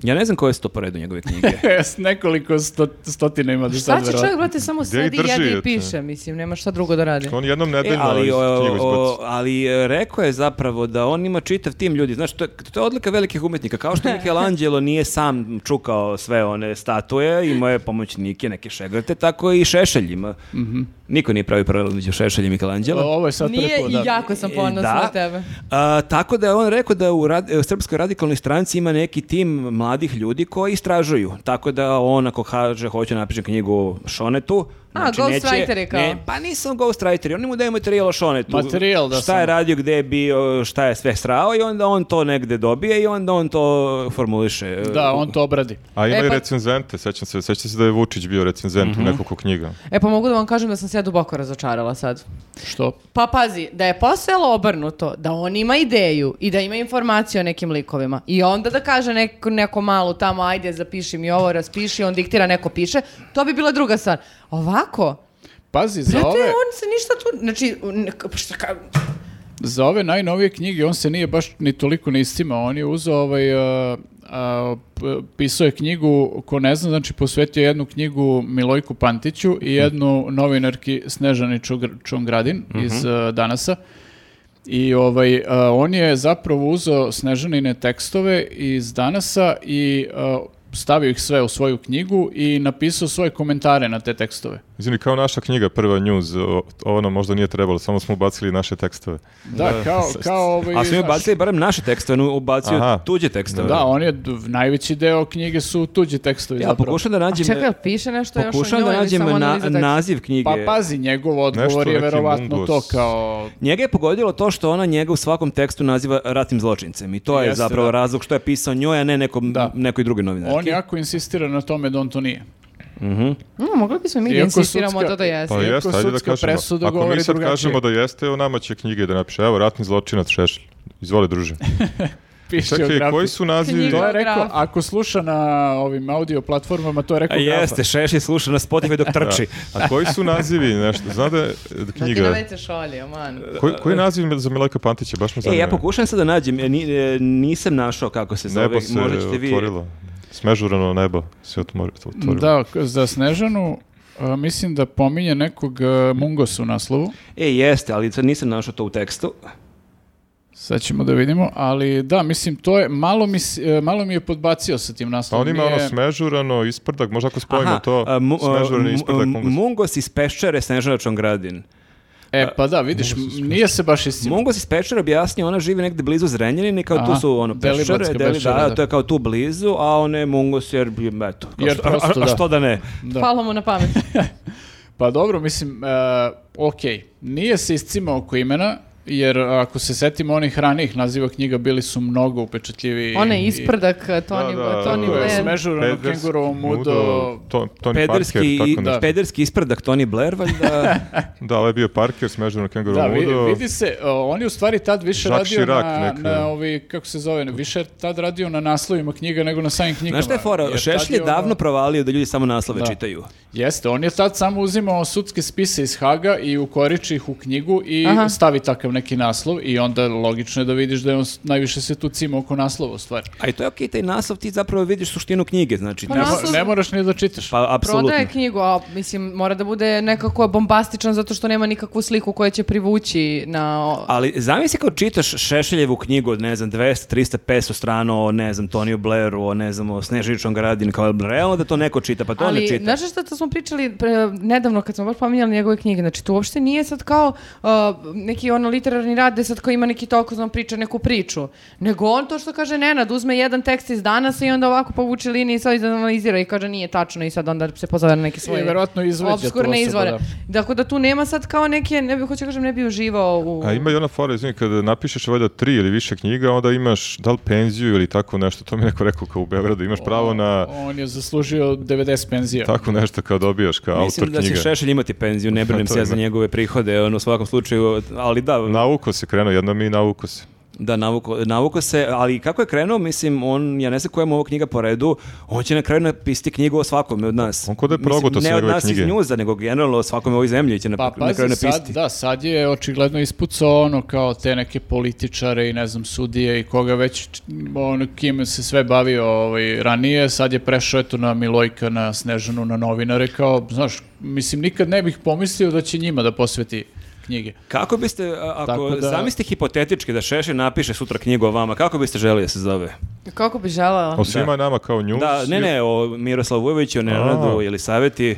S4: Ja ne znam koje su to po redu njegove
S2: (laughs)
S4: knjige.
S2: Jes, Nekoliko sto, stotina ima do sad,
S1: Šta će
S2: verovatno.
S1: čovjek, brate, samo
S3: Gde ih
S1: sedi,
S3: drži,
S1: jedi i
S3: jete?
S1: piše, mislim, nema šta drugo da radi.
S3: On jednom
S4: E,
S3: nedeljno
S4: ali,
S3: iz
S4: o-
S3: knjigu
S4: o-
S3: izbaci.
S4: ali e, rekao je zapravo da on ima čitav tim ljudi. Znaš, to je, to je odlika velikih umetnika. Kao
S2: (laughs)
S4: što Michelangelo nije sam čukao sve one statue, imao je pomoćnike, neke šegrte, tako i Šešelj ima.
S2: Mhm.
S4: Niko nije pravi paralel među Šešelj i Michelangelo.
S2: Ovo je sad
S1: Nije
S2: prepo, da.
S1: i jako sam ponosna
S4: E, Da.
S1: na tebe.
S4: A, tako da je on rekao da u rad- e, u Srpskoj radikalnoj stranci ima neki tim mladih ljudi koji istražuju. Tako da on ako kaže hoće napišem knjigu o Šonetu, znači
S1: A, ghostwriter je kao.
S4: Ne, pa nisam ghostwriter, oni mu daju materijal o Šonetu.
S2: Pa Materijal, da,
S4: Šta
S2: samo.
S4: je radio, gde je bio, šta je sve srao i onda on to negde dobije i onda on to formuliše.
S2: Da, on to obradi.
S3: A ima
S1: E,
S3: i
S1: pa-
S3: recenzente, sećam se, sećam se da je Vučić bio recenzent u nekoliko knjiga.
S1: E, pa mogu da vam kažem da sam se ja duboko razočarala sad.
S2: Što?
S1: Pa pazi, da je postojalo obrnuto, da on ima ideju i da ima informaciju o nekim likovima i onda da kaže neko, neko malo tamo, ajde zapiši mi ovo, raspiši, on diktira, neko piše, to bi bila druga stvar. Ovako,
S2: Pazi, za
S1: brate,
S2: ove...
S1: on se ništa tu, znači, ne- k- šta ka-
S2: Za ove najnovije knjige on se nije baš ni toliko ni iscimao, on je uzeo ovaj, a, a, p- pisao je knjigu, ko ne zna, znači posvetio je jednu knjigu Milojku Pantiću i jednu novinarki Snežani Čugr- Čongradin iz a, Danasa. I ovaj, a, on je zapravo uzeo Snežanine tekstove iz Danasa i a, stavio ih sve u svoju knjigu i napisao svoje komentare na te tekstove.
S3: Izvini, kao naša knjiga, prva news, o- ovo nam možda nije trebalo, samo smo ubacili naše tekstove.
S2: Da, kao, kao ovaj,
S4: A su mi
S2: znaš,
S4: bacili barem naše tekstove, no ubacio
S3: Aha.
S4: tuđe tekstove.
S2: Da, on je, d- najveći deo knjige su tuđi tekstovi
S4: Ja
S2: zapravo.
S4: pokušam da
S1: A
S4: nađem,
S1: čekaj, jel piše nešto još o
S4: pokušam
S1: njoj
S4: da
S1: ili
S4: nađem
S1: samo
S4: na,
S1: analiza teksta?
S4: naziv knjige.
S2: Pa pazi, njegov odgovor
S3: Nešto
S2: je
S3: neki
S2: verovatno
S3: mungos.
S2: to kao...
S4: Njega je pogodilo to što ona njega u svakom tekstu naziva ratnim zločincem i to je
S2: Jeste,
S4: zapravo
S2: da.
S4: razlog što je pisao njoj, a ne nekom,
S2: Da.
S4: nekoj drugoj novinarki.
S2: On jako insistira na tome da on to nije.
S1: No, Mm, mogli bismo mi da
S2: Iako
S1: insistiramo
S2: sudska-
S1: da da jeste.
S3: Pa
S2: Iako
S3: jeste, ajde da
S2: sudska
S3: kažemo.
S2: presuda
S3: Ako mi
S2: govori
S3: sad
S2: drugačije.
S3: kažemo da jeste, evo nama će knjige da napiše. Evo, ratni zločinac Šešelj. Izvoli,
S2: (laughs)
S3: druže.
S2: Piše
S3: E, Čekaj,
S2: geografiji.
S3: koji su nazivi?
S1: Knjiga.
S2: To je rekao,
S1: Graf.
S2: ako sluša na ovim audio platformama, to je
S4: A
S2: rekao grafa.
S4: jeste, Šeši sluša na Spotify
S3: (laughs)
S4: dok
S2: Znači,
S4: trči.
S3: A koji su nazivi? Nešto, zna da je da
S1: Da ti na
S3: knjiga.
S1: veće šolio, man.
S3: Koji, koji je naziv za Milojka Pantića? Baš me
S4: E,
S3: zanima.
S4: ja pokušam sad da nađem, e, ni- e, nisam našao kako se zove,
S3: Nebo se
S4: možda ćete vi...
S3: otvorilo. Smežurano nebo se otmor- otvorilo.
S2: Da, k- za Snežanu a, mislim da pominje nekog a, Mungos u naslovu.
S4: E, jeste, ali sad nisam našao to u tekstu.
S2: Sad ćemo da vidimo, ali da, mislim, to je, malo mi, s- e, malo mi je podbacio sa tim
S3: A
S2: naslovom.
S3: on ima
S2: Nije-
S3: ono smežurano, isprdak, možda ako spojimo to,
S4: a, mu- a,
S3: smežurani
S4: mu-
S3: isprdak,
S4: m-
S3: mungos.
S4: Mungos iz Peščare, Snežana Čongradin.
S2: E, pa da, vidiš, m- nije se baš istina.
S4: Mungos iz Peščare objasnio, ona živi negde blizu Zrenjanina i kao tu
S2: Aha,
S4: su ono
S2: Deliblatska
S4: Peščare, Deli-
S2: Peščara,
S4: da,
S2: da.
S4: to je kao tu blizu, a one Mungos jer, eto, kao
S2: Jer
S4: što- a- a-
S2: prosto
S4: a,
S2: da.
S4: što da ne?
S2: Da.
S1: Palo mu na pamet.
S2: Pa dobro, mislim, e, ok, nije se iscima oko imena, jer ako se setimo onih ranijih naziva knjiga, bili su mnogo upečatljiviji.
S1: Onaj
S2: i-
S1: isprdak, Tony,
S3: Da, da,
S1: Tony
S3: to je
S1: Blair.
S2: smež- Smežurano,
S3: Peders-
S2: kengurovo, mudo,
S3: to, Tony
S4: Pederski,
S3: Parker, tako
S4: i-
S3: nešto.
S4: pederski isprdak Tony Blair,
S3: (laughs)
S4: valjda.
S3: Da, ovaj je bio Parker, smežurano kengurovo
S2: Da, vi-
S3: mudo.
S2: vidi se, o, on je u stvari tad više
S3: Jacques
S2: radio
S3: Chirac
S2: na,
S3: neka.
S2: na ovi, kako se zove, više je tad radio na naslovima knjiga nego na samim knjigama.
S4: Znaš šta je fora?
S2: jer tad
S4: Šešlj je
S2: ono-
S4: davno provalio da ljudi samo naslove
S2: Da.
S4: čitaju.
S2: Jeste, on je tad samo uzimao sudske spise iz Haga i ukoriči ih u knjigu i
S1: Aha.
S2: stavi takav neki naslov i onda logično je da vidiš da je on s- najviše se tu cima oko naslova u stvari.
S4: A i to je okej, taj naslov ti zapravo vidiš suštinu knjige, znači.
S1: Pa
S2: Ne,
S4: ne-
S2: mo-
S1: naslov-
S2: ne moraš ni da čitaš.
S4: Pa, apsolutno.
S1: Prodaje knjigu, a mislim, mora da bude nekako bombastičan zato što nema nikakvu sliku koja će privući na... o-
S4: Ali zamisli kao čitaš Šešeljevu knjigu od, ne znam, 200, 300, 500 strana o, ne znam, Toniju Blairu, o, ne znam, o Snežičnom Gradin, kao realno da to neko čita, pa to ne
S1: Ali,
S4: čita.
S1: znaš šta to smo pričali pre- nedavno kad smo baš pominjali njegove knjige, znači to uopšte nije sad kao uh, neki ono literarni rad gde sad kao ima neki toliko znam priča, neku priču, nego on to što kaže Nenad, uzme jedan tekst iz danasa i onda ovako povuče linije i sad izanalizira i kaže nije tačno i sad onda se pozove na neke svoje
S2: I verovatno izvađa tu
S1: obskurne
S2: osoba,
S1: izvore.
S2: da.
S1: Dakle, da tu nema sad kao neke, ne bih hoće kažem, ne bi uživao u...
S3: A ima i ona fora, izvini, kada napišeš valjda tri ili više knjiga, onda imaš da li penziju ili tako nešto, to mi je neko rekao kao u Beogradu, imaš pravo na
S2: On je zaslužio 90 penzija.
S3: tako nešto kao dobijaš kao
S4: Mislim
S3: autor
S4: da će
S3: knjige. Pa
S4: Šešelj imati penziju, ne brinem
S3: To
S4: se ja za
S3: ima.
S4: njegove prihode, ono, u svakom slučaju, ali da,
S3: Nauko se krenuo, jedno mi nauko se.
S4: da, navuko, navuko se, ali kako je krenuo, mislim, on, ja ne znam koja mu ovo knjiga po redu, on će na kraju napisati knjigu o svakome od nas.
S3: On ko da je
S4: Mislim,
S3: progutao sve
S4: Ne od
S3: njegove
S4: nas
S3: knjige.
S4: iz njuza, nego generalno o svakome u ovoj zemlji će na,
S3: Dakle,
S2: Pa
S4: na kraju
S2: pazi,
S4: napisati.
S2: sad, da, sad je očigledno ispucao ono kao te neke političare i ne znam sudije i koga već, č- ono, kim se sve bavio ovaj, ranije, sad je prešao eto na Milojka, na Snežanu, na novinare, kao, znaš, mislim, nikad ne bih pomislio da će njima da posveti knjige.
S4: Kako biste, a- ako
S2: Tako da-
S4: zamislite hipotetički da Šešelj napiše sutra knjigu o vama, kako biste želi da se zove?
S1: Kako bi želela?
S3: O svima nama kao news.
S4: Da, ne, ne, o Miroslavu Vujoviću, o Nenadu
S3: A.
S4: ili Saveti.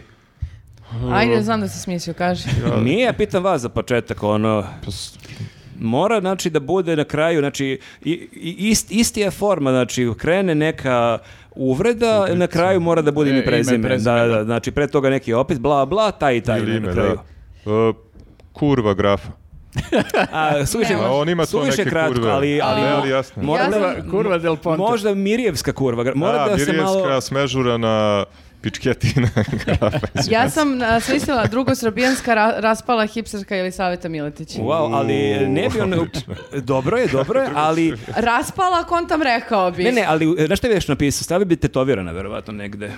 S3: Mm.
S1: Ajde, znam da si smislio, kaži.
S4: Nije, ja pitam vas za početak, ono... Mora, znači, da bude na kraju, znači, i, i- ist, isti je forma, znači, krene neka uvreda, na kraju mora da bude
S2: E,
S4: ime
S2: ime,
S4: prezime.
S2: prezime,
S4: da,
S2: da.
S4: da, znači, pre toga neki opis, bla, bla, taj i taj
S3: Ili
S4: na
S3: ime,
S4: kraju.
S3: da. E, kurva grafa.
S4: A, suviše,
S1: Ne,
S3: (laughs) A on ima to
S4: suviše
S3: neke
S4: kratko,
S3: kurve.
S4: ali, ali,
S3: Ne, ali jasno.
S4: mora
S1: Jasno.
S4: da-
S2: Kurva, kurva del Ponte.
S4: Možda Mirjevska kurva. gra- Mora
S3: A,
S4: da se
S3: Birijevska,
S4: malo...
S3: smežurana, pičketina, (laughs) grafa.
S1: Ja sam a, smislila drugosrbijanska ra- raspala hipsterka ili Saveta Miletić.
S4: Wow, ali ne bi on... (laughs) Dobro je, dobro
S3: (laughs)
S4: je, ali...
S1: Raspala, kontam rekao bi.
S4: Ne, ne, ali e, znaš šta bi još napisao? Stavio bi tetovirana, verovatno, negde.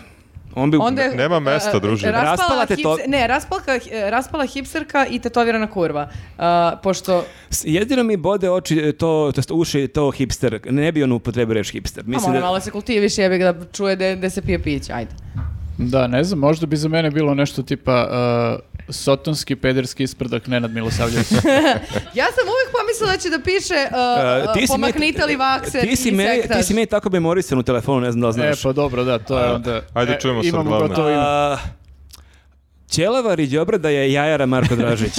S4: On bi...
S1: Onda je,
S3: Nema mesta,
S1: e,
S3: druže.
S1: Raspala,
S4: Raspala te to-
S1: hipster- ne, raspalka, e, raspala hipsterka i tetovirana kurva. A, pošto,
S4: S- Jedino mi bode oči e, to, to jest uši to hipster. Ne bi on upotrebio reč hipster.
S1: a
S4: Mislim
S1: mora
S4: da...
S1: malo se kultiviš, jebe ga da čuje da, da se pije piće,
S3: (laughs)
S1: ajde.
S2: Da, ne znam, možda bi za mene bilo
S3: (laughs)
S2: nešto tipa uh, sotonski pederski isprdak Nenad Milosavljević.
S1: Ja sam uvijek pomislila da će da piše uh,
S4: E, ti si mi-
S1: pomaknite li vakser
S4: ti si
S1: i
S4: meni-
S1: sektaš.
S4: Ti si meni tako memorisan u telefonu, ne znam da li
S2: E,
S4: znaš.
S2: pa dobro, da, to je onda...
S3: Ajde,
S2: e,
S3: čujemo sad
S2: imamo
S3: glavno.
S2: gotovo ime.
S4: A, Ćelavar i Đobrada je jajara Marko
S1: (laughs)
S4: Dražić.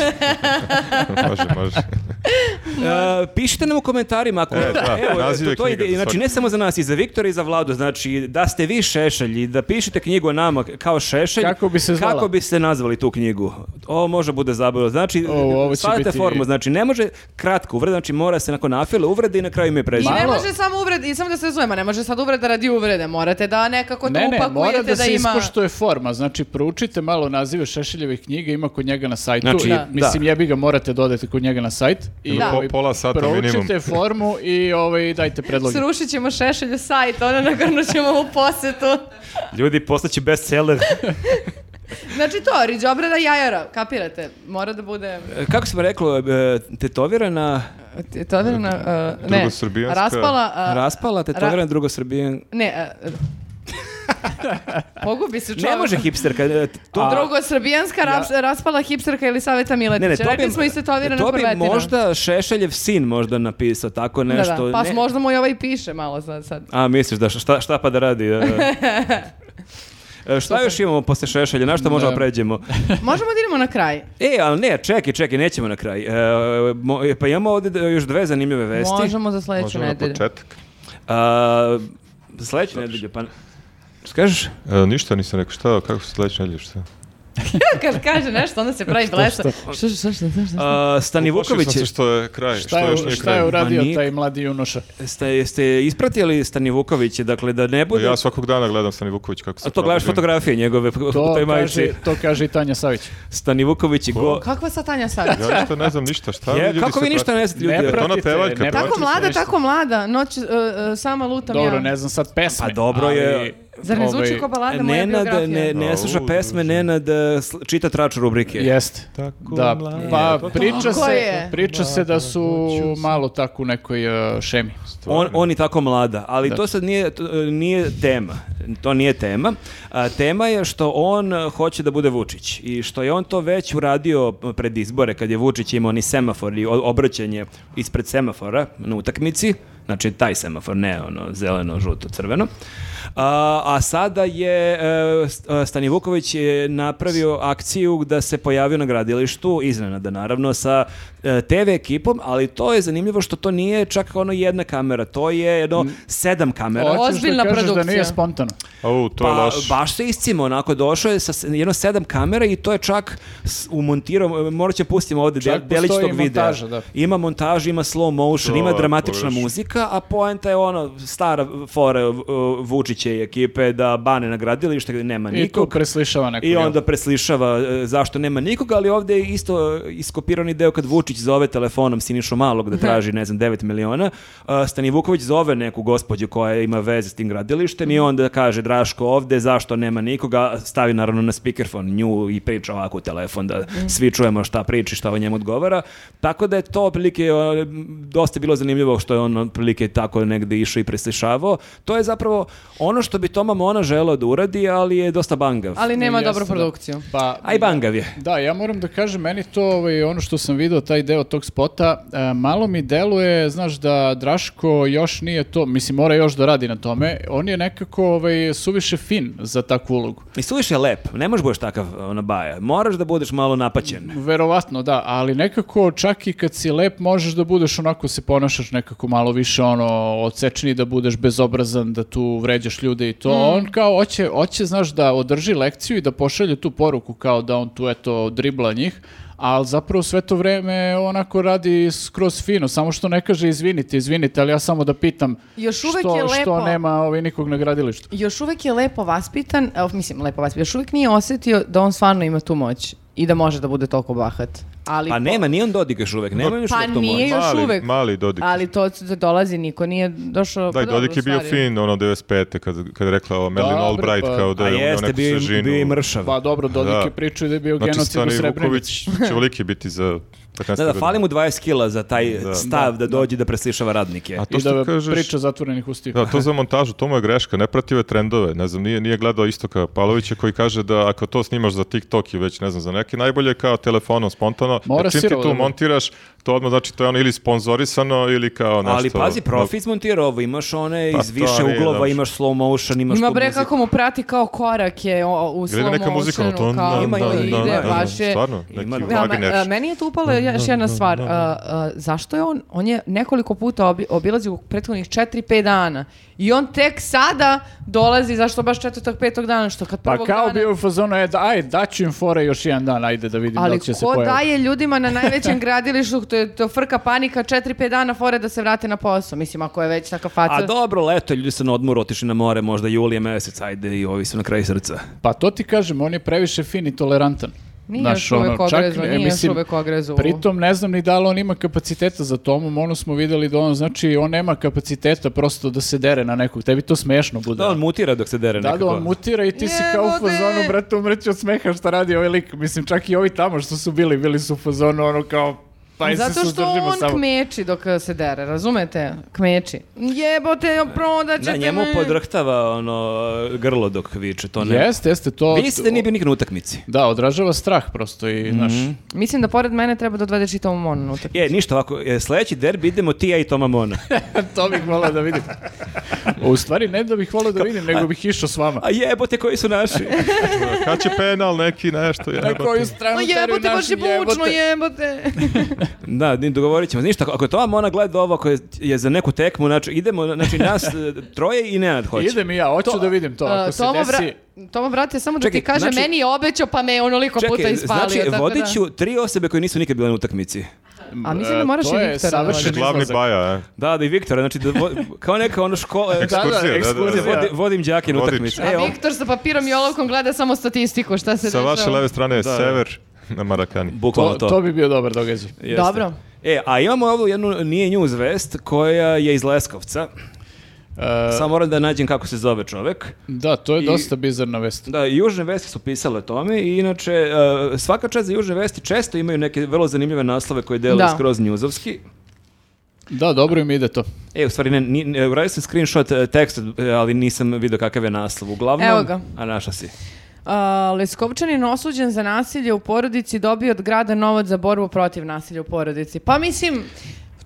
S3: može, može.
S4: E, pišite nam u komentarima ako...
S3: E, da, naziv je
S4: to, to
S3: knjige,
S4: ide,
S3: za
S4: znači
S3: svaki.
S4: ne samo za nas, i za Viktora i za Vladu, znači da ste vi šešelj i da pišete knjigu o nama kao šešelj,
S2: Kako bi se zvala?
S4: kako biste nazvali tu knjigu? Ovo može bude zabavno. Znači,
S2: O, ovo će
S4: shvatate
S2: biti-
S4: formu, znači ne može kratko uvreda, znači mora se nakon afile uvrede i na kraju ime i
S1: I
S4: prezime.
S1: ne
S2: Malo-
S1: može samo uvrede, i samo da se razumemo, ne može sad uvreda radi uvrede, morate da nekako to
S2: Ne, ne, mora
S1: upakujete
S2: da, se
S1: ima...
S2: ispoštuje forma. Znači, proučite malo nazive Šešeljeve knjige, ima kod njega na sajtu.
S4: Znači,
S2: i,
S4: da.
S2: Mislim, jebi ga, morate da odete kod njega na sajt. I,
S1: Da.
S2: ovaj,
S3: Po- pola sata
S2: Proučite
S3: minimum.
S2: formu i ovaj, dajte predloge.
S1: Srušit ćemo šešelju sajt, ono nagrnut ćemo mu posetu.
S4: Ljudi, postaće bestseller.
S1: Znači to, riđobrada jajara, kapirate, mora da bude...
S4: Kako smo reklo, e, tetovirana, E,
S1: Ti- To je na... uh, ne,
S3: Drugosrbijanska-
S1: raspala... uh,
S4: raspala, e, tetovirana
S1: ra-
S4: drugosrbijan.
S1: Ne, uh, (laughs) pogubi se čovjek.
S4: Ne može hipsterka. e, t- To,
S1: Drugo, srbijanska raps- raspala hipsterka ili saveta Miletića.
S4: Ne, ne, to
S1: Rekli
S4: bi-
S1: Pa smo i se to
S4: to bi možda Šešeljev sin možda napisao tako nešto.
S1: da, da. Pa
S4: ne-
S1: možda mu i ovaj piše malo sad. sad.
S4: A, misliš da šta, šta pa da
S1: (laughs)
S4: radi? da, da. E, šta još imamo posle Šešelja? Na što možemo
S2: Da.
S4: pređemo?
S1: Možemo da idemo na kraj.
S4: E, ali ne, čekaj, čekaj, nećemo na kraj. E, mo- e, pa imamo ovdje d- još dve zanimljive vesti.
S1: Možemo za sledeću
S3: Možemo na
S1: nedelju.
S3: početak.
S4: A, sledeće nedelje, pa... Šta kažeš?
S3: E, ništa nisam rekao, šta, kako se sledeće nedelje, šta?
S1: Kad kaže nešto, onda se pravi blesa. Što, što, što, što, što?
S4: A, Stani
S3: Uplašio
S4: Vuković,
S3: sam se što je kraj,
S2: Šta
S3: što još
S2: je,
S3: nije
S2: šta
S3: kraj.
S2: je uradio
S4: Ma nije-
S2: taj
S3: (laughs)
S2: mladi junoša?
S4: ste, ste ispratili Stani Vuković, dakle da ne bude...
S3: Pa Ja svakog dana gledam Stani Vuković kako se
S4: A to gledaš
S3: probudi.
S4: fotografije njegove u
S2: To
S4: toj majici.
S2: kaže, to kaže i Tanja Savić.
S4: Stani Vuković je go...
S1: Kakva sa Tanja sad?
S3: Ja ništa ne znam ništa,
S4: (laughs)
S3: šta
S4: Je,
S3: Pa, ljudi
S4: kako
S3: se
S4: vi ništa
S3: prate?
S4: ne znate ljudi?
S2: Ne
S3: Jel to ona
S2: pratite,
S3: pevaljka,
S2: ne
S1: Tako
S3: pratite
S1: mlada,
S2: ništa.
S1: tako mlada. Noć, e, e, sama lutam
S2: pa Dobro,
S1: ja.
S2: ne znam sad pesme.
S4: Pa dobro je-
S2: ali,
S1: Zar ne zvuči
S2: ovaj,
S1: kao balada moja biografija?
S4: Nenad ne, ne
S3: A,
S4: sluša
S3: u,
S4: pesme,
S3: druže.
S4: Nenad e, sl- čita trač rubrike.
S2: Jeste.
S3: Tako
S2: Da,
S3: mlada.
S2: pa priča
S1: Tako
S2: se,
S1: je.
S2: priča se da su malo tako u nekoj uh, šemi.
S4: On,
S3: Stvarno.
S4: on i tako mlada, ali
S2: Da.
S4: to sad nije, to, e, nije tema. To nije tema. A, tema je što on e, hoće da bude Vučić i što je on to već uradio eh, pred izbore kad je Vučić imao ni semafor i o- obraćanje ispred semafora na utakmici. Znači taj semafor, ne ono zeleno, žuto, crveno. A, a sada je e, S- e, Stani Vuković je napravio akciju da se pojavio na gradilištu, iznenada naravno, sa e, TV ekipom, ali to je zanimljivo što to nije čak ono jedna kamera, to je jedno sedam kamera.
S2: Hoćeš
S1: Ozbiljna
S2: da kažeš da
S1: produkcija.
S2: nije spontano.
S3: Au, to je
S4: Pa,
S3: loše.
S4: baš se iscimo, onako došao je sa s- jedno sedam kamera i to je čak s- umontirao, e, morat će pustimo ovdje
S2: Čak
S4: del, delić
S2: postoji
S4: tog videa.
S2: montaža, da.
S4: Ima montaž, ima slow motion,
S3: To
S4: ima
S3: je
S4: dramatična
S3: pogrešno.
S4: muzika, a poenta je ono stara fora v- Vučića i ekipe da bane na gradilište gdje nema
S2: I tu
S4: nikog.
S2: preslišava neko.
S4: I
S2: jel?
S4: onda preslišava e, zašto nema nikoga, ali ovdje je isto e, iskopirani deo kad Vučić zove telefonom Sinišu Malog da traži, ne znam, 9 miliona. A, Stani Vuković zove neku gospođu koja ima veze s tim gradilištem i onda kaže Draško ovdje, zašto nema nikoga, stavi naravno na speakerfon nju i priča ovako u telefon da svi čujemo šta priči, šta o njemu odgovara. Tako da je to otprilike e, dosta bilo zanimljivo što je on otprilike tako negdje išao i preslišavao. To je zapravo ono što bi Toma Mona želeo da uradi, ali je dosta bangav.
S1: Ali nema
S2: Jeste,
S1: dobru
S2: da.
S1: produkciju.
S2: Pa,
S4: A i bangav je.
S2: Da, ja moram da kažem, meni to, ovaj, ono što sam video, taj deo tog spota, e, malo mi deluje, znaš, da Draško još nije to, mislim, mora još da radi na tome, on je nekako ovaj, suviše fin za takvu ulogu.
S4: I suviše je lep, ne možeš budeš takav ona baja. Moraš da budeš malo napaćen.
S2: Verovatno, da, ali nekako čak i kad si lep možeš da budeš onako se ponašaš nekako malo više ono odsečni, da budeš bezobrazan, da tu vređaš ljude i to.
S1: Mm.
S2: On kao hoće, hoće, znaš, da održi lekciju i da pošalje tu poruku kao da on tu eto dribla njih, ali zapravo sve to vreme onako radi skroz fino, samo što ne kaže izvinite, izvinite, ali ja samo da pitam
S1: Još uvek
S2: što,
S1: je
S2: što
S1: lepo.
S2: nema ovaj, nikog na gradilištu.
S1: Još uvek je lepo vaspitan, e, mislim lepo vaspitan, još uvek nije osjetio da on stvarno ima tu moć i da može da bude toliko bahat. Ali
S4: Pa nema, nije on Dodik još uvek, nema još
S1: Pa
S4: uvek to
S1: nije
S4: moć.
S1: još
S3: mali,
S1: uvek.
S3: Mali Dodik.
S1: Ali to se dolazi, niko nije došao...
S3: Da, i
S1: pa dobro,
S3: Dodik je
S1: u
S3: bio
S1: stvari.
S3: fin, ono, 95. kad, kad je rekla o Melin
S2: Dobro,
S3: Albright,
S2: pa-
S3: kao da
S4: A
S3: je unio
S4: jeste,
S3: neku
S4: bio, i-
S3: svežinu.
S4: bio i mršav.
S2: Pa dobro, Dodik
S3: Da.
S2: je pričao i da je bio
S3: Znači,
S2: genocid u
S3: Stani
S2: Srebrenici.
S3: Vuković
S4: (laughs)
S3: će veliki biti za 15
S4: Da, da,
S3: godina.
S4: fali mu 20 kila za taj
S3: Da.
S4: stav da dođe da preslišava radnike.
S3: A
S2: I
S3: to što
S2: da
S3: kažeš...
S2: priča zatvorenih ustiju.
S3: Da, to za montažu, to mu je greška, ne pratio je trendove, ne znam, nije, nije gledao Istoka Palovića koji kaže da ako to snimaš za TikTok i već ne znam za neki, najbolje je kao telefonom spontano,
S2: Mora
S3: jer čim ti
S2: sirovo
S3: tu
S2: da bude.
S3: montiraš, to odmah znači to je ono ili sponzorisano ili kao nešto.
S4: Ali pazi, Profi izmontirao ovo, imaš one
S3: Pa
S4: iz
S3: to
S4: više
S3: nije
S4: uglova,
S3: dobro.
S4: imaš slow motion, imaš
S1: Ima
S4: tu
S1: bre
S4: muziku.
S1: kako mu prati kao korake o, u
S3: Ili
S1: slow
S3: ima neka muzika na
S1: motionu,
S3: to.
S1: kao
S4: Ima,
S1: da,
S4: ima,
S1: ide,
S4: ima, da, da,
S1: baš je...
S3: Stvarno,
S4: Ima,
S3: neki
S4: da.
S1: Da, me-
S3: Wagner.
S1: e, meni je tu upala još jedna stvar. E, e, zašto je on, on je nekoliko puta obi, obilazio u prethodnih 4-5 dana i on tek sada dolazi, zašto baš četvrtog, petog dana, što kad
S2: Pa
S1: prvog
S2: kao
S1: dana...
S2: bio u fazonu, e, da, aj, daću im fore još jedan dan, ajde da vidim da
S1: Ali
S2: li će se
S1: ko
S2: pojaviti.
S1: daje ljudima na najvećem (laughs) gradilištu, to je to frka panika, 4-5 dana fore da se vrate na posao. Mislim, ako je već neka faca...
S4: A dobro, leto, ljudi su na odmoru otišli na more, možda julije mesec, ajde i ovi su na kraju srca.
S2: Pa to ti kažem, on je previše fin i tolerantan.
S1: Nije
S2: Znaš,
S1: još uvek
S2: ono, čak,
S1: ogrezao,
S2: e,
S1: nije još
S2: mislim,
S1: uvek ogrezao.
S2: Pritom ne znam ni da li on ima kapaciteta za to, ono smo videli da on, znači, on nema kapaciteta prosto da se dere na nekog, tebi to smešno bude.
S4: Da, on mutira dok se dere
S2: Da, da,
S4: nekako.
S2: on mutira i ti si
S1: Evo
S2: kao u fazonu,
S1: te.
S2: brate, umreći od smeha šta radi ovaj lik. Mislim, čak i ovi tamo što su bili, bili su u fazonu, ono kao, pa i se
S1: Zato što
S2: suzdržimo
S1: on
S2: samo.
S1: kmeči dok uh, se dere, razumete? Kmeči. Jebote, prodaćete
S4: Da, njemu
S1: me.
S4: podrhtava ono grlo dok viče, to ne.
S2: Jeste, jeste, to...
S4: Vi ste nije bio nikad na utakmici.
S2: Da, odražava strah prosto i, znaš,
S1: Mislim da pored mene treba da odvede čitavu monu na utakmicu.
S4: Je, ništa ovako, e, sledeći derbi idemo ti, ja i Toma (laughs) Mona.
S2: (laughs) to bih volao da vidim. U stvari, ne da bih volao da vidim, nego bih išao s vama.
S4: A jebote, koji su naši?
S3: (laughs) Kad će penal neki nešto
S2: Na koju
S3: jebote.
S2: stranu
S1: Ma
S2: teraju
S1: jebote, baš
S2: naši
S1: je bučno, jebote.
S4: da, ni- dogovorit ćemo. Ništa, ako je Toma Mona gleda ovo koje je za neku tekmu, znači idemo, znači nas e, troje i Nenad hoće.
S2: Idem i ja, hoću da vidim to. Ako
S1: Uh,
S2: se
S1: Tomo,
S2: desi...
S1: vra- Tomo, brate, samo da
S4: Čekaj,
S1: ti kaže,
S4: znači-
S1: meni je obećao, pa me je onoliko puta
S4: Čekaj,
S1: ispalio.
S4: znači
S1: tako
S4: vodit
S1: da-
S4: ću tri osobe koje nisu nikad bile na utakmici.
S1: A mislim da moraš
S2: E, to
S1: i
S2: je
S1: Viktora da
S2: savršen
S1: vodiš.
S2: izlazak.
S3: Glavni
S1: (laughs)
S3: baja, e.
S4: Da, da i Viktora, znači da vo- kao neka ono (laughs) škola,
S2: Da, da,
S3: Ekskurzija, da, da,
S2: ekskurzija.
S3: da.
S4: vodi- vodim đake na
S3: Vodič.
S4: utakmicu.
S1: A
S4: E, o-
S1: Viktor sa papirom i olovkom gleda samo statistiku, šta se
S3: Sa
S1: dešava.
S3: vaše leve strane je
S4: Da.
S3: sever na Marakani.
S4: bukvalno
S2: To,
S4: to.
S2: to bi bio dobar događaj.
S4: Jeste.
S1: Dobro.
S4: E, a imamo ovdje jednu nije news vest koja je iz Leskovca.
S2: E,
S4: Samo moram da nađem kako se zove čovek.
S2: da, to je
S4: I-
S2: dosta bizarna vest.
S4: Da, i Južne vesti su pisale o tome i inače e, svaka čast za Južne vesti često imaju neke vrlo zanimljive naslove koje deluju
S1: Da.
S4: skroz njuzovski.
S2: Da, dobro im ide to.
S1: Pa
S4: E, u stvari, ne, ni- ne, uradio sam screenshot e, teksta, e, ali nisam vidio kakav je naslov. Uglavnom,
S1: Evo ga.
S4: a naša si.
S1: A, Leskovčanin osuđen za nasilje u porodici dobio od grada novac za borbu protiv nasilja u porodici. Pa mislim,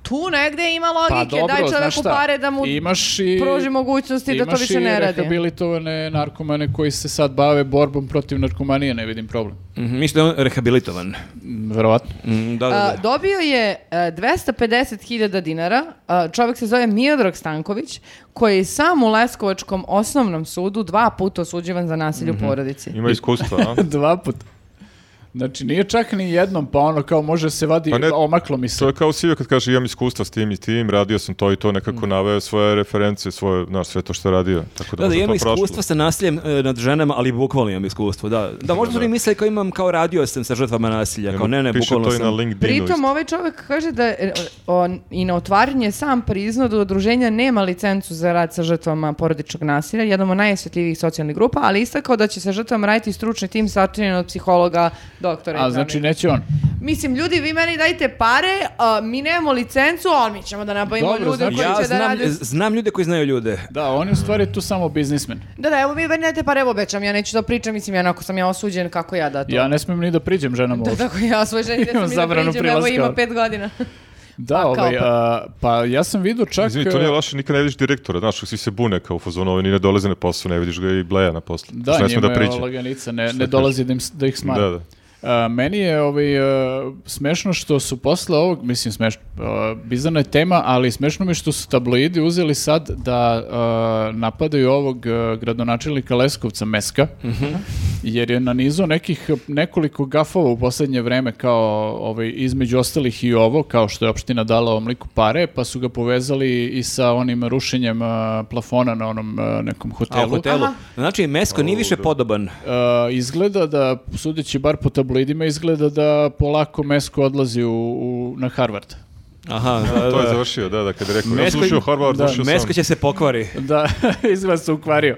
S1: tu negde ima
S2: Pa
S1: logike,
S2: dobro,
S1: daj
S2: znaš
S1: čoveku
S2: šta,
S1: pare da mu
S2: imaš i,
S1: pruži mogućnosti da to
S2: imaš
S1: više ne
S2: i
S1: radi.
S2: rehabilitovane narkomane koji se sad bave borbom protiv narkomanije, ne vidim problem.
S4: Mhm, Mislim da je on rehabilitovan.
S2: Mm, Verovatno.
S4: Mm, da, da,
S1: A,
S4: da.
S1: dobio je e, 250.000 dinara, a, čovjek se zove Mijodrag Stanković, koji je sam u Leskovačkom osnovnom sudu dva puta osuđivan za nasilje
S2: Mhm.
S1: u porodici.
S3: Ima iskustva,
S1: (laughs)
S3: a?
S2: (laughs) Dva put. Znači, nije čak ni jednom, pa ono kao može se vadi,
S3: Pa ne-
S2: omaklo mi se.
S3: To je kao Sivio kad kaže imam iskustva s tim i tim, radio sam to i to, nekako naveo svoje reference, svoje, znaš, sve to što je radio. Tako da,
S4: Mm. Da, da,
S3: možda
S4: imam
S3: to prošlo.
S4: iskustvo sa nasiljem e, nad ženama, ali bukvalno imam iskustvo, da. Da, možda su oni misle kao imam, kao radio sam sa žrtvama nasilja, kao ne, ne,
S3: Piše
S4: bukvalno
S3: to i na
S4: sam.
S3: LinkedInu.
S1: Pritom
S3: isto.
S1: ovaj čovjek kaže da e, on i na otvaranje sam priznao da udruženja nema licencu za rad sa žrtvama porodičnog nasilja, jednom od najosjetljivijih socijalnih grupa, ali istakao da će sa žrtvama raditi stručni tim sačinjen od psihologa, doktora. i
S2: A znači
S1: pravnika.
S2: neće on.
S1: Mislim, ljudi, vi meni dajte pare, a, mi nemamo licencu, ali mi ćemo da nabavimo
S2: Dobro,
S1: ljude
S2: znači-
S1: koji
S4: Ja
S1: će da
S4: znam,
S1: rade.
S4: znam ljude koji znaju ljude.
S2: Da, on je u stvari tu samo biznismen.
S1: Da, da, evo mi meni dajte pare, evo obećam, ja neću da pričam, mislim, ja onako sam ja osuđen, kako ja da to...
S2: Ja ne smijem ni da priđem ženama
S1: Da,
S2: uopšte.
S1: tako ja svoj ženi da
S2: Imam
S1: sam i da
S2: zabranu
S1: priđem, evo
S2: prilaska.
S1: ima pet godina.
S2: Da,
S1: kao
S2: ovaj,
S1: pa-
S2: a, pa ja sam vidio čak... e,
S3: Izvini, to nije loše, nikad ne vidiš direktora, znaš, svi se bune kao u fazonu, ovi ni ne dolaze na posao, ne vidiš ga i bleja na poslu.
S2: Da,
S3: ne sme
S2: njima
S3: da
S2: je ovaj
S3: priđe.
S2: ova laganica, ne,
S3: Šta
S2: ne
S3: kaže?
S2: dolazi da, im, s- da ih smara.
S3: Da, da.
S2: A, meni je ovaj, a, smešno što su posle ovog, mislim smešno, a, bizarna je tema, ali smešno mi je što su tabloidi uzeli sad da a, napadaju ovog a, gradonačelnika Leskovca Meska, jer je nanizao nekih nekoliko gafova u posljednje vreme kao ovaj, između ostalih i ovo, kao što je opština dala ovom liku pare, pa su ga povezali i sa onim rušenjem a, plafona na onom a, nekom
S4: A, u
S2: hotelu.
S4: hotelu.
S1: Aha.
S4: Znači, Mesko nije više podoban.
S2: E, izgleda da, sudeći bar po tabloidima, izgleda da polako Mesko odlazi u, u- na Harvard.
S4: Aha, da,
S3: To je
S4: da.
S3: završio, da, da, kad je rekao, ja
S2: Mesko-
S3: slušao Horvath,
S2: da,
S3: slušao sam.
S4: Mesko će se pokvari.
S2: Da, (laughs) izgleda se ukvario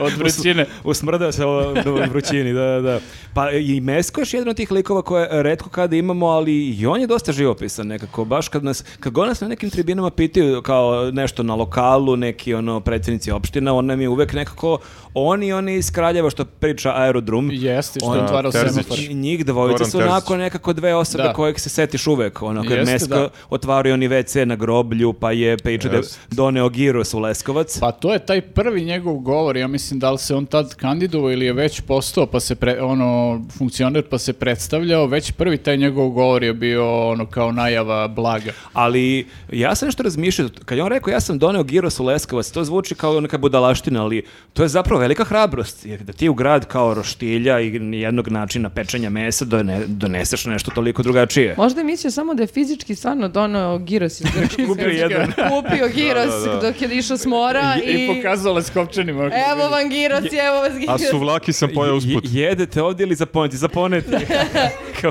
S2: od vrućine.
S4: Usmrdao se o u vrućini, da, da. Pa i Mesko je još jedan od tih likova koje redko kada imamo, ali i on je dosta živopisan nekako. Baš kad, nas, kad god nas na nekim tribinama pitaju kao nešto na lokalu, neki ono predsjednici opština, on nam je uvek nekako on i on iz Kraljeva što priča aerodrum.
S2: Jeste, što
S4: On-
S2: je otvarao
S3: Terzić.
S2: semafor.
S4: Nj- Njih dvojica
S3: Goran
S4: su
S3: Terzić.
S4: onako nekako dve osobe
S2: Da.
S4: kojeg se setiš uvek. Ono, kad
S2: Jeste,
S4: Mesko
S2: da.
S4: otvario oni WC na groblju, pa je priča da je
S3: Jeste.
S4: doneo Giros u Leskovac.
S2: Pa to je taj prvi njegov govor, ja mislim da li se on tad kandidovao ili je već postao pa se pre, ono funkcioner pa se predstavljao, već prvi taj njegov govor je bio ono kao najava blaga.
S4: Ali ja sam nešto razmišljao, kad je on rekao ja sam doneo giros u Leskovac, to zvuči kao neka budalaština, ali to je zapravo velika hrabrost, jer da ti u grad kao roštilja i jednog načina pečenja mesa done- doneseš nešto toliko drugačije.
S1: (laughs) Možda je mislio samo da je fizički stvarno donao giros iz Grčke.
S4: Kupio jedan.
S1: (laughs) Kupio giros
S3: Da, da, da.
S1: dok je išao s mora Pa i...
S2: I, pokazalo je s kopčanima.
S1: Evo vam giros, i evo vas
S3: A
S1: giros.
S3: suvlaki sam pojao
S4: Je-
S3: usput.
S4: jedete ovdje ili zaponeti? Zaponeti.
S2: (laughs)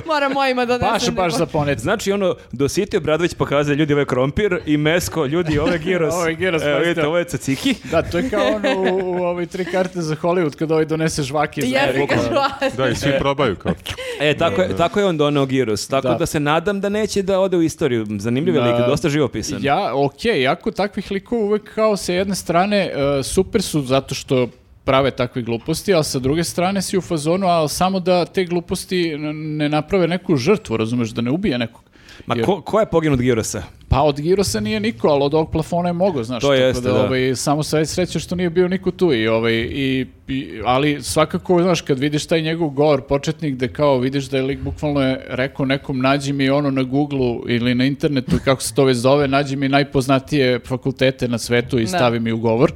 S1: Moram mojima da donesem.
S2: Baš, baš
S1: neko-
S2: za ponet.
S4: Znači ono, dositio Bradović pokazuje ljudi ovaj krompir i mesko, ljudi ovo je giros.
S2: (laughs) Ovo je pa giros,
S4: Evo
S2: pazite.
S4: vidite, ovo je caciki.
S2: Da, to je kao ono u, u ovoj tri karte za Hollywood kad ovaj donese žvake. za
S1: Jeste,
S2: Eriku.
S1: (laughs) kažu, a-
S4: (laughs)
S3: Da, i svi probaju kao.
S4: E, tako, je, tako je on doneo giros. Tako da.
S2: Da.
S4: se nadam da neće da ode u istoriju. Zanimljiv je
S2: Da.
S4: lik, dosta živopisan.
S2: Ja, okej, jako takvih likova uvek kao sa jedne strane e, super su zato što prave takve gluposti, ali sa druge strane si u fazonu, ali samo da te gluposti n- ne naprave neku žrtvu, razumeš, da ne ubije nekog.
S4: Ma
S2: Jer-
S4: ko, ko je poginut Girosa?
S2: Pa od Girosa nije niko, ali od ovog plafona je mogao, znaš.
S4: To
S2: tako
S4: jeste, da.
S2: Ovaj, samo sve sreće što nije bio niko tu. I, ovaj, i, i- ali svakako, znaš, kad vidiš taj njegov govor početnik, da kao vidiš da je lik bukvalno je rekao nekom nađi mi ono na Google ili na internetu, kako se to već zove, nađi mi najpoznatije fakultete na svetu i
S1: Da.
S2: stavi mi u govor.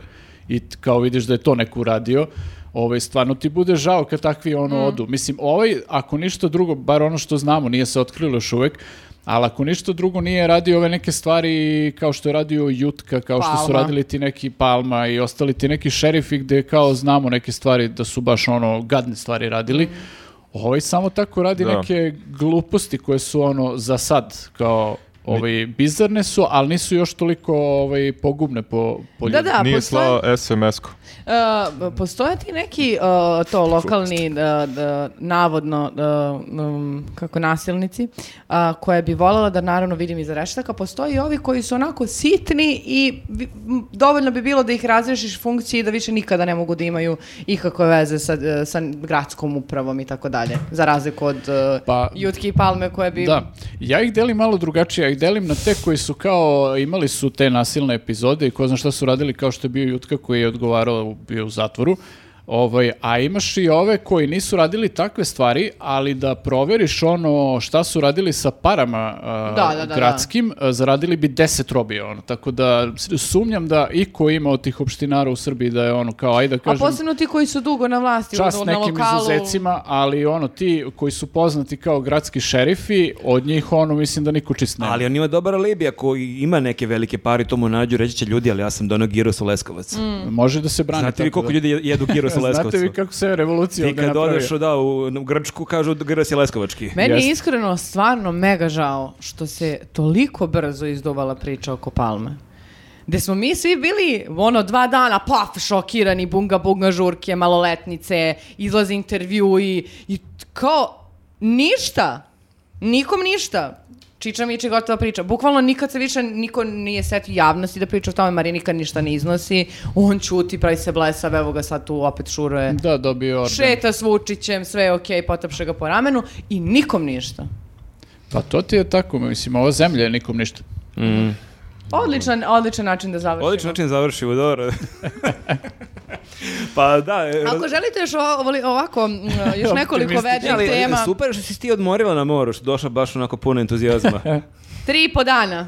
S2: I t- kao vidiš da je to neko uradio. Ovaj, stvarno ti bude žao kad takvi ono
S1: Mm.
S2: odu. Mislim, ovaj, ako ništa drugo, bar ono što znamo, nije se otkrilo još uvek, ali ako ništa drugo nije radio ove neke stvari kao što je radio Jutka, kao što su
S1: Palma.
S2: radili ti neki Palma i ostali ti neki šerifi gde kao znamo neke stvari da su baš ono gadne stvari radili, ovaj samo tako radi
S3: Da.
S2: neke gluposti koje su ono za sad kao ovaj, bizarne su, ali nisu još toliko ovaj, pogubne po, po
S1: Da,
S2: ljude.
S1: da,
S3: Nije
S1: postoje,
S3: slao SMS-ko.
S1: e, postoje ti neki e, to lokalni da, da, navodno e, um, kako nasilnici a, koje bi voljela da naravno vidim iza reštaka. Postoje i ovi koji su onako sitni i bi- m, dovoljno bi bilo da ih razrešiš funkciji i da više nikada ne mogu da imaju ikakve veze sa, e, sa gradskom upravom i tako dalje. Za razliku od e,
S2: Pa-
S1: Jutke i Palme koje bi...
S2: Da, ja ih delim malo drugačije, ja ih delim na te koji su kao, imali su te nasilne epizode i ko zna šta su radili kao što je bio Jutka koji je odgovarao, bio u zatvoru, ovaj, a imaš i ove koji nisu radili takve stvari, ali da proveriš ono šta su radili sa parama a,
S1: Da, da, da,
S2: gradskim, a, zaradili bi 10 robija, ono, tako da s- sumnjam da iko ima od tih opštinara u Srbiji da je ono kao, ajde da
S1: A
S2: kažem,
S1: posebno ti koji su dugo na vlasti,
S2: čast
S1: ono, na
S2: nekim
S1: lokalu.
S2: izuzecima, ali ono ti koji su poznati kao gradski šerifi, od njih ono mislim da niko čist nema.
S4: Ali on ima dobar alibi, ako ima neke velike pari, to mu nađu, reći će ljudi, ali ja sam donao giros u Leskovac.
S1: Mm.
S2: Mm. Može da se brani.
S4: Znate vi
S2: tako
S4: koliko
S2: da-
S4: ljudi jedu (laughs) giros u Leskovcu?
S2: Znate vi kako se revolucija
S4: Ti
S2: ovde
S4: kad
S2: napravio?
S4: odeš da, u, u Grčku, kažu giros je leskovački.
S1: Meni je
S2: Jeste.
S1: iskreno stvarno mega žao što se toliko brzo izduvala priča oko Palme. Gde smo mi svi bili, ono, dva dana, paf, šokirani, bunga, bunga, žurke, maloletnice, izlaze intervju i, i t- kao, ništa, nikom ništa. Čiča Miče gotova priča. Bukvalno nikad se više niko nije setio javnosti da priča o tome, Marinika ništa ne iznosi, on ćuti, pravi se blesav, evo ga sad tu opet šuruje.
S2: Da, dobio orden.
S1: Šeta s Vučićem, sve je okej, potapše ga po ramenu i nikom ništa.
S2: Pa to ti je tako, mislim, ova zemlja je nikom ništa.
S1: Odličan, odličan način da završimo.
S4: Odličan način završi, dobro. (laughs) pa da, e, raz-
S1: Ako želite još ovo- ovoli- ovako,
S4: (laughs)
S1: m, još nekoliko
S2: Optimistično.
S1: vednih
S4: ali, e,
S1: tema,
S4: super što si ti odmorila na moru, što došla baš onako puno (laughs) entuzijazma.
S1: tri i po dana.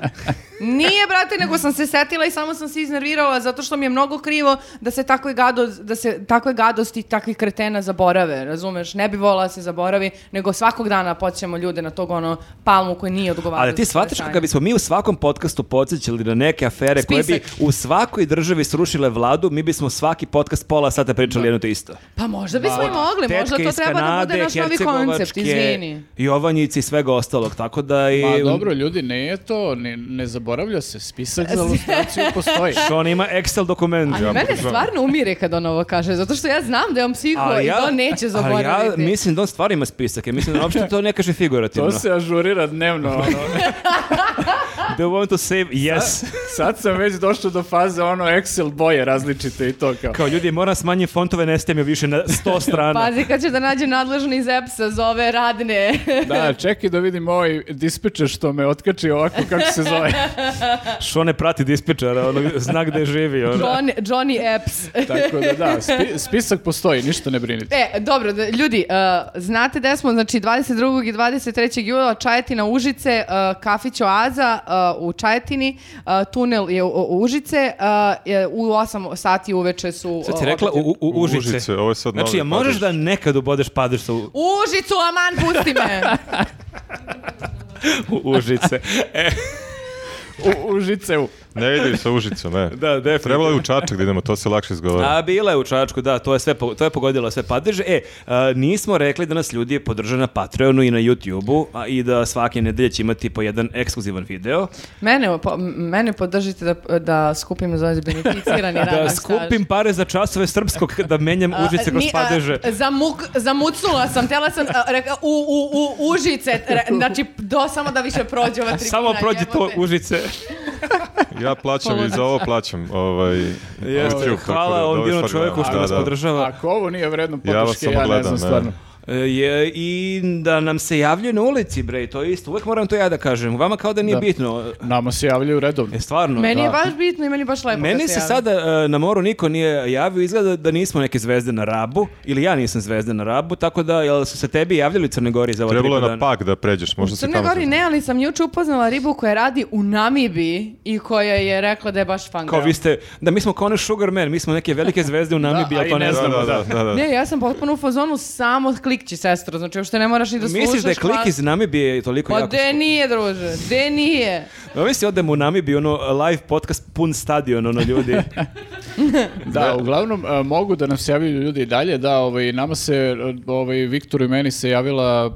S1: Nije, brate, nego sam se setila i samo sam se iznervirala zato što mi je mnogo krivo da se takve, gado, da se takve gadosti i takvih kretena zaborave, razumeš? Ne bi volala da se zaboravi, nego svakog dana podsjećamo ljude na tog ono palmu koji nije odgovarao.
S4: Ali ti
S1: za
S4: shvataš
S1: stanje.
S4: kako bismo mi u svakom podcastu podsjećali na neke afere koje
S1: Spisak.
S4: bi u svakoj državi srušile vladu, mi bismo svaki podcast pola sata pričali jedno te isto.
S1: Pa možda bismo i
S4: Od
S1: mogli,
S4: tetke
S1: Dakle, možda to
S4: iz
S1: treba da
S4: Kanade,
S1: bude naš novi koncept,
S4: Hercegovačke,
S1: izvini.
S4: Jovanjice i svega ostalog, tako da i...
S2: Pa dobro, ljudi, ne je to, ne, ne zaboravlja se, spisak
S1: (laughs)
S2: za lustraciju postoji.
S4: Što on ima Excel dokument.
S1: Ali
S3: Ja
S1: mene
S3: priznam.
S1: stvarno umire kad on ovo kaže, zato što ja znam da je on psiho
S4: Ali
S1: i to neće zaboraviti.
S4: Ali ja mislim da on stvarno ima spisak. Ja mislim da uopšte to ne kaže figurativno.
S2: To se ažurira dnevno. ono.
S4: The want to save, yes.
S2: Sad sam već došao do faze ono Excel boje različite i to kao.
S4: Kao ljudi, moram smanjiti fontove, ne stem više na
S1: (laughs)
S4: sto strana.
S1: Pazi kad će da nađe nadležni iz EPS-a za
S4: (laughs)
S1: ove radne.
S2: Da, čekaj da vidim ovaj dispečer što me otkači ovako kako se zove.
S4: Što ne prati dispečara, ono, zna gde živi. Ono.
S1: John, Johnny Epps.
S2: Tako da da, spi- spisak postoji, ništa ne brinite.
S1: E, dobro, da- ljudi, uh, znate da smo, znači 22. i 23. jula Čajetina Užice, uh, kafić Oaza uh, u Čajetini, uh, tunel je u, u Užice, uh, je u 8 sati uveče su...
S4: Sad
S1: uh,
S4: si rekla u, u, u Užice.
S3: Užice, ovo je sad
S4: Znači,
S3: novi
S4: ja možeš
S3: padež.
S4: da nekad ubodeš padež u,
S1: u Užicu, aman, pusti
S4: (laughs)
S1: me!
S4: u Užice. E,
S2: U, u Žiceu.
S3: Ne ide sa Užicom, ne.
S4: (laughs) da, definitivno.
S3: Trebalo je u Čačak da idemo, to se lakše izgovara.
S4: A bila je u Čačku, da, to je sve po- to je pogodilo sve padeže. E, a, nismo rekli da nas ljudi podrže na Patreonu i na YouTubeu, a i da svake nedelje će imati po jedan ekskluzivan video.
S1: Mene, po- mene podržite da, da skupim za
S4: (laughs)
S1: beneficirani
S4: Da
S1: radni staž.
S4: skupim pare za časove
S1: (laughs)
S4: srpskog da menjam Užice kroz
S1: Ni- a,
S4: padeže.
S1: zamuk, zamucnula sam, tela sam a, reka, u, u, u Užice, re- znači do, samo da više prođe ova tribina.
S4: Samo prođi to
S1: jebote.
S4: Užice.
S3: Ja plaćam i za ovo plaćam. Ovaj,
S4: Jeste,
S3: YouTube, tako da,
S4: hvala
S3: dobre
S4: ovom divnom
S3: stvari
S4: čovjeku
S3: gledam.
S4: što
S3: Da,
S4: nas
S3: da.
S4: podržava.
S2: Ako ovo nije vredno
S3: Ja vas
S2: podrške, ja,
S3: samo
S2: ne
S3: gledam,
S2: znam
S3: ne.
S2: stvarno.
S4: E, Je, I da nam se javljaju na ulici, bre, i to je isto. Uvijek moram to ja da kažem. Vama kao da nije
S2: Da.
S4: bitno.
S2: Nama se javljaju redovno.
S4: E, stvarno.
S1: Meni je
S2: Da.
S1: baš bitno i meni je baš lepo da
S4: Meni se
S1: javi.
S4: sada e, na moru niko nije javio, izgleda da nismo neke zvezde na Rabu, ili ja nisam zvezde na Rabu, tako da jel su se tebi javljali u Crnoj Gori za ova
S3: Trebalo
S4: tri
S3: je
S4: dana?
S3: na pa- pak da pređeš, možda
S1: U
S3: se
S1: Crnoj
S3: tamo...
S1: Gori ne, ali sam juče upoznala ribu koja radi u Namibiji i koja je rekla da je baš fan
S4: Kao
S1: girl.
S4: vi ste, da mi smo kao one sugar man, mi smo neke velike zvezde u Namibiji,
S2: Da,
S4: a
S2: a i
S4: to ne
S2: ne
S4: znamo.
S3: Da, da, da, da.
S1: Ne, ja sam potpuno u fazonu samo klikći sestro, znači uopšte ne moraš ni da slušaš.
S4: Misliš da je klik
S1: glas.
S4: iz Namibije toliko
S1: Pa
S4: jako?
S1: de nije, druže, de nije.
S4: Da mi si odemo u Namibiju, ono live podcast pun stadion, ono ljudi.
S2: Da, uglavnom e, mogu da nam se javljaju ljudi i dalje, da, ovaj, nama se, e, ovaj, Viktoru i meni se javila e,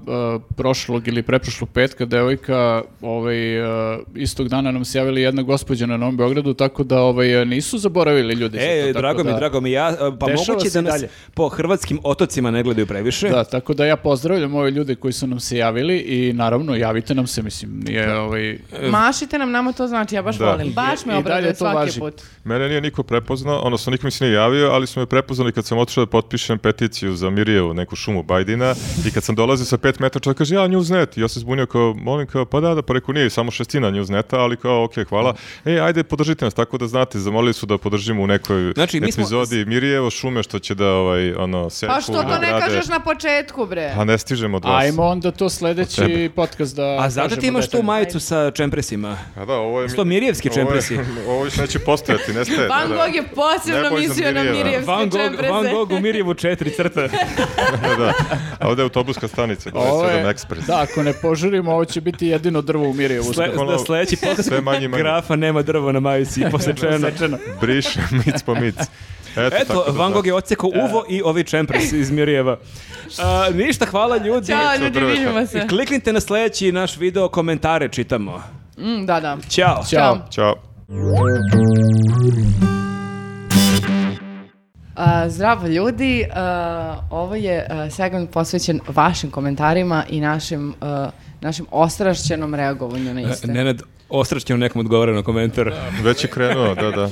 S2: prošlog ili preprošlog petka devojka, ovaj, e, istog dana nam se javila jedna gospođa na Novom Beogradu, tako da ovaj, e, nisu zaboravili ljudi. za
S4: e,
S2: to, tako
S4: drago mi,
S2: da-
S4: drago mi, ja, e, pa
S2: Dešava
S4: moguće
S2: se
S4: da nas
S2: dalje.
S4: po hrvatskim otocima ne gledaju previše.
S2: Da, tako da ja pozdravljam ove ljude koji su nam se javili i naravno javite nam se, mislim, nije ovaj...
S1: Mašite nam, nama to znači, ja baš
S3: E, Da. E,
S1: volim. Baš
S2: I-
S1: me
S2: i
S1: obraduje
S2: dalje to
S1: svaki
S2: važi.
S1: put.
S3: Mene nije niko prepoznao, odnosno niko mi se nije javio, ali su me prepoznali kad sam otišao da potpišem peticiju za Mirjevu, neku šumu Bajdina i kad sam dolazio sa pet metara, čovjek kaže, ja Newsnet, I ja se zbunio kao, molim, kao, pa da, da, pa rekao, nije samo šestina Newsneta, ali kao, ok, hvala, e, ajde, podržite nas, tako da znate, zamolili su da podržimo u nekoj
S4: Znači, mi smo-
S3: epizodi Mirjevo šume, što će da, ovaj, ono, seku,
S1: Pa što
S3: da
S1: to ne
S3: grade.
S1: kažeš na početku, bre?
S3: Pa ne stižemo od vas.
S2: Ajmo onda to
S3: Od tebe.
S2: sljedeći podcast da
S4: A zato ti
S2: kažemo
S4: imaš tu
S2: detaljno.
S4: majicu sa čempresima.
S3: A da, ovo je...
S4: Sto Mirjevski
S3: ovo je-
S4: čempresi.
S3: (laughs) Ovo više neće postojati, nestaje.
S1: Van
S3: da, da.
S1: Gogh je posebno
S3: Nebojša
S1: mislio na
S3: Mirijeva.
S1: Mirjevske
S4: Van Gogh,
S1: čempreze.
S4: Van Gogh u Mirjevu četiri (laughs) crte.
S3: Da, da. A ovdje je autobuska stanica,
S2: Ovo je-
S3: 27 Express.
S2: Da, ako ne požurimo, ovo će biti jedino drvo u Mirjevu.
S4: Sle, da sledeći podcast
S3: ono Sve manje i manje.
S4: grafa nema drvo na
S3: (laughs)
S4: majici i posečeno.
S3: Briše (laughs) mic po mic. Eto,
S4: Eto,
S3: tako da
S4: Van
S3: da.
S4: Gogh je odsekao uvo i ovi
S3: (laughs)
S4: čempres iz Mirjeva. A, ništa, hvala ljudi.
S1: Ćao ljudi,
S3: drveća.
S1: vidimo se.
S4: Kliknite na sledeći naš video, komentare čitamo.
S1: Mm, da, da.
S4: Ćao.
S2: Ćao.
S3: Ćao.
S1: A, zdravo ljudi, a, ovo je a, segment posvećen vašim komentarima i našim, a, našim ostrašćenom reagovanju
S2: E,
S1: na iste.
S4: Nenad, ostrašćeno nekom odgovara na komentar.
S3: Već je krenuo, da, da.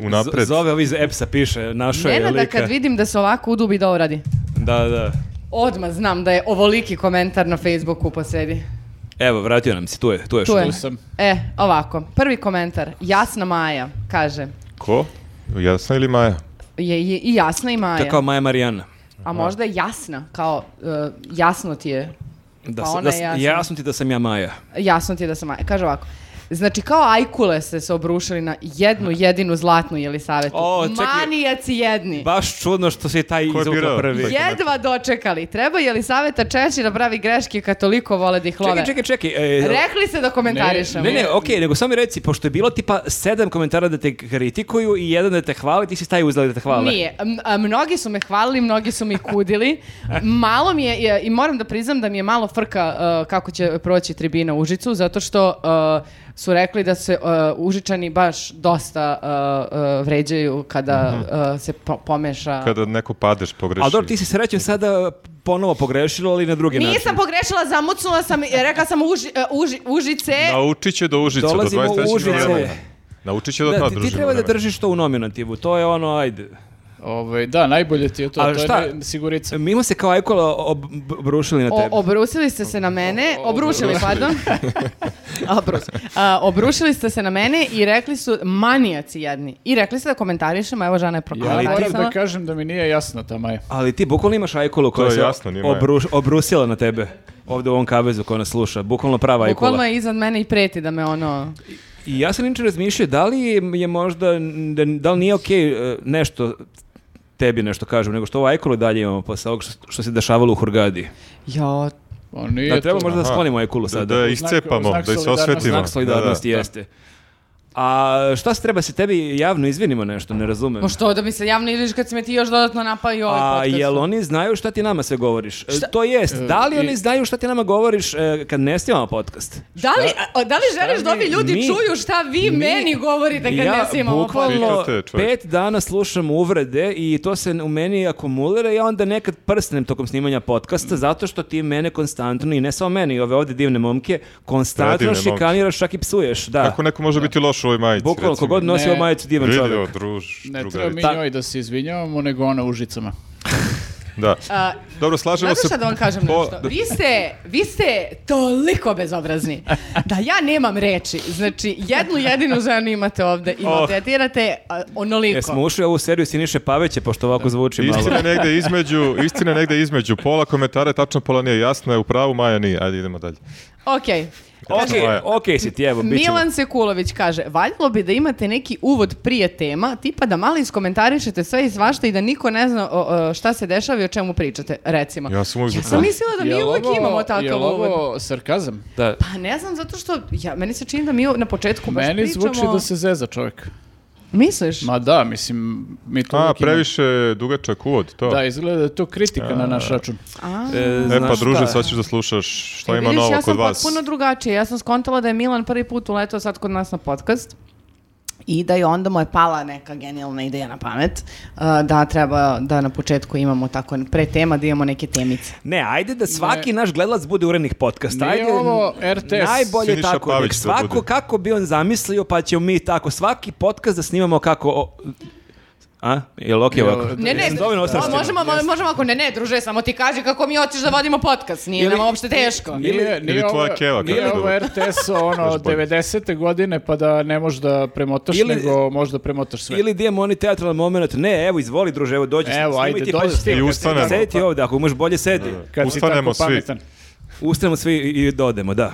S3: Unapred.
S4: Z- Zove ovi iz EPS-a, piše, našo je
S1: Nenada
S4: lika.
S1: kad vidim da se ovako udubi da uradi.
S4: Da, da.
S1: Odmah znam da je ovoliki komentar na Facebooku po sredi.
S4: Evo, vratio nam se, tu je, tu je.
S1: Tu je.
S2: sam.
S1: E, ovako. Prvi komentar. Jasna Maja kaže.
S3: Ko? Jasna ili Maja?
S1: Je, je i jasna i Maja.
S4: To je kao Maja Marijana.
S1: A možda je jasna, kao e, jasno ti je.
S4: Da,
S1: Pa
S4: sam-
S1: ona
S4: da
S1: je
S4: sam-
S1: jasna.
S4: jasno ti da sam ja Maja.
S1: Jasno ti je da sam Maja. Kaže ovako. Znači, kao ajkule ste se obrušili na jednu jedinu zlatnu Jelisavetu.
S4: O, čekaj.
S1: Manijaci jedni.
S4: Baš čudno što si taj
S3: Ko je
S4: izvukao
S3: birao?
S4: prvi.
S3: Je-
S1: Jedva dočekali. Treba Jelisaveta češće da pravi greške kad toliko vole da ih love.
S4: Čekaj, čekaj, čekaj. e,
S1: Rekli ste da komentarišemo.
S4: Ne, ne, okej, nego samo mi reci, pošto je bilo tipa sedam komentara da te kritikuju i jedan da te hvali, ti si taj uzeli da te hvale.
S1: Nije. M- a, Mnogi su me hvalili, mnogi su mi kudili. Malo mi je, je- i moram da priznam da mi je malo frka uh, kako će proći tribina u Užicu, zato što uh, su rekli da se uh, Užičani baš dosta uh, uh, vređaju kada uh, se po- pomeša.
S3: Kada neko padeš, pogreši.
S4: Ali dobro, ti si srećen sada ponovo pogrešilo, ali na drugi način.
S1: Nisam pogrešila, zamucnula sam i rekla sam uži, uh, uži, Užice.
S3: Naučit će do Užica, do
S4: Dolazimo u
S3: 23.
S4: Užice.
S3: vremena. Naučit će do
S4: Da,
S3: tada
S4: ti, ti
S3: družimo
S4: treba da
S3: vremena.
S4: držiš to u nominativu, to je ono, ajde.
S2: Ovaj, da, najbolje ti je to,
S4: A
S2: to
S4: šta?
S2: je ne- sigurica.
S4: Mi smo se kao ajkola obrušili na
S1: O-
S4: tebe.
S1: obrusili ste se na mene,
S2: O- o-
S1: obrušili,
S2: obrušili. (laughs)
S1: pardon. Obrus. A, obrušili ste se na mene i rekli su manijaci jedni. I rekli ste da komentarišemo, evo žena je
S2: Ja moram
S1: prokomentarisala.
S2: da kažem da mi nije jasna ta Maja.
S4: Ali ti bukvalno imaš ajkolu koja
S3: je
S4: se
S3: jasno, njima je.
S4: obruš- obrusila na tebe. Ovde u ovom kavezu koja nas sluša. Bukvalno prava ajkola.
S1: Bukvalno je iznad mene i preti da me ono...
S4: I ja sam inače razmišljao da li je možda, da, da li nije okej e, nešto tebi nešto kažem, nego što ovo ajkulu dalje imamo posle ovog što, što se dešavalo u Hurgadi.
S1: Ja,
S2: O, nije
S4: Da treba
S2: to.
S4: možda da
S3: Aha.
S4: sklonimo ajkulu
S3: Da,
S4: sada.
S3: da
S2: U znak- u
S3: iscepamo,
S2: znak
S3: da ih se
S2: solidarnosti.
S3: osvetimo.
S4: Znak solidarnosti
S3: Da, da.
S4: jeste. A šta se treba se tebi javno izvinimo nešto, ne razumem.
S1: ma što da mi se javno ideš kad si me ti još dodatno napali ovaj
S4: A
S1: podcast.
S4: jel oni znaju šta ti nama sve govoriš? E, To jest, da li
S2: i-
S4: oni znaju šta ti nama govoriš e, kad ne snimamo podcast?
S1: Da li, a, da li želiš
S2: mi-
S1: da ovi ljudi
S4: mi-
S1: čuju šta vi
S4: mi-
S1: meni govorite kad ne snimamo podcast?
S4: bukvalno
S3: Pitate, čovječe.
S4: pet dana slušam uvrede i to se u meni akumulira i onda nekad prsnem tokom snimanja podcasta zato što ti mene konstantno i ne samo mene i ove ovde divne momke konstantno
S3: Predivne momke.
S4: šikaniraš čak i psuješ. Da.
S3: Kako neko može biti loš u ovoj majici?
S4: Bukvalno
S3: recimo?
S4: kogod nosi
S2: Ne.
S4: ovu majicu divan
S3: Vidio,
S4: čovjek.
S3: druž,
S2: Ne treba mi
S3: drugarica.
S4: Ta-
S2: njoj da se izvinjavamo, nego ona Užicama.
S3: Da.
S1: A,
S3: Dobro, slažemo
S1: Znate
S3: se.
S1: šta da vam kažem
S3: po-
S1: nešto? Vi ste, vi ste toliko bezobrazni da ja nemam reči. Znači, jednu jedinu ženu imate ovde i
S3: Oh.
S1: maltretirate a, onoliko.
S4: Jesmo ušli u ovu seriju Siniše Paveće, pošto ovako zvuči malo.
S3: Istina je negde između, istina je negde između. Pola komentara je tačno, pola nije jasno, je u pravu, Maja nije. Ajde, idemo dalje.
S1: Okej.
S3: Tačno,
S4: Okej,
S3: Maja.
S4: okej si ti, evo, bit ćemo.
S1: Milan Sekulović kaže, valjalo bi da imate neki uvod prije tema, tipa da malo iskomentarišete sve i svašta i da niko ne zna o, o, šta se dešava i o čemu pričate, recimo.
S3: Ja sam uvijek za
S1: Sam mislila da mi
S2: Jel
S1: uvijek
S2: ovo-
S1: imamo takav
S2: Jel
S1: uvod.
S2: ovo sarkazam?
S4: Da.
S1: Pa ne znam, zato što ja, meni se čini da mi na početku baš
S2: Meni
S1: pričamo...
S2: zvuči da se zeza čovjek.
S1: Misliš?
S2: Ma da, mislim, mi to
S3: A,
S2: uvijek imamo.
S3: previše je dugačak uvod, to.
S2: Da, izgleda da je to kritika na naš račun.
S1: A.
S4: E,
S3: E pa
S4: znaš
S3: druže,
S4: šta?
S3: sad ćeš da slušaš šta
S1: E,
S3: Pa ima
S1: vidiš,
S3: novo kod
S1: Ja
S3: vas.
S1: sam potpuno drugačije. Ja sam skontala da je Milan prvi put uletao sad kod nas na podcast i da je onda mu je pala neka genijalna ideja na pamet uh, da treba da na početku imamo tako pre tema da imamo neke temice.
S4: Ne, ajde da svaki naš gledalac bude urednik podcasta.
S2: Nije
S4: Ajde,
S2: ovo RTS.
S4: Najbolje
S3: Siniša
S4: tako.
S3: Pavić
S4: nek
S3: da
S4: svako
S3: bude.
S4: kako bi on zamislio, pa ćemo mi tako. Svaki podcast da snimamo kako... o- A? Jel okej
S2: Jel-
S4: ovako?
S1: Ne, ne,
S4: Jesam dovoljno
S1: a,
S4: osršćen?
S1: možemo, možemo ako ne, ne, druže, samo ti kaži kako mi hoćeš da vodimo podcast, nije
S4: Ili-
S1: nam uopšte teško.
S2: Nije,
S3: ili
S2: ovo-
S3: tvoja keva, kako
S2: nije
S3: je
S2: ovo
S3: dobro. (laughs)
S2: RTS ono
S3: Još bolje.
S2: 90. godine pa da ne možeš da premotaš
S4: Ili-
S2: nego možda premotaš sve.
S4: Ili idemo onaj teatralan moment, ne, evo izvoli druže, evo dođi,
S2: Evo,
S4: snimi
S2: ajde,
S4: ti
S2: dođi
S4: podcast.
S2: s tim.
S3: I
S2: kad si
S3: ustanemo.
S2: tako-
S4: Sedi ovdje, ako možeš bolje sedi.
S2: Kad si tako
S3: Ustanemo svi.
S2: pametan.
S4: Ustanemo svi i i da odemo, da.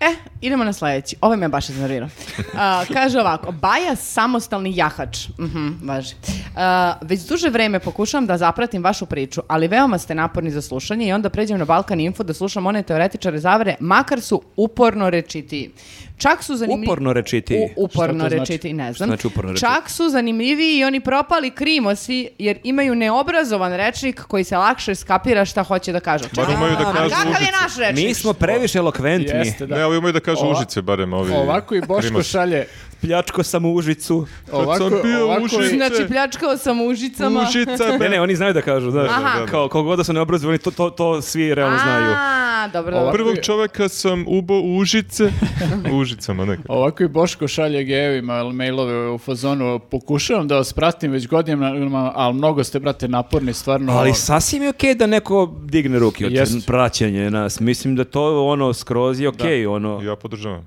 S1: E, idemo na sljedeći. Ovo me baš iznervirao. A, kaže ovako, Baja samostalni jahač. Mhm, važi. A, već duže vreme pokušavam da zapratim vašu priču, ali veoma ste naporni za slušanje i onda pređem na Balkan Info da slušam one teoretičare zavere, makar su uporno rečitiji. Čak su zanimljivi...
S4: Uporno rečitiji.
S1: U- uporno
S2: Šta to znači?
S1: rečitiji, ne znam.
S4: znači uporno rečitiji?
S1: Čak su zanimljiviji i oni propali krimosi, jer imaju neobrazovan rečnik koji se lakše skapira šta hoće da kažu.
S3: Bar
S1: Čak-
S3: umeju da
S1: A,
S3: kažu
S1: Kakav je
S3: Užice.
S1: naš rečnik?
S4: Mi smo previše elokventni.
S2: Jeste, da.
S3: Ne, ovi imaju da kažu
S2: Ova-
S3: Užice, barem ovi.
S2: Ovako i Boško
S3: Krimosi.
S2: šalje.
S4: Pljačko sam u Užicu.
S3: sam
S2: Ovako,
S3: bio u
S2: ovako i-
S3: Užicu.
S1: Znači, pljačkao sam u Užicama.
S3: Užica,
S4: Ne, ne, oni znaju da kažu, da.
S1: Aha.
S3: da, da.
S4: Kao, kao god da su neobrazovani, to, to, to svi realno znaju.
S1: A, dobro,
S2: Ovako-
S1: dobro.
S3: Prvog čoveka sam ubo u Užice. U Užicama, neka.
S2: Ovako i Boško šalje gejevima mailove u fazonu. Pokušavam da vas pratim već godinama, ali mnogo ste, brate, naporni, stvarno.
S4: Ali sasvim je okej da neko digne ruke od
S2: Ono- Jest.
S4: praćenja nas. Mislim da to ono skroz je okej. ono.
S3: Ja podržavam.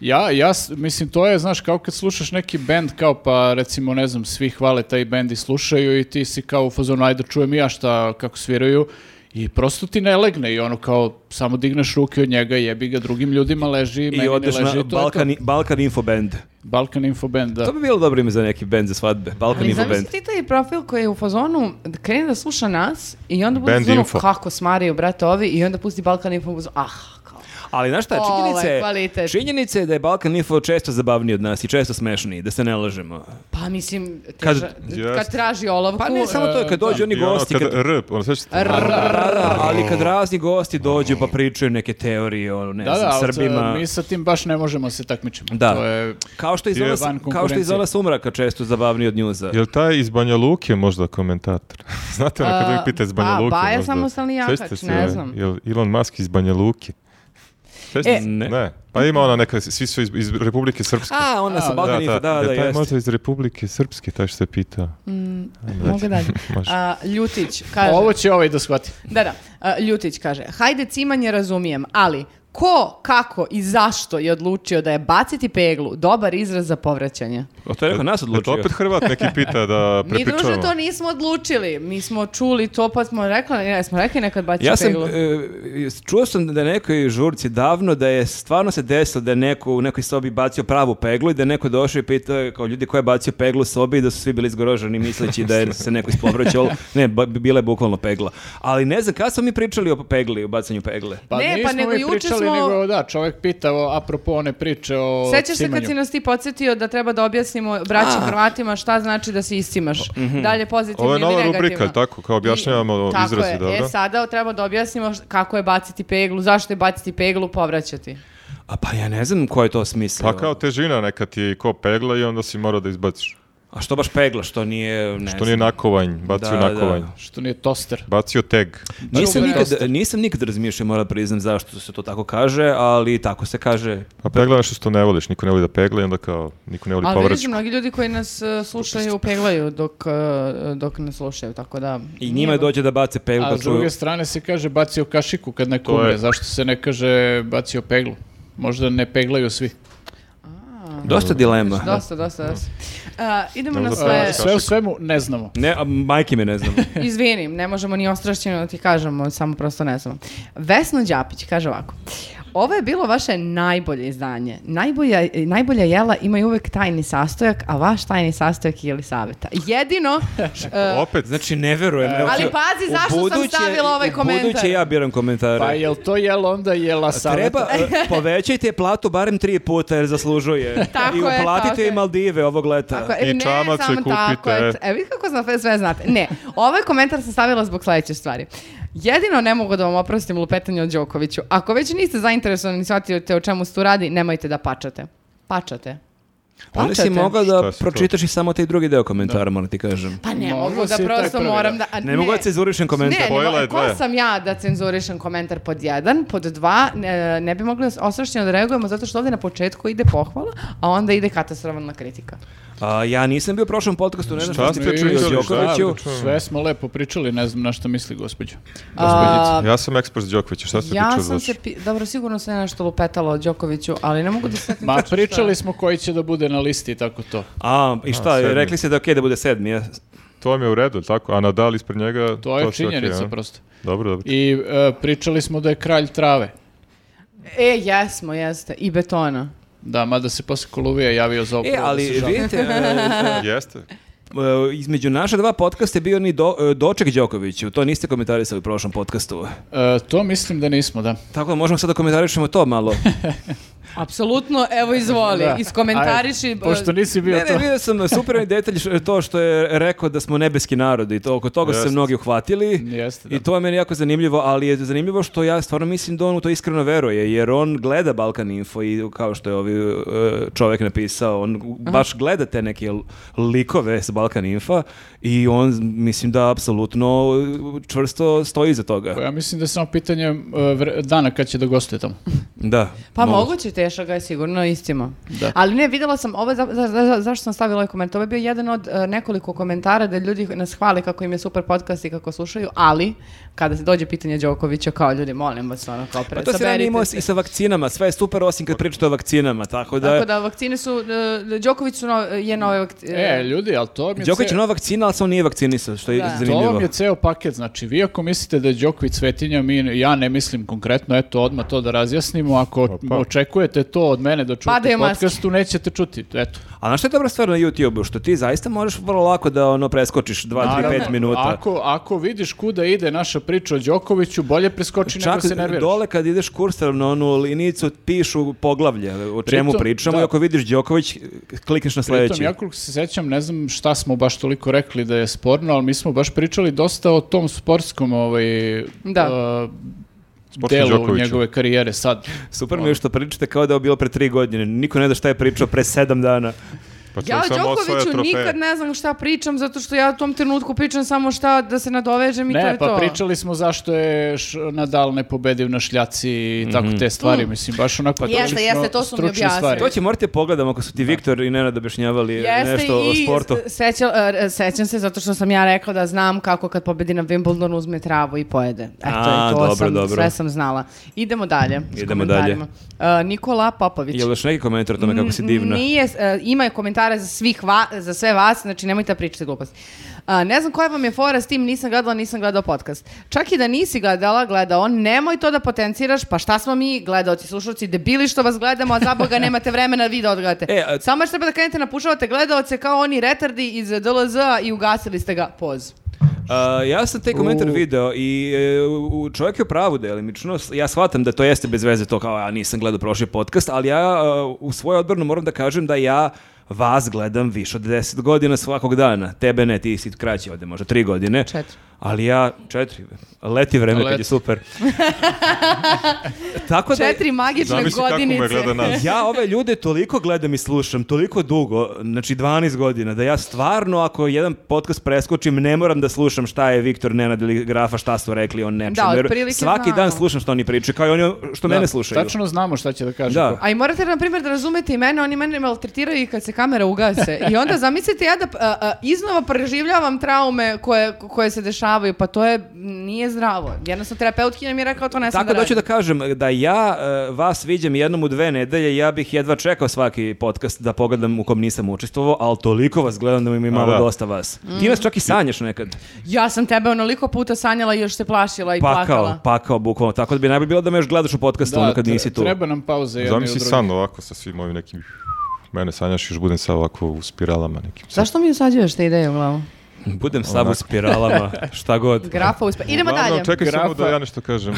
S2: Ja, ja, s- mislim, to je, znaš, kao kad slušaš neki band, kao pa, recimo, ne znam, svi hvale taj band i slušaju i ti si kao u fazonu, ajde, čujem i ja šta, kako sviraju, I prosto ti ne legne i ono kao samo digneš ruke od njega, jebi ga drugim ljudima leži, meni
S4: I
S2: ne
S4: odeš
S2: leži. to
S4: na
S2: je to.
S4: Balkan, Balkan Info Band.
S2: Balkan Info Band, da.
S4: To bi bilo dobro ime za neki band za svadbe. Balkan
S1: Ali
S4: Info Band.
S1: zamisli ti taj profil koji je u fazonu da krene da sluša nas i onda bude
S3: Band
S1: zvonu
S3: info.
S1: kako smaraju brate ovi i onda pusti Balkan Info u fazonu, ah, kao.
S4: Ali znaš šta,
S1: Ovo je
S4: činjenica
S2: Ovaj,
S4: je,
S1: kvalitet.
S4: činjenica je da je Balkan Info često zabavniji od nas i često smešniji, da se ne lažemo.
S1: Pa mislim,
S4: Kad-
S1: teža- kad,
S3: jest.
S1: traži olovku. e,
S4: Pa ne, samo to je kad dođu oni
S3: I ono
S4: gosti,
S3: kad
S4: kad,
S3: R, ono sveća
S1: R-
S4: Rara, ali kad razni gosti dođu pa pričaju neke teorije o ne
S2: Da,
S4: znam,
S2: da, ali to-
S4: Srbima.
S2: mi sa tim baš ne možemo se takmičimo.
S4: Da.
S2: To je,
S4: Kao što je
S2: je
S4: iz
S2: van
S4: ona, kao što je iz
S2: konkurencije.
S4: ona sumraka često zabavniji od njuza.
S3: Jel taj iz Banja Luke možda komentator? (laughs) Znate ono kad
S1: A,
S3: uvijek pita iz Banja
S1: pa,
S3: Luke?
S1: Baja
S3: možda?
S1: samostalni jakač,
S3: Sjećate se,
S1: ne znam.
S3: Jel Elon Musk iz Banja Luke? Sjećate
S1: E.
S3: se?
S4: Ne.
S3: ne. Pa ima ona neka, svi su iz, iz Republike Srpske.
S4: A, ona sa
S2: A,
S4: Balkan Info, da,
S3: Jel
S4: da,
S3: taj
S4: jeste.
S3: možda iz Republike Srpske, taj što se pitao.
S1: Mogu dalje.
S4: Znači.
S3: (laughs) Može.
S1: A, Ljutić kaže,
S2: ovo će ovaj da shvati.
S1: da, da, a, Ljutić kaže, hajde cimanje razumijem, ali ko, kako i zašto je odlučio da je baciti peglu dobar izraz za povraćanje?
S4: O, to je rekao nas
S3: Jel to
S4: odlučio.
S3: opet Hrvat neki
S1: (laughs)
S3: pita da
S1: Mi druže
S3: prepričavamo?
S1: to nismo odlučili, mi smo čuli to pa smo rekli, ne, smo rekli nekad baci
S4: Ja sam,
S1: peglu.
S4: e, čuo sam da je nekoj žurci davno da je stvarno se desilo da je neko u nekoj sobi bacio pravu peglu i da je neko došao i pitao je kao ljudi ko je bacio peglu u sobi i da su svi bili zgroženi misleći da je se neko ispovraćao. Ne, ba- bila je bukvalno pegla. Ali ne znam, kada smo mi pričali o pegli, o bacanju pegle?
S2: Pa
S1: Ne,
S2: nismo
S1: pa nego
S2: mi
S1: juče
S2: pričali,
S1: smo-
S2: nego da, čovjek pita o, apropo one priče o
S1: Sećaš se
S2: cimanju.
S1: kad si nas ti podsjetio da treba da objasnimo braći
S4: A.
S1: Hrvatima šta znači da se istimaš? Dalje pozitivno
S3: Ovo je
S1: ili negativno?
S3: nova rubrika, jel tako? Kao objašnjavamo
S1: Tako
S3: izrazi,
S1: je.
S3: dobro?
S1: E, sada treba da objasnimo š- kako je baciti peglu, zašto je baciti peglu, povraćati.
S4: A pa ja ne znam ko je to smislio.
S3: Pa kao težina neka ti je ko pegla i onda si morao da izbaciš.
S4: A što baš pegla, što nije... Ne
S3: To nije
S4: znam.
S3: nakovanj, bacio
S4: Da,
S3: nakovanj.
S4: da.
S2: Što nije toster.
S3: Bacio teg.
S4: Nisam
S2: Čuvar.
S4: nikad, nisam nikad razmišljao, moram priznam zašto se to tako kaže, ali tako se kaže.
S3: A Pa pegla je nešto što ne voliš, niko ne voli da pegla i onda kao niko ne voli
S1: Ali vidiš,
S3: povraću.
S1: mnogi ljudi koji nas e, slušaju peglaju dok, e, dok nas slušaju, tako da...
S4: I njima dođe da bace peglu.
S2: A
S4: kad
S2: s
S4: čuju-
S2: druge strane se kaže bacio kašiku kad neko
S3: To je-
S2: umre. Zašto se ne kaže bacio peglu? Možda ne peglaju svi.
S4: Dosta dilema.
S1: Dosta, dosta, dosta. A, idemo na
S3: Dobro, da
S1: sve.
S2: A, sve u svemu ne znamo.
S4: Ne, a majke mi ne znam.
S3: (laughs)
S1: Izvini, ne možemo ni ostrašćeno da ti kažemo, samo prosto ne znamo. Vesno Đapić kaže ovako. Ovo je bilo vaše najbolje izdanje. Najbolja, najbolja jela imaju uvek tajni sastojak, a vaš tajni sastojak je Jelisaveta.
S3: (laughs)
S1: Jedino, š- e,
S3: Opet,
S4: Znači, ne verujem. evo,
S1: Ali
S4: ću-
S1: pazi
S4: u
S1: zašto sam stavila ovaj
S4: u
S1: komentar.
S4: Buduće ja biram komentare.
S2: Pa jel to jel onda jela saveta?
S4: Treba, e, povećajte je platu barem tri puta jer zaslužuje.
S1: (laughs) Tako
S4: I
S1: je,
S4: uplatite
S1: tako je.
S4: i Maldive ovog leta.
S1: Tako,
S3: I
S1: e, ne,
S3: čamac
S1: samo
S3: joj kupite,
S1: tako je.
S3: e.
S1: E, vidi kako znam, sve znate. Ne, ovaj komentar sam stavila zbog sledeće stvari. Jedino ne mogu da vam oprostim lupetanje o Đokoviću. Ako već niste zainteresovani i shvatite o čemu se tu radi, nemojte da pačate. Pačate.
S4: Onda si
S1: Plačate.
S4: mogao
S3: Šta
S4: da
S3: si to?
S4: pročitaš i samo taj drugi deo komentara, moram ti kažem.
S1: Pa ne
S2: Mogla
S1: mogu da
S2: si i taj
S1: prosto
S2: prvi,
S1: moram
S2: da.
S1: da... a
S4: Ne, mogu da cenzurišem komentar.
S1: Ne,
S3: Pojela
S1: ne,
S3: je
S1: ko
S3: dve.
S1: sam ja da cenzurišem komentar pod jedan, pod dva, ne, ne bi mogli ostrašćeno da reagujemo zato što ovdje na početku ide pohvala, a onda ide katastrofalna kritika.
S4: A, ja nisam bio u prošlom podcastu, ne znam
S3: Šta
S4: što ste
S3: ste
S4: čuli o
S3: pričali, šta?
S4: Đokoviću.
S3: Pričali.
S2: Sve smo lepo pričali, ne znam na šta misli gospođa.
S1: A,
S3: ja sam ekspert Đokovića, šta ste
S1: Ja
S3: pričali? Znači,
S1: sam se, pi- dobro, sigurno se nešto lupetalo o Đokoviću, ali ne mogu da se...
S2: Ma pričali smo koji će da bude na listi i tako to.
S4: A, i šta,
S3: A, sedmi.
S4: rekli ste da je okej da bude sedmi, ja?
S3: To vam je u redu, jel tako? A Nadal ispred njega...
S2: To je
S3: sve okej,
S2: činjenica
S3: a?
S2: prosto.
S3: Dobro, dobro.
S2: I e, pričali smo da je kralj trave.
S1: E, jesmo, jeste, i betona.
S2: Da, mada se posle Koluvija javio za opravo
S4: E,
S2: da
S4: ali
S2: se žali.
S4: vidite, (laughs) e,
S3: Jeste.
S4: E, između naša dva podcasta je bio ni do, e, Doček Đokoviću, to niste komentarisali u prošlom podcastu.
S2: E, to mislim da nismo, da.
S4: Tako da možemo sad da komentarišemo to malo.
S1: Apsolutno, evo izvoli,
S2: Da.
S1: iskomentariši... e,
S2: Ajde, pošto nisi (laughs) bio
S4: ne,
S2: to.
S4: ne, vidio sam super onaj detalj š- to što je rekao da smo nebeski narod i to, oko toga su se
S3: Jeste.
S4: mnogi uhvatili.
S2: Jeste, da.
S4: I to je meni jako zanimljivo, ali je zanimljivo što ja stvarno mislim da on u to iskreno veruje, jer on gleda Balkan Info i kao što je ovi e, čovek napisao, on baš gleda te neke l- likove sa Balkan Infa i on mislim da apsolutno e, čvrsto stoji iza toga.
S2: uh, Pa Ja mislim da je samo pitanje e, vre- dana kad će da gostuje tamo.
S4: Da.
S1: Pa
S4: moguće.
S1: moguće, te Steša ga je sigurno istima.
S2: Da.
S1: Ali ne, videla sam, ovo je za, za- za- zašto sam stavila ovaj komentar, ovo je bio jedan od e, nekoliko komentara da ljudi nas hvale kako im je super podcast i kako slušaju, ali kada se dođe pitanje Đokovića kao ljudi, molim vas, ono kao pre,
S4: Pa to se ranije imao i sa vakcinama, sve je super osim kad pričate o vakcinama, tako da...
S1: Tako da vakcine su, e, Đoković su no, je nove vakcine.
S2: E, ljudi, ali to vam je...
S4: Đoković
S2: ce-
S4: je nova vakcina, ali se on nije vakcinisao, što je
S1: Da.
S2: To
S4: zanimljivo.
S2: vam je ceo paket, znači vi ako mislite da je Đoković svetinja, mi, ja ne mislim konkretno, eto odmah to da razjasnimo, ako
S3: Opa.
S2: očekujete to od mene da čujete
S1: Pa, Padaju
S2: u
S1: maske.
S2: podcastu, nećete čuti, eto.
S4: A znaš što je dobra stvar na YouTube-u? Što ti zaista možeš vrlo lako da ono preskočiš 2, 3,
S2: Naravno,
S4: 5 minuta.
S2: Ako, ako vidiš kuda ide naša priča o Đokoviću, bolje preskoči nego
S4: Čak
S2: se nerviraš.
S4: dole kad ideš kursarom na onu linijicu pišu poglavlje o čemu
S2: Pritom,
S4: pričamo
S2: da.
S4: i ako vidiš Đoković klikneš na
S2: Pritom,
S4: sledeći.
S2: ja koliko se sećam, ne znam šta smo baš toliko rekli da je sporno, ali mi smo baš pričali dosta o tom sportskom ovaj,
S1: Da.
S2: a,
S3: Sportskom
S2: delu
S3: Đokoviću.
S2: njegove karijere sad.
S4: Super mi je što pričate kao da je bilo pre 3 godine. Niko ne da šta je pričao pre 7 dana.
S3: Pa
S1: Ja
S3: čovjek
S1: o
S3: samo osvaja
S1: Đokoviću
S3: trofeje.
S1: nikad ne znam šta pričam, zato što ja u tom trenutku pričam samo šta da se nadovežem i to
S2: Ne,
S1: je
S2: pa
S1: to.
S2: pričali smo zašto je Š- Nadal ne pobedio na šljaci i
S4: Mhm.
S2: tako te stvari, mislim, baš onako
S1: Mm. Jeste,
S2: stručno-
S1: jeste, to su mi
S2: stručne
S1: objasnili.
S2: stvari.
S4: To će morate pogledamo ako su ti Viktor i Nenad objašnjavali
S1: Jeste
S4: nešto o
S1: i
S4: sportu.
S1: s- seća- e, sećam se zato što sam ja rekla da znam kako kad pobedi na Wimbledonu uzme travu i pojede. Eto,
S4: A,
S1: i to
S4: dobro,
S1: sam,
S4: dobro.
S1: sve sam znala. Idemo dalje. s
S4: Idemo
S1: komentarima. E, Nikola Popović.
S4: Jel još neki komentar o tome kako si divna?
S1: Nije, e, ima je komentara za, svih va- za sve vas, znači nemojte pričati gluposti. A, ne znam koja vam je fora s tim, nisam gledala, nisam gledao podcast. Čak i da nisi gledala, gledao, nemoj to da potenciraš, pa šta smo mi gledaoci, slušalci, debili što vas gledamo, a za
S4: (laughs)
S1: boga nemate vremena vi da odgledate.
S4: E, a-
S1: Samo još treba da krenete napušavate gledaoce kao oni retardi iz dlz i ugasili ste ga. Poz.
S4: A, ja sam taj komentar
S2: U.
S4: video i e, u- čovjek je u pravu delimično. S- Ja shvatam da to jeste bez veze to kao ja nisam gledao prošli podcast, ali ja e, u svojoj odbranu moram da kažem da ja vas gledam više od 10 godina svakog dana. Tebe ne, ti si kraći ovde, možda 3 godine.
S1: Četiri.
S4: Ali ja, četiri, leti vreme kad je
S2: Leti.
S1: (laughs)
S4: super. Tako Pa da,
S1: Četiri magične
S3: Zamisli kako
S1: godinice.
S3: me gleda
S4: (laughs)
S3: nas.
S4: ja ove ljude toliko gledam i slušam, toliko dugo, znači 12 godina, da ja stvarno ako jedan podcast preskočim, ne moram da slušam šta je Viktor Nenad ili Grafa, šta su rekli o nečem.
S1: Da,
S4: jer
S1: otprilike
S4: svaki
S1: znamo.
S4: dan slušam što oni pričaju, kao i oni što
S2: Da,
S4: mene slušaju.
S2: Tačno znamo šta će da kaže.
S4: Da.
S2: ko.
S1: A i morate, na primjer, da razumete i mene, oni mene maltretiraju i kad se kamera ugase. I onda zamislite ja da a, a, iznova preživljavam traume koje, koje se dešavaju, pa to je, nije zdravo. Jednostavno, terapeutkinja mi je rekao, to ne sam
S4: Tako da hoću
S1: radim.
S4: da kažem da ja e, vas viđem jednom u dve nedelje, ja bih jedva čekao svaki podcast da pogledam u kom nisam učestvovao, ali toliko vas gledam da mi je malo
S3: da.
S4: dosta vas.
S1: Mm.
S4: Ti nas čak i sanjaš nekad.
S1: Ja sam tebe onoliko puta sanjala i još se plašila i
S4: Pakao,
S1: plakala.
S4: Pa pakao, bukvalno. Tako da bi najbolje bilo da me još gledaš u podcastu ono kad
S2: tre-
S4: nisi tu.
S2: Treba nam pauze jedne i
S3: Zamisli
S2: druge.
S3: san ovako sa svim ovim nekim... Mene sanjaš još budem sad ovako u spiralama nekim.
S1: Zašto mi usađuješ te ideje u glavu?
S4: Budem sav u spiralama, šta god.
S1: Grafa uspe. Idemo
S3: Uglavnom,
S1: dalje.
S3: Čekaj samo
S2: Grafa-
S3: da ja nešto kažem.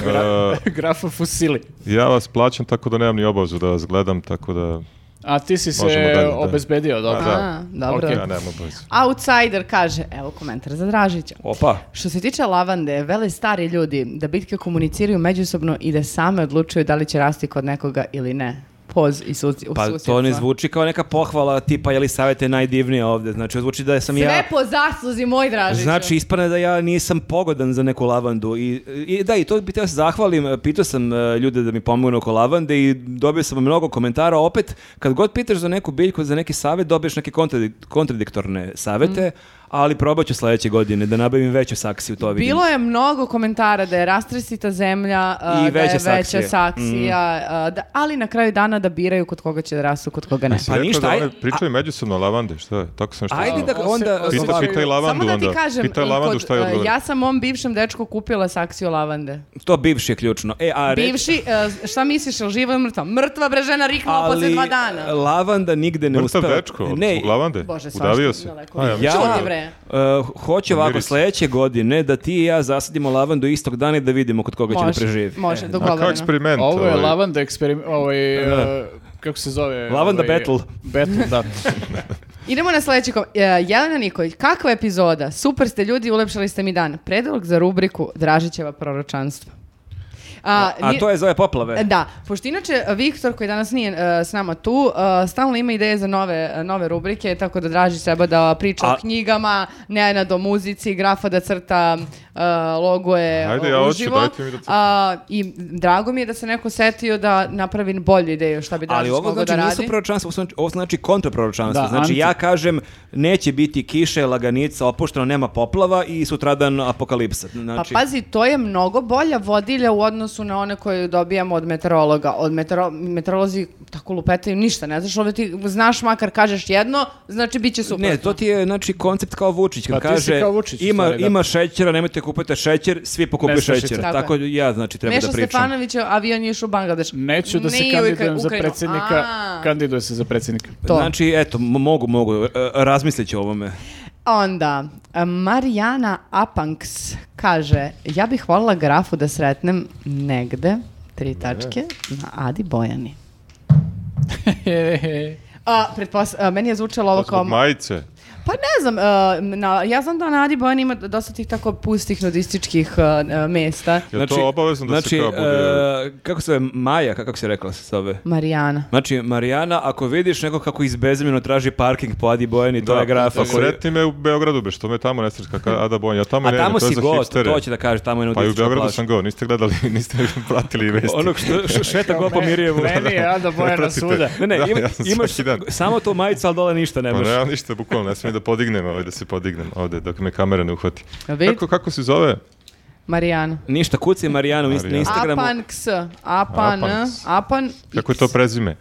S3: E,
S2: (laughs) Grafa Fusili.
S3: ja vas plaćam tako da nemam ni obavezu da vas gledam, tako da...
S2: A ti si se
S3: Možemo dalje, da.
S2: obezbedio, dobro.
S3: A, da.
S1: A, dobro.
S2: Ok.
S3: Ja nemam obavezu.
S1: Outsider kaže, evo komentar za Dražića.
S4: Opa.
S1: Što se tiče lavande, vele stari ljudi da bitke komuniciraju međusobno i da same odlučuju da li će rasti kod nekoga ili ne. Poz i suci, u
S4: Pa
S1: susjedstva.
S4: to ne zvuči kao neka pohvala tipa je li savjet je najdivnije ovde. Znači zvuči da sam ja...
S1: Sve po zasluzi, moj Dražiću.
S4: Znači, ispane da ja nisam pogodan za neku lavandu. I, i da, i to bih teo se zahvalim. Pitao sam e, ljude da mi pomognu oko lavande i dobio sam mnogo komentara. Opet, kad god pitaš za neku biljku, za neki savjet, dobiješ neke kontradik- kontradiktorne savete,
S1: Mhm.
S4: ali probat ću sledeće godine da nabavim veću saksiju, to vidim.
S1: Bilo je mnogo komentara da je rastresita zemlja, a,
S4: I veća
S1: da je veća
S4: saksija. Mm.
S1: saksija, a, da, ali na kraju dana da biraju kod koga će da rastu, kod koga ne.
S3: Si
S4: Pa
S3: rekao
S4: ništa,
S3: da
S4: aj-
S3: one pričaju međusobno o lavande, šta je? Tako sam što...
S4: Ajde da onda...
S2: Pita-
S3: Pita,
S2: Ovako.
S3: pitaj lavandu
S1: Samo da ti
S3: onda.
S1: kažem,
S3: Pitaj
S1: i
S3: lavandu
S1: kod,
S3: šta je
S1: a,
S3: odgovor.
S1: ja sam mom bivšem dečku kupila saksiju lavande.
S4: To bivši je ključno. E, a reci-
S1: Bivši, e, šta misliš, je li živa ili mrtva? Mrtva bre žena riknula posle
S4: ali e,
S1: dva dana.
S4: lavanda nigde ne
S3: Mrtav
S4: uspeva.
S3: dečko,
S4: Ne,
S3: zbog lavande.
S1: Bože, svašta,
S3: Udavio se.
S1: daleko.
S3: A, ja
S1: Ja-
S3: mislim-
S1: Čudi, bre.
S4: uh, hoću ovako
S3: Miris.
S4: sledeće godine da ti i ja zasadimo lavandu istog dana i da vidimo kod koga će da
S1: Može,
S4: preživi.
S1: Može,
S4: E.
S3: A kao
S1: dogovoreno.
S3: (laughs) eksperiment.
S2: Ovo je
S3: ovaj.
S2: lavanda eksperiment, ovaj, e, kako se zove?
S4: Lavanda
S2: ovaj,
S4: battle.
S2: Battle, da.
S1: Idemo na sledeći kom. E, Jelena Nikolić, kakva epizoda? Super ste ljudi, ulepšali ste mi dan. Predlog za rubriku Dražićeva proročanstva. A,
S4: A to je za ove poplave.
S1: Da, pošto inače Viktor koji danas nije e, s nama tu, e, stalno ima ideje za nove, e, nove rubrike, tako da Dražić treba da priča
S4: A-
S1: o knjigama, Nenad o muzici, Grafa da crta uh, logoje
S3: Ajde,
S1: uh,
S3: ja hoću,
S1: uživo.
S3: dajte mi da crtam.
S1: A, I drago mi je da se neko setio da napravi bolju ideju šta bi
S4: Ali
S1: Dačić
S4: ovo
S1: mogao
S4: znači
S1: da radi.
S4: nisu proročanstvo, ovo znači- ovo znači kontraproročanstvo.
S2: Da,
S4: znači
S2: anti-
S4: ja kažem neće biti kiše, laganica, opušteno, nema poplava i sutradan apokalipsa. Znači,
S1: Pa pazi, to je mnogo bolja vodilja u odnosu na one koje dobijamo od meteorologa. Od metero, meteorolozi tako lupetaju ništa, ne znaš, ovdje ti znaš makar kažeš jedno, znači bit će super.
S4: Ne, to ti je znači koncept kao Vučić kad
S2: Pa ti si
S4: kaže
S2: kao Vučić, u
S4: ima
S2: stvari, da.
S4: ima šećera, nemojte kupujte šećer, svi pokupuju
S2: Nestašica.
S4: šećer.
S1: Tako
S4: Tako,
S1: je.
S4: ja znači treba
S1: Meša
S4: da pričam.
S1: Stefanović je avion je išao u Bangladeš.
S2: Neću da se
S1: Nije u
S2: kandidujem
S1: Ukra-
S2: za
S1: Ukrajinu.
S2: predsjednika.
S1: A,
S2: Kandiduje se za
S1: (laughs)
S2: predsjednika.
S1: to.
S4: Znači, eto, m- mogu, mogu, e, razmislit ću o ovome.
S1: Onda, Marijana Apanks kaže, ja bih volila grafu da sretnem negde, tri tačke, na Adi Bojani. A, pretpos- a, meni je zvučalo ovo kao...
S3: Zbog majice.
S1: Pa ne znam, e, na, ja znam da na Adi Bojan ima dosta tih tako pustih nudističkih e, e, mesta.
S3: Je to obavezno da se kao bude...
S4: Znači, e, kako se zove, Maja, kako se rekla se zove?
S1: Marijana.
S4: Znači, Marijana, ako vidiš nekog kako izbezimljeno traži parking po Adi Bojani, to je grafa.
S3: pa
S4: koji-
S3: sretni me u Beogradu, be, što me tamo ne srećka kada Ada Bonja. Ja tamo
S4: A
S3: ne,
S4: tamo
S3: to je
S4: si
S3: za
S4: gost,
S3: hipstere.
S4: to će da kaže, tamo je
S3: Pa i u
S4: nudistička
S3: Beogradu
S4: plaža.
S3: sam go, niste gledali, (laughs) niste pratili vesti.
S4: Onog što š- šeta go po Mirijevu.
S2: Meni je Ada Bojana
S3: Pratite.
S2: svuda.
S4: Ne, ne,
S3: Da,
S4: ima-
S3: ja sam
S4: imaš
S3: svaki dan.
S4: samo tu majicu, ali dole ništa
S3: Pa
S4: nemaš.
S3: nema ništa, bukvalno, ne smijem da podignem ovaj, da se podignem ovde, dok me kamera ne uhvati.
S1: Jel vidi?
S3: Kako, kako se zove?
S1: Marijana.
S4: Ništa, kuci Marijanu na
S3: Marijana.
S4: Instagramu.
S1: Apan ks. Apan.
S3: Apanks.
S1: Apan.
S3: Kako je to prezime?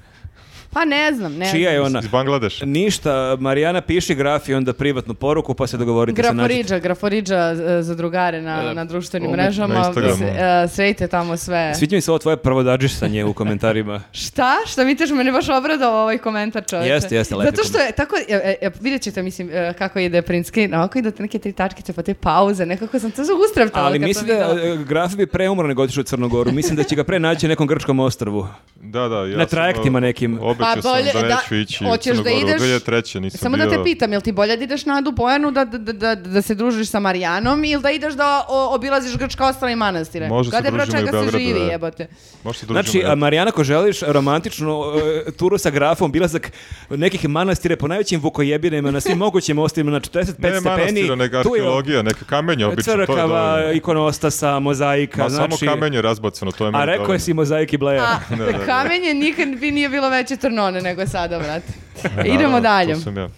S1: Pa ne znam, ne
S4: Čija je ona?
S3: Iz Bangladeša?
S4: Ništa, Marijana piši graf i onda privatnu poruku pa se dogovorite se nađete.
S1: Graforiđa, graforiđa e, za drugare na, na društvenim
S2: na
S1: mrežama.
S3: Instagramu.
S1: Se- e, sredite tamo sve.
S4: Sviđa mi se ovo tvoje prvodađisanje u
S1: (laughs)
S4: komentarima.
S1: Šta? Šta mi teš? Mene baš obradao ovaj komentar čovječe.
S4: Jeste, jeste, lepi
S1: Zato što je, tako, e, e, e, vidjet ćete, mislim, e, kako ide print screen, ovako idete neke tri tačkice, pa te pauze, nekako sam to zaustavila.
S4: Ali mislim da e, graf bi pre umro nego otišao u Crnu Goru. Mislim da će ga pre naći na nekom grčkom ostrvu.
S3: Da, da, ja
S4: Na
S3: sam,
S4: trajektima
S3: o,
S4: nekim.
S3: Obećao
S1: Pa
S3: sam
S1: bolje
S3: da
S1: da-
S3: neću ići
S1: hoćeš
S3: u
S1: da
S3: Crnu Goru.
S1: ideš-
S3: 2003. nisam
S1: Samo
S3: bio...
S1: da te pitam, jel ti bolje da ideš na Adu Bojanu da, da, da, da se družiš sa Marijanom ili da ideš da o- obilaziš Grčka ostala i manastire?
S3: Može se
S1: Gde, bro,
S3: družimo i u
S1: čega se
S3: Beogradu,
S1: živi,
S3: e.
S1: jebote.
S3: Možeš se družimo,
S4: Znači,
S3: ja.
S4: a Marijana, ako želiš romantičnu e, turu sa grafom, bilazak nekih manastire po najvećim vukojebinima na svim mogućim ostrvima na 45
S3: Ne
S4: stepeni.
S3: manastira, neka
S4: tu je
S3: arheologija, neka kamenja obično, to je
S4: crkava,
S3: dovoljno.
S4: ikonostasa, mozaika.
S3: Ma
S4: znači,
S3: samo kamenje razbacano, to je meni
S4: A rekao je
S3: dovoljno.
S4: si mozaik i bleja.
S1: A
S3: (laughs) Da, da, da.
S1: kamenje nikad bi nije bilo veće trnone nego sada, brate.
S3: (laughs) Naravno,
S1: Idemo dalje.
S3: To sam ja.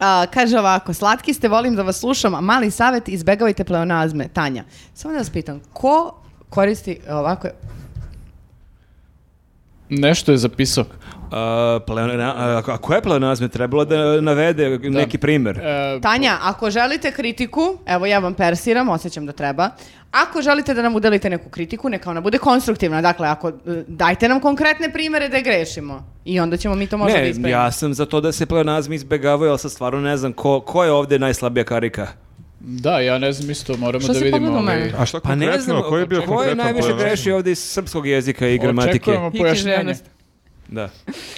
S1: A, kaže ovako, slatki ste, volim da vas slušam, a mali savjet, izbegavajte pleonazme. Tanja, samo da vas pitam, ko koristi ovako...
S2: Nešto je zapisao.
S4: A, pleona, a, a koja je pleonazme? Trebalo da navede neki primer.
S2: E,
S1: Tanja, ako želite kritiku, evo ja vam persiram, osjećam da treba, ako želite da nam udelite neku kritiku, neka ona bude konstruktivna. Dakle, ako, e, dajte nam konkretne primere da grešimo i onda ćemo mi to možda da
S4: Ne,
S1: ispravimo.
S4: ja sam za to da se pleonazmi izbegavaju, ali sad stvarno ne znam ko, ko je ovdje najslabija karika.
S3: Pa
S2: da, ja ne znam isto, moramo
S1: Što
S2: da
S1: si
S2: vidimo.
S1: pogledao
S2: ovaj-
S1: mene?
S3: A šta
S4: Pa ne znam,
S3: konkretno, koji je bio
S4: ko je
S3: konkretno?
S4: najviše grešio ovdje iz srpskog jezika i gramatike?
S2: Očekujemo
S1: I
S2: pojašnjenje.
S1: književnost.
S4: Da.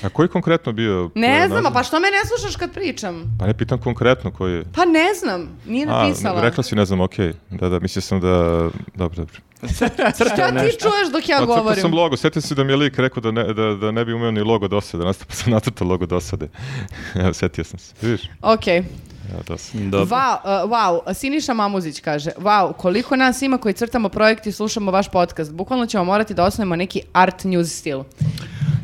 S3: A koji konkretno bio?
S1: Ne
S3: pleonazam?
S1: znam, a pa što me ne slušaš kad pričam?
S3: Pa ne pitam konkretno koji je.
S1: Pa ne znam, nije
S3: A,
S1: napisala.
S3: rekla si, ne znam, okej. Da, da, mislio sam da... Dobro, dobro.
S1: Šta ti čuješ dok ja
S3: Pa crtao
S1: govorim?
S3: sam logo, sjetio se da mi je lik rekao da ne, da, da ne bi umeo ni logo dosade, nastupa sam natrtao logo dosade. (laughs) Evo, sjetio sam se. Vidiš?
S1: Okej.
S3: Evo, dosade.
S4: Dobro.
S1: Wow, uh, wow, Siniša Mamuzić kaže, wow, koliko nas ima koji crtamo projekt i slušamo vaš podcast. Bukvalno ćemo morati da osnovimo neki art news stil.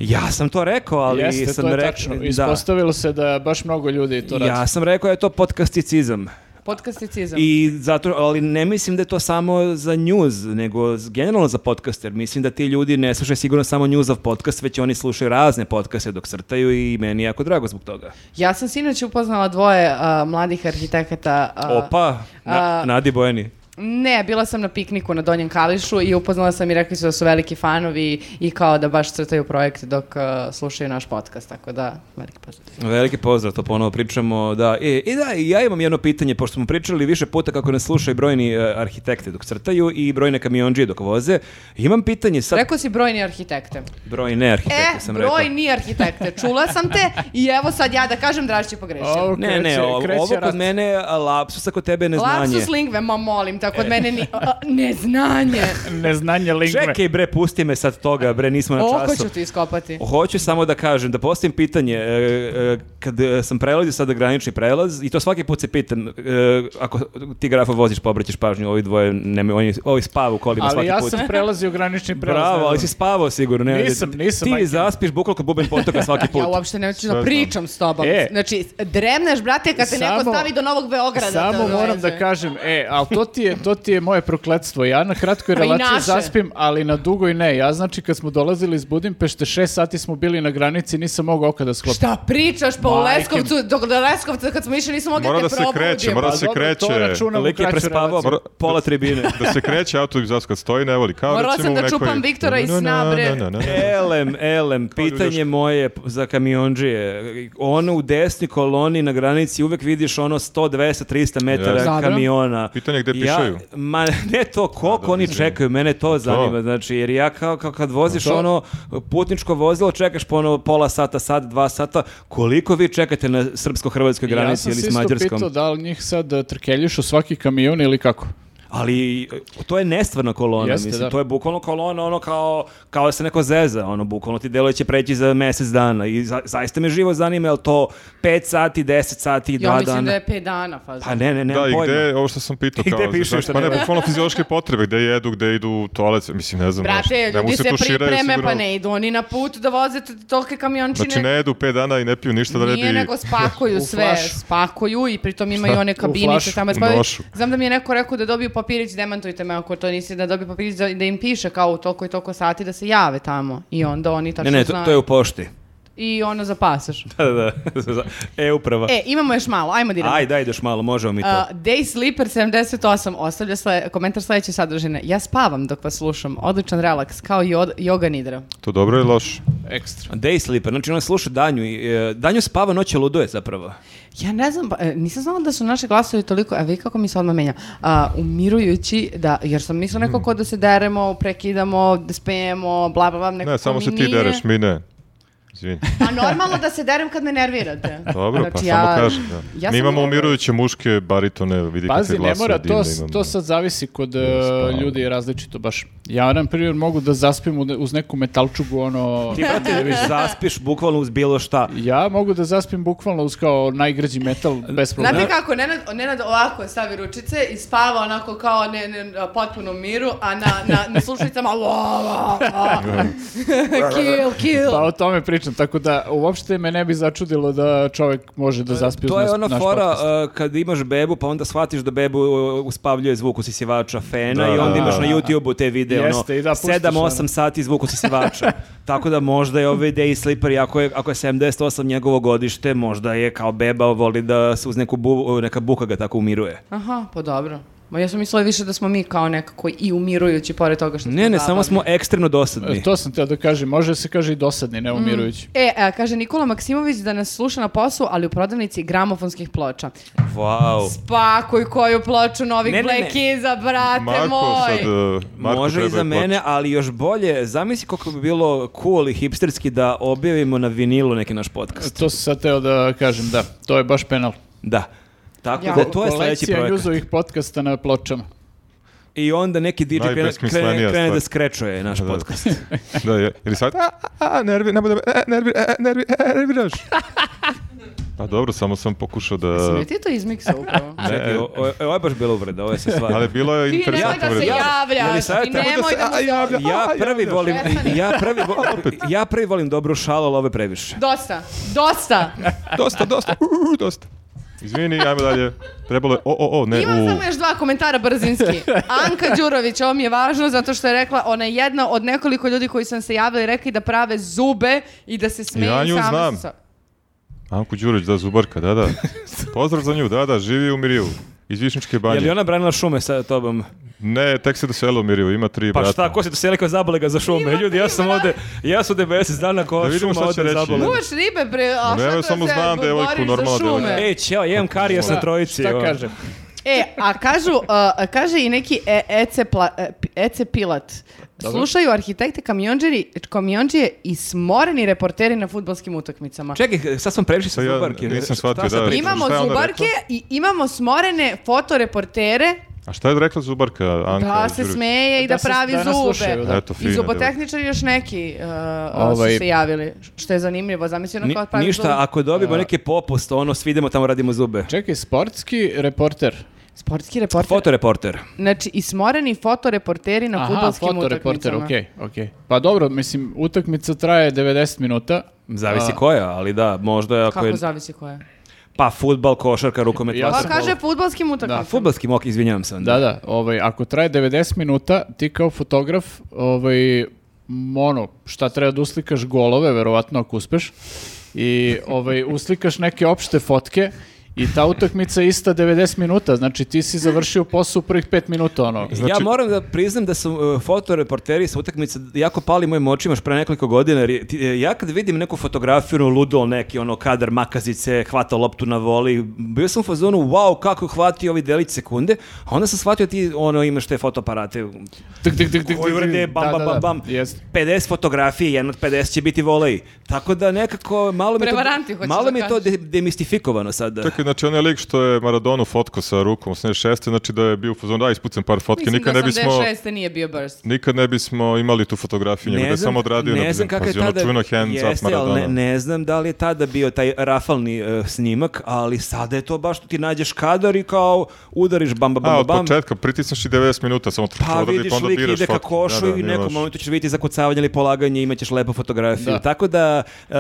S4: Ja sam to rekao, ali
S2: Jeste,
S4: sam
S2: to je
S4: rekao...
S2: tačno.
S4: da.
S2: Ispostavilo se da baš mnogo ljudi to radi.
S4: Ja sam rekao da je to podcasticizam.
S1: Podcasticizam.
S4: I zato, ali ne mislim da je to samo za news, nego z- generalno za podcaster. Mislim da ti ljudi ne slušaju sigurno samo newsav podcast, već oni slušaju razne podcaste dok crtaju i meni je jako drago zbog toga.
S1: Ja sam sinoć upoznala dvoje uh, mladih arhitekata. uh,
S4: Opa, na,
S1: a-
S4: Nadi Bojani.
S1: Ne, bila sam na pikniku na Donjem Kališu i upoznala sam i rekli su da su veliki fanovi i kao da baš crtaju projekte dok uh, slušaju naš podcast, tako da veliki pozdrav.
S4: Veliki pozdrav, to ponovo pričamo. Da, e, I da, i ja imam jedno pitanje, pošto smo pričali više puta kako nas slušaju brojni e, arhitekte dok crtaju i brojne kamionđije dok voze. Imam pitanje sad,
S1: Rekao si brojni arhitekte.
S4: brojne arhitekte
S1: E,
S4: sam rekao.
S1: brojni arhitekte. Čula sam te i evo sad ja da kažem, Draž će pogrešiti.
S2: Ovo
S4: Ne, ne,
S2: kreće-
S4: ovo,
S2: kreće
S4: ovo
S2: rat.
S4: kod mene lapsus ako tebe neznanje. E.
S1: Lapsus lingve, ma molim tako od mene ni, a, neznanje.
S2: Neznanje lingve.
S4: Čekaj bre, pusti me sad toga, bre, nismo (laughs) na
S1: Oko
S4: času.
S1: ću ti iskopati.
S4: Hoću samo da kažem, da postavim pitanje, e, e, kad e, sam prelazio sada granični prelaz, i to svaki put se pitam, e, ako ti grafo voziš pa obraćaš pažnju, ovi dvoje, ne, oni, ovi spavu kolima
S2: Ali
S4: svaki
S2: ja
S4: put.
S2: sam prelazio granični prelaz.
S4: Bravo, ali si spavao sigurno. Ne,
S2: Nisam, nisam,
S4: Ti
S2: majke.
S4: zaspiš bukvalno kod buben potoka
S2: (laughs)
S4: svaki put.
S1: Ja uopšte neću da
S3: znam.
S1: pričam s tobom.
S2: E.
S1: Znači, dremneš, brate, kad te neko
S2: Samo-
S1: stavi do Novog Beograda.
S2: Samo
S1: to
S2: moram da
S1: veze.
S2: kažem, e, ali to ti je, to ti je moje prokletstvo. Ja na
S1: (laughs)
S2: kratkoj
S1: Pa i
S2: relaciji
S1: naše.
S2: zaspim, ali na dugoj ne. Ja znači kad smo dolazili iz Budimpešte, šest sati smo bili na granici, nisam mogao oka da sklopim.
S1: Šta pričaš pa u
S2: Majke
S1: Leskovcu, dok do Leskovca kad smo išli nismo mogli
S3: Mora
S1: da
S3: da
S1: te Pa
S3: se
S1: probudim.
S3: kreće, mora da se
S2: dobro,
S3: kreće.
S2: To računam u
S4: Lik je
S2: kraću
S4: prespavao
S2: relaciju.
S4: pola tribine.
S3: Da se kreće autobus zas kad stoji, ne voli. Kao
S1: Morala
S3: recimo
S1: sam
S3: u
S1: da
S3: nekoj-
S1: čupam Viktora iz
S3: Na, na,
S1: sna, bre.
S3: na, na, na, na.
S4: Elem, elem, pitanje
S3: ljuljaška.
S4: moje za kamionđije. Ono u desni koloni na granici uvek vidiš ono 100, 200, 300 metara
S3: Jeste.
S1: Dobro.
S4: kamiona.
S3: Pitanje je gde pišaju.
S4: ma ne to, koliko oni čekaju, mene to zanima. Znači, jer ja kao, kao kad voziš
S2: To.
S4: ono putničko vozilo, čekaš po ono pola sata, sat, dva sata. Koliko vi čekate na srpsko-hrvatskoj
S2: Ja
S4: granici
S2: sam
S4: ili
S2: se
S4: s
S2: isto
S4: mađarskom?
S2: pitao da li njih sad e, trkeljišu svaki kamion ili kako?
S4: Ali e, to je nestvarna kolona,
S2: Jeste,
S4: mislim.
S2: da.
S4: To je bukvalno kolona, ono kao, kao da se neko zeza, ono, bukvalno ti delo će preći za mjesec dana. I za- zaista me živo zanima, je li to 5 sati, 10 sati, 2
S1: Ja
S4: dana?
S1: mislim da je 5 dana faza.
S4: Pa ne, ne, ne,
S3: Da, i
S4: pojma.
S3: gde, ovo što sam pitao,
S4: I
S3: kao,
S4: gde pišu
S3: znaš,
S4: šta
S3: pa ne,
S4: nema?
S3: bukvalno fiziološke potrebe, gde jedu, gde idu u toalet, mislim, ne znam,
S1: Brate,
S3: znaš, ne mogu
S1: ljudi se
S3: tuširaju
S1: pripreme
S3: sigurno.
S1: pa ne idu oni na put da voze t- tolike kamiončine.
S3: Znači, ne jedu pet dana i ne piju ništa da redi.
S1: Nije nego spakuju
S2: U
S1: sve,
S2: flašu.
S1: spakuju i pritom imaju one kabinice
S2: flašu,
S1: tamo.
S3: u
S1: spavaju.
S3: nošu.
S1: Znam da mi je neko rekao da dobiju papirić, demantujte me ako to nisi, da dobiju papirić da, da im piše kao u toliko i toliko sati da se jave tamo. I onda oni tačno
S4: Ne, ne, to,
S1: znaju.
S4: to je u pošti.
S1: I ono zapasaš.
S4: (laughs) Da, da, da. E, uprava.
S1: E, imamo još malo, ajmo direkt.
S4: Ajde, ajde još malo, možemo mi to.
S1: Uh, Day Sleeper 78 ostavlja sle- komentar sledeće sadržine. Ja spavam dok vas slušam. Odličan relaks, kao i od- joga nidra.
S3: To dobro ili loš?
S2: Ekstra.
S4: Day sleeper, znači on sluša Danju i e, Danju spava noće luduje zapravo.
S1: Ja ne znam, pa, e, nisam znala da su naše glasovi toliko, a vi kako mi se odmah menja, a, umirujući, da, jer sam mislila
S3: Hmm.
S1: nekako da se deremo, prekidamo, da spejemo, bla, bla, bla, nekako
S3: Ne, samo
S1: mi
S3: se ti
S1: nije.
S3: dereš, mi ne. Izvini.
S1: Pa normalno da se derem kad me nervirate.
S3: (laughs) Dobro, pa
S1: Znači,
S3: samo
S1: ja-
S3: kažem. Da.
S1: ja sam-
S3: mi imamo umirujuće muške baritone, vidi kakve
S2: Pazi,
S3: glasove
S2: ne mora, to,
S3: divne imamo.
S2: to sad zavisi kod e,
S3: Spavam.
S2: ljudi je različito baš. Ja, na primjer, mogu da zaspim u ne- uz neku metalčugu, ono...
S4: Ti,
S1: (laughs)
S4: brate, zaspiš bukvalno uz bilo šta.
S2: Ja mogu da zaspim bukvalno uz kao najgrađi metal bez problema.
S1: Znate kako, Nenad, Nenad ovako stavi ručice i spava onako kao ne, ne, potpuno u miru, a na, na, na slušalicama la, la,
S4: (laughs)
S1: la. kill, kill.
S2: Pa o tome pričam, tako da uopšte me ne bi začudilo da čovek može da zaspi uz
S4: To je
S2: nas-
S4: ona
S2: naš
S4: fora
S2: podcast.
S4: uh, kad imaš bebu pa onda shvatiš da bebu uh, uspavljuje zvuk usisivača fena
S3: Da,
S4: i onda
S3: da,
S4: imaš
S3: da,
S4: na
S2: da.
S4: YouTube-u te videe ono
S2: Jeste, i da pustiš
S4: 7 8
S2: ono.
S4: sati zvuk
S2: (laughs)
S4: usisivača. Tako da možda je ovaj Day Sleeper i ako je ako je 78 njegovo godište, možda je kao beba voli da se uz neku bu, neka buka ga tako umiruje.
S1: Aha, pa dobro. Ma ja sam mislila više da smo mi kao nekako i umirujući pored toga što smo
S4: Ne, ne,
S1: zabavni.
S4: samo smo ekstremno dosadni.
S2: E, To sam teo da kažem, može da se kaže i dosadni, ne umirujući.
S4: Mm.
S1: E, e, kaže Nikola Maksimović da nas sluša na poslu, ali u prodavnici gramofonskih ploča.
S4: Wow.
S1: Spakuj koju ploču novih
S4: Ne, ne, ne.
S1: Black Keys-a, brate
S3: Marko
S1: moj.
S3: sad, uh, Marko
S4: Može i
S3: treba
S4: za
S3: i
S4: mene, ali još bolje, zamisli koliko bi bilo cool i hipsterski da objavimo na vinilu neki naš podcast.
S2: To sam sad teo da kažem, da, to je baš penal.
S4: Da. Tako
S1: Ja.
S4: da to je sledeći
S2: Kolekcija
S4: projekat.
S2: njuzovih podcasta na pločama.
S4: I onda neki DJ krene, krene,
S3: Najbesmislenija
S4: krene da
S3: stvar.
S4: skrečuje naš
S3: (laughs) Da, da.
S4: podcast.
S3: plati. Da, je, ili sad, a, a, a, nervi, nemoj da me, e, nervi, e, nervi, e,
S1: (laughs)
S3: nerviraš. Pa dobro, samo sam pokušao
S4: e-
S3: da...
S1: Sam li ti to izmiksao
S4: (laughs)
S1: upravo?
S4: Čekaj, Znači, o- o- ovo je baš bilo uvreda, ovo je sa stvarno.
S3: Ali bilo je
S1: Ti nemoj
S3: interesantno.
S1: da se
S3: vredno.
S4: Ja bi
S1: javljaš,
S4: sad
S1: ti
S4: trebao da
S1: nemoj
S4: se-
S1: da mu
S3: a,
S1: se...
S3: javlja-
S4: Ja
S3: a,
S4: prvi
S3: javljaš.
S4: volim,
S1: Stefane.
S4: ja prvi, vo- ja prvi volim dobru šalu, ali ovo je previše.
S1: Dosta,
S3: (laughs)
S1: dosta.
S3: Dosta, dosta, u, u, dosta. Izvini, ajmo dalje. Trebalo je, o, o, o, ne,
S1: Imam
S3: u.
S1: samo još dva komentara
S3: (laughs)
S1: brzinski. Anka Đurović, ovo mi je važno zato što je rekla, ona je jedna od nekoliko ljudi koji sam se javili i rekli da prave zube i da se smeju
S3: Ja nju
S1: same
S3: znam.
S1: sa-
S3: Anku Đurić, da, Zubarka,
S1: (laughs)
S3: da, da. Pozdrav za nju, da, da, živi u Mirijevu. Iz Višničke banje.
S4: Je li ona branila šume sa tobom?
S3: Ne, tek se doselio u Mirijevu, ima tri
S4: Pa
S3: brata.
S4: šta, ko se to seli kao zabole ga za šume? Ljudi, ja sam ovde, ja sam ovde mesec dana ko
S3: Da vidimo
S4: šuma
S3: šta će
S4: ode
S3: reći.
S4: zabole.
S1: Duvaš ribe, bre, a
S3: Ne,
S1: šta
S3: ja
S1: to
S3: samo
S1: se
S3: znam devojku,
S1: boriš za
S3: normalna
S1: šume?
S3: devojka.
S4: Ej, ćeo, jem karijas na trojici. ono.
S2: Šta
S4: ovo.
S2: kažem?
S1: E, a kažu, uh, kaže i neki e, EC, pla- e, pi- EC pilat. Slušaju arhitekte kamionđeri, kamionđije i smoreni reporteri na futbolskim utakmicama.
S4: Čekaj, sad sam previše sa
S3: Pa ja
S4: zubarke.
S3: nisam
S4: Šta
S3: shvatio,
S4: sad
S3: da.
S4: pričam?
S1: Imamo
S3: šta je onda
S1: zubarke i imamo smorene fotoreportere
S3: A šta je rekla Zubarka? Anka
S1: Da Pa se
S3: Đurić?
S1: smeje i da,
S2: Da se
S1: pravi
S2: danas slušaju,
S1: zube.
S2: da.
S3: Eto, fina,
S1: I zubotehničari još neki uh,
S2: Ovaj-
S1: su se javili, što je zanimljivo. Zamisli ono
S4: Ni-
S1: kao pravi zube.
S4: ništa, ako dobimo neki popust, ono, svi idemo tamo radimo zube.
S2: Čekaj, sportski reporter.
S1: Sportski reporter.
S4: Fotoreporter.
S1: Znači, ismoreni fotoreporteri na
S2: Aha,
S1: futbolskim
S2: fotoreporter,
S1: utakmicama.
S2: okej, okej. Pa dobro, mislim, utakmica traje 90 minuta.
S4: Zavisi
S2: A,
S4: koja, ali da, možda ako
S1: Kako
S4: je...
S1: zavisi ko je?
S4: Pa, futbal, košarka, rukomet,
S2: Ja
S1: Pa
S2: sam-
S4: vaterpolo.
S1: kaže futbolskim utakmicama.
S4: Fudbalski mok, izvinjavam se. onda.
S2: Da, da, ovaj, ako traje 90 minuta, ti kao fotograf, ovaj, m, ono, šta treba da uslikaš golove, verovatno ako uspeš, i ovaj, uslikaš neke opšte fotke, I ta utakmica je ista 90 minuta, znači ti si završio posao u prvih 5 minuta, ono.
S4: Ja moram da priznam da su e, fotoreporteri sa utakmice jako pali mojim očima još pre nekoliko godina, jer je- ti- e, ja kad vidim neku fotografiju, ludo neki, ono, kadar makazice, hvata loptu na voli, bio sam u fazonu, wow, kako hvati ovi delić sekunde, a onda sam shvatio ti, ono, imaš te fotoaparate,
S2: Tik, tik, tik, tik, tik,
S4: koji
S2: tik.
S4: urade, bam,
S2: Da,
S4: bam,
S2: da, da,
S4: bam, bam,
S2: jest.
S4: 50 fotografije, jedna od 50 će biti volej. Tako da nekako, malo mi je
S1: Prevaranti,
S4: to,
S1: hoćeš
S4: malo
S1: da
S4: mi je to
S1: kažeš.
S4: de- demistifikovano sada.
S3: Čekaj, znači onaj lik što je Maradonu fotko sa rukom u 86. znači da je bio u fazonu, da ispucam par fotke,
S1: Mislim
S3: nikad
S1: da
S3: ne bismo...
S1: 86. nije bio burst.
S3: Nikad ne bismo imali tu fotografiju, nego da je samo odradio na
S4: ne znam kako je
S3: ono
S4: tada,
S3: čuveno hands up
S4: jeste, ali
S3: Maradona.
S4: ne, ne znam da li je tada bio taj rafalni eh, snimak, ali sada je to baš ti nađeš kadar i kao udariš bam, bam,
S3: A,
S4: bam,
S3: od
S4: bam.
S3: početka, pritisneš i 90 minuta, samo
S4: Pa
S3: odradi,
S4: vidiš
S3: onda
S4: lik
S3: biraš
S4: ide ka
S3: fotke.
S4: košu
S3: Da, da,
S4: i u
S3: nije
S4: nekom ono-
S3: loše.
S4: momentu ćeš vidjeti zakucavanje ili polaganje i imaćeš lepu fotografiju.
S2: Da.
S4: Tako da eh,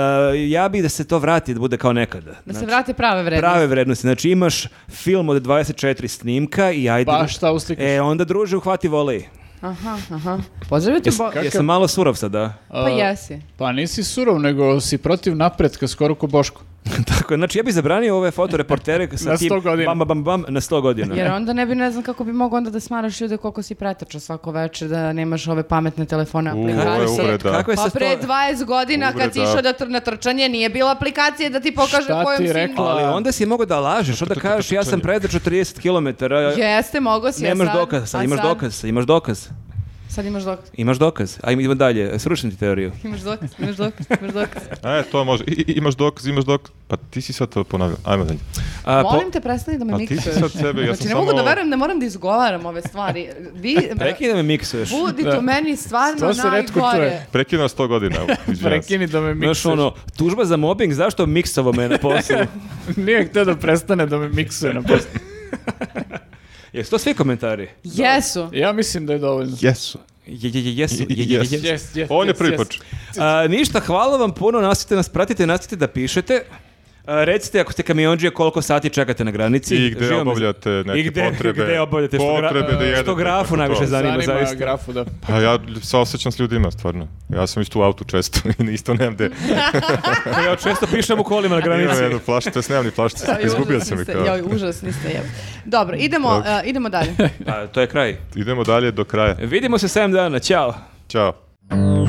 S4: ja bih da se to vrati, da bude kao nekada.
S1: Da
S2: Znači,
S1: se vrate prave vrednosti.
S4: Prave vrednosti. Znači imaš film od 24 snimka i ajde...
S2: Pa šta uslikaš?
S4: E, onda druže uhvati volej.
S1: Aha, aha. Pozdravite Bo...
S4: Jesam malo surov sada. (laughs)
S1: Pa jesi.
S2: Pa nisi surov, nego si protiv napretka, skoro ko Boško.
S4: Tako, je, znači ja bih zabranio ove fotoreportere sa
S2: Na
S4: tim
S2: 100 godina.
S4: bam, bam, bam, bam, na 100 godina.
S1: Jer onda ne bi, ne znam kako bi mogao onda da smaraš ljude koliko si pretača svako večer, da nemaš ove pametne telefone
S3: U, ovo
S1: aplikacije.
S3: je uvreda.
S4: Kako je
S1: Pa
S4: sa
S1: pre
S4: 100
S1: 20 godina kad si
S3: Uvreda.
S1: išao da tr na trčanje nije bila aplikacije da ti pokaže
S2: Šta
S1: kojom
S2: ti
S1: si...
S2: rekla?
S4: Ali onda si mogao da lažeš, onda kažeš ja sam predrčao 30 km,
S1: Jeste, mogo si, a
S4: nemaš
S1: sad-
S4: dokaz, sad
S1: a
S4: imaš
S1: sad-
S4: dokaz, imaš dokaz,
S1: Sad imaš dokaz.
S4: imaš dokaz. Ajmo idemo dalje, srušim ti teoriju.
S1: Imaš dokaz, imaš dokaz, imaš dokaz.
S3: E, to može. I, i- imaš dokaz, imaš dokaz. Pa ti si sad to ponavljao. Ajmo dalje.
S4: A, po-
S1: Molim te, prestani da me
S3: Pa ti si
S1: miksuješ.
S3: sad sebe, ja
S1: Znači,
S3: sam
S1: ne mogu
S3: samo-
S1: da verujem, ne moram da izgovaram ove stvari. Vi,
S4: Prekidaj me miksuješ.
S1: budi to meni stvarno
S2: To se retko
S1: najgore.
S2: čuje.
S3: Prekidam 100 godina. evo, izvinjavam se.
S2: Prekini da me
S4: Znaš
S2: miksuješ.
S4: ono, tužba za mobbing, zašto miksovo me na (laughs) poslu?
S2: (laughs) Nije htio da prestane da me miksuje na poslu.
S4: (laughs) Jesu to svi komentari?
S1: Jesu.
S2: Ja mislim da je dovoljno.
S3: Jesu.
S4: Je, je, je, jesu, je, je, je,
S3: Yes.
S4: jesu.
S2: Yes, yes,
S3: On je
S2: yes,
S3: prvi
S2: yes.
S3: počeo.
S4: A, ništa, hvala vam puno, nastavite nas, pratite, nastavite da pišete. A, recite ako ste kamionđije koliko sati čekate na granici.
S3: I gde
S4: Živo me-
S3: obavljate neke
S4: I gde,
S3: potrebe.
S4: gde obavljate, što, gra-
S3: Potrebe da jedete,
S4: što grafu
S3: tako
S4: najviše
S3: to.
S4: zanima, zaista.
S2: grafu, da.
S3: Pa ja se osjećam s ljudima, stvarno. Ja sam isto u autu često (laughs) i isto nemam gde.
S4: Pa ja često pišem u kolima na
S3: (laughs) Imam jednu
S4: granici.
S3: plaštu, to jest nemam ni plaštu.
S1: Joj,
S3: Izgubio
S1: užasni
S3: sam je
S1: ste,
S3: kao.
S1: Joj, užasni ste, jeb. Dobro, idemo,
S3: Dobro.
S1: uh, idemo dalje.
S4: Pa, to je kraj.
S3: Idemo dalje do kraja.
S4: Vidimo se 7 dana, ćao.
S3: Ćao.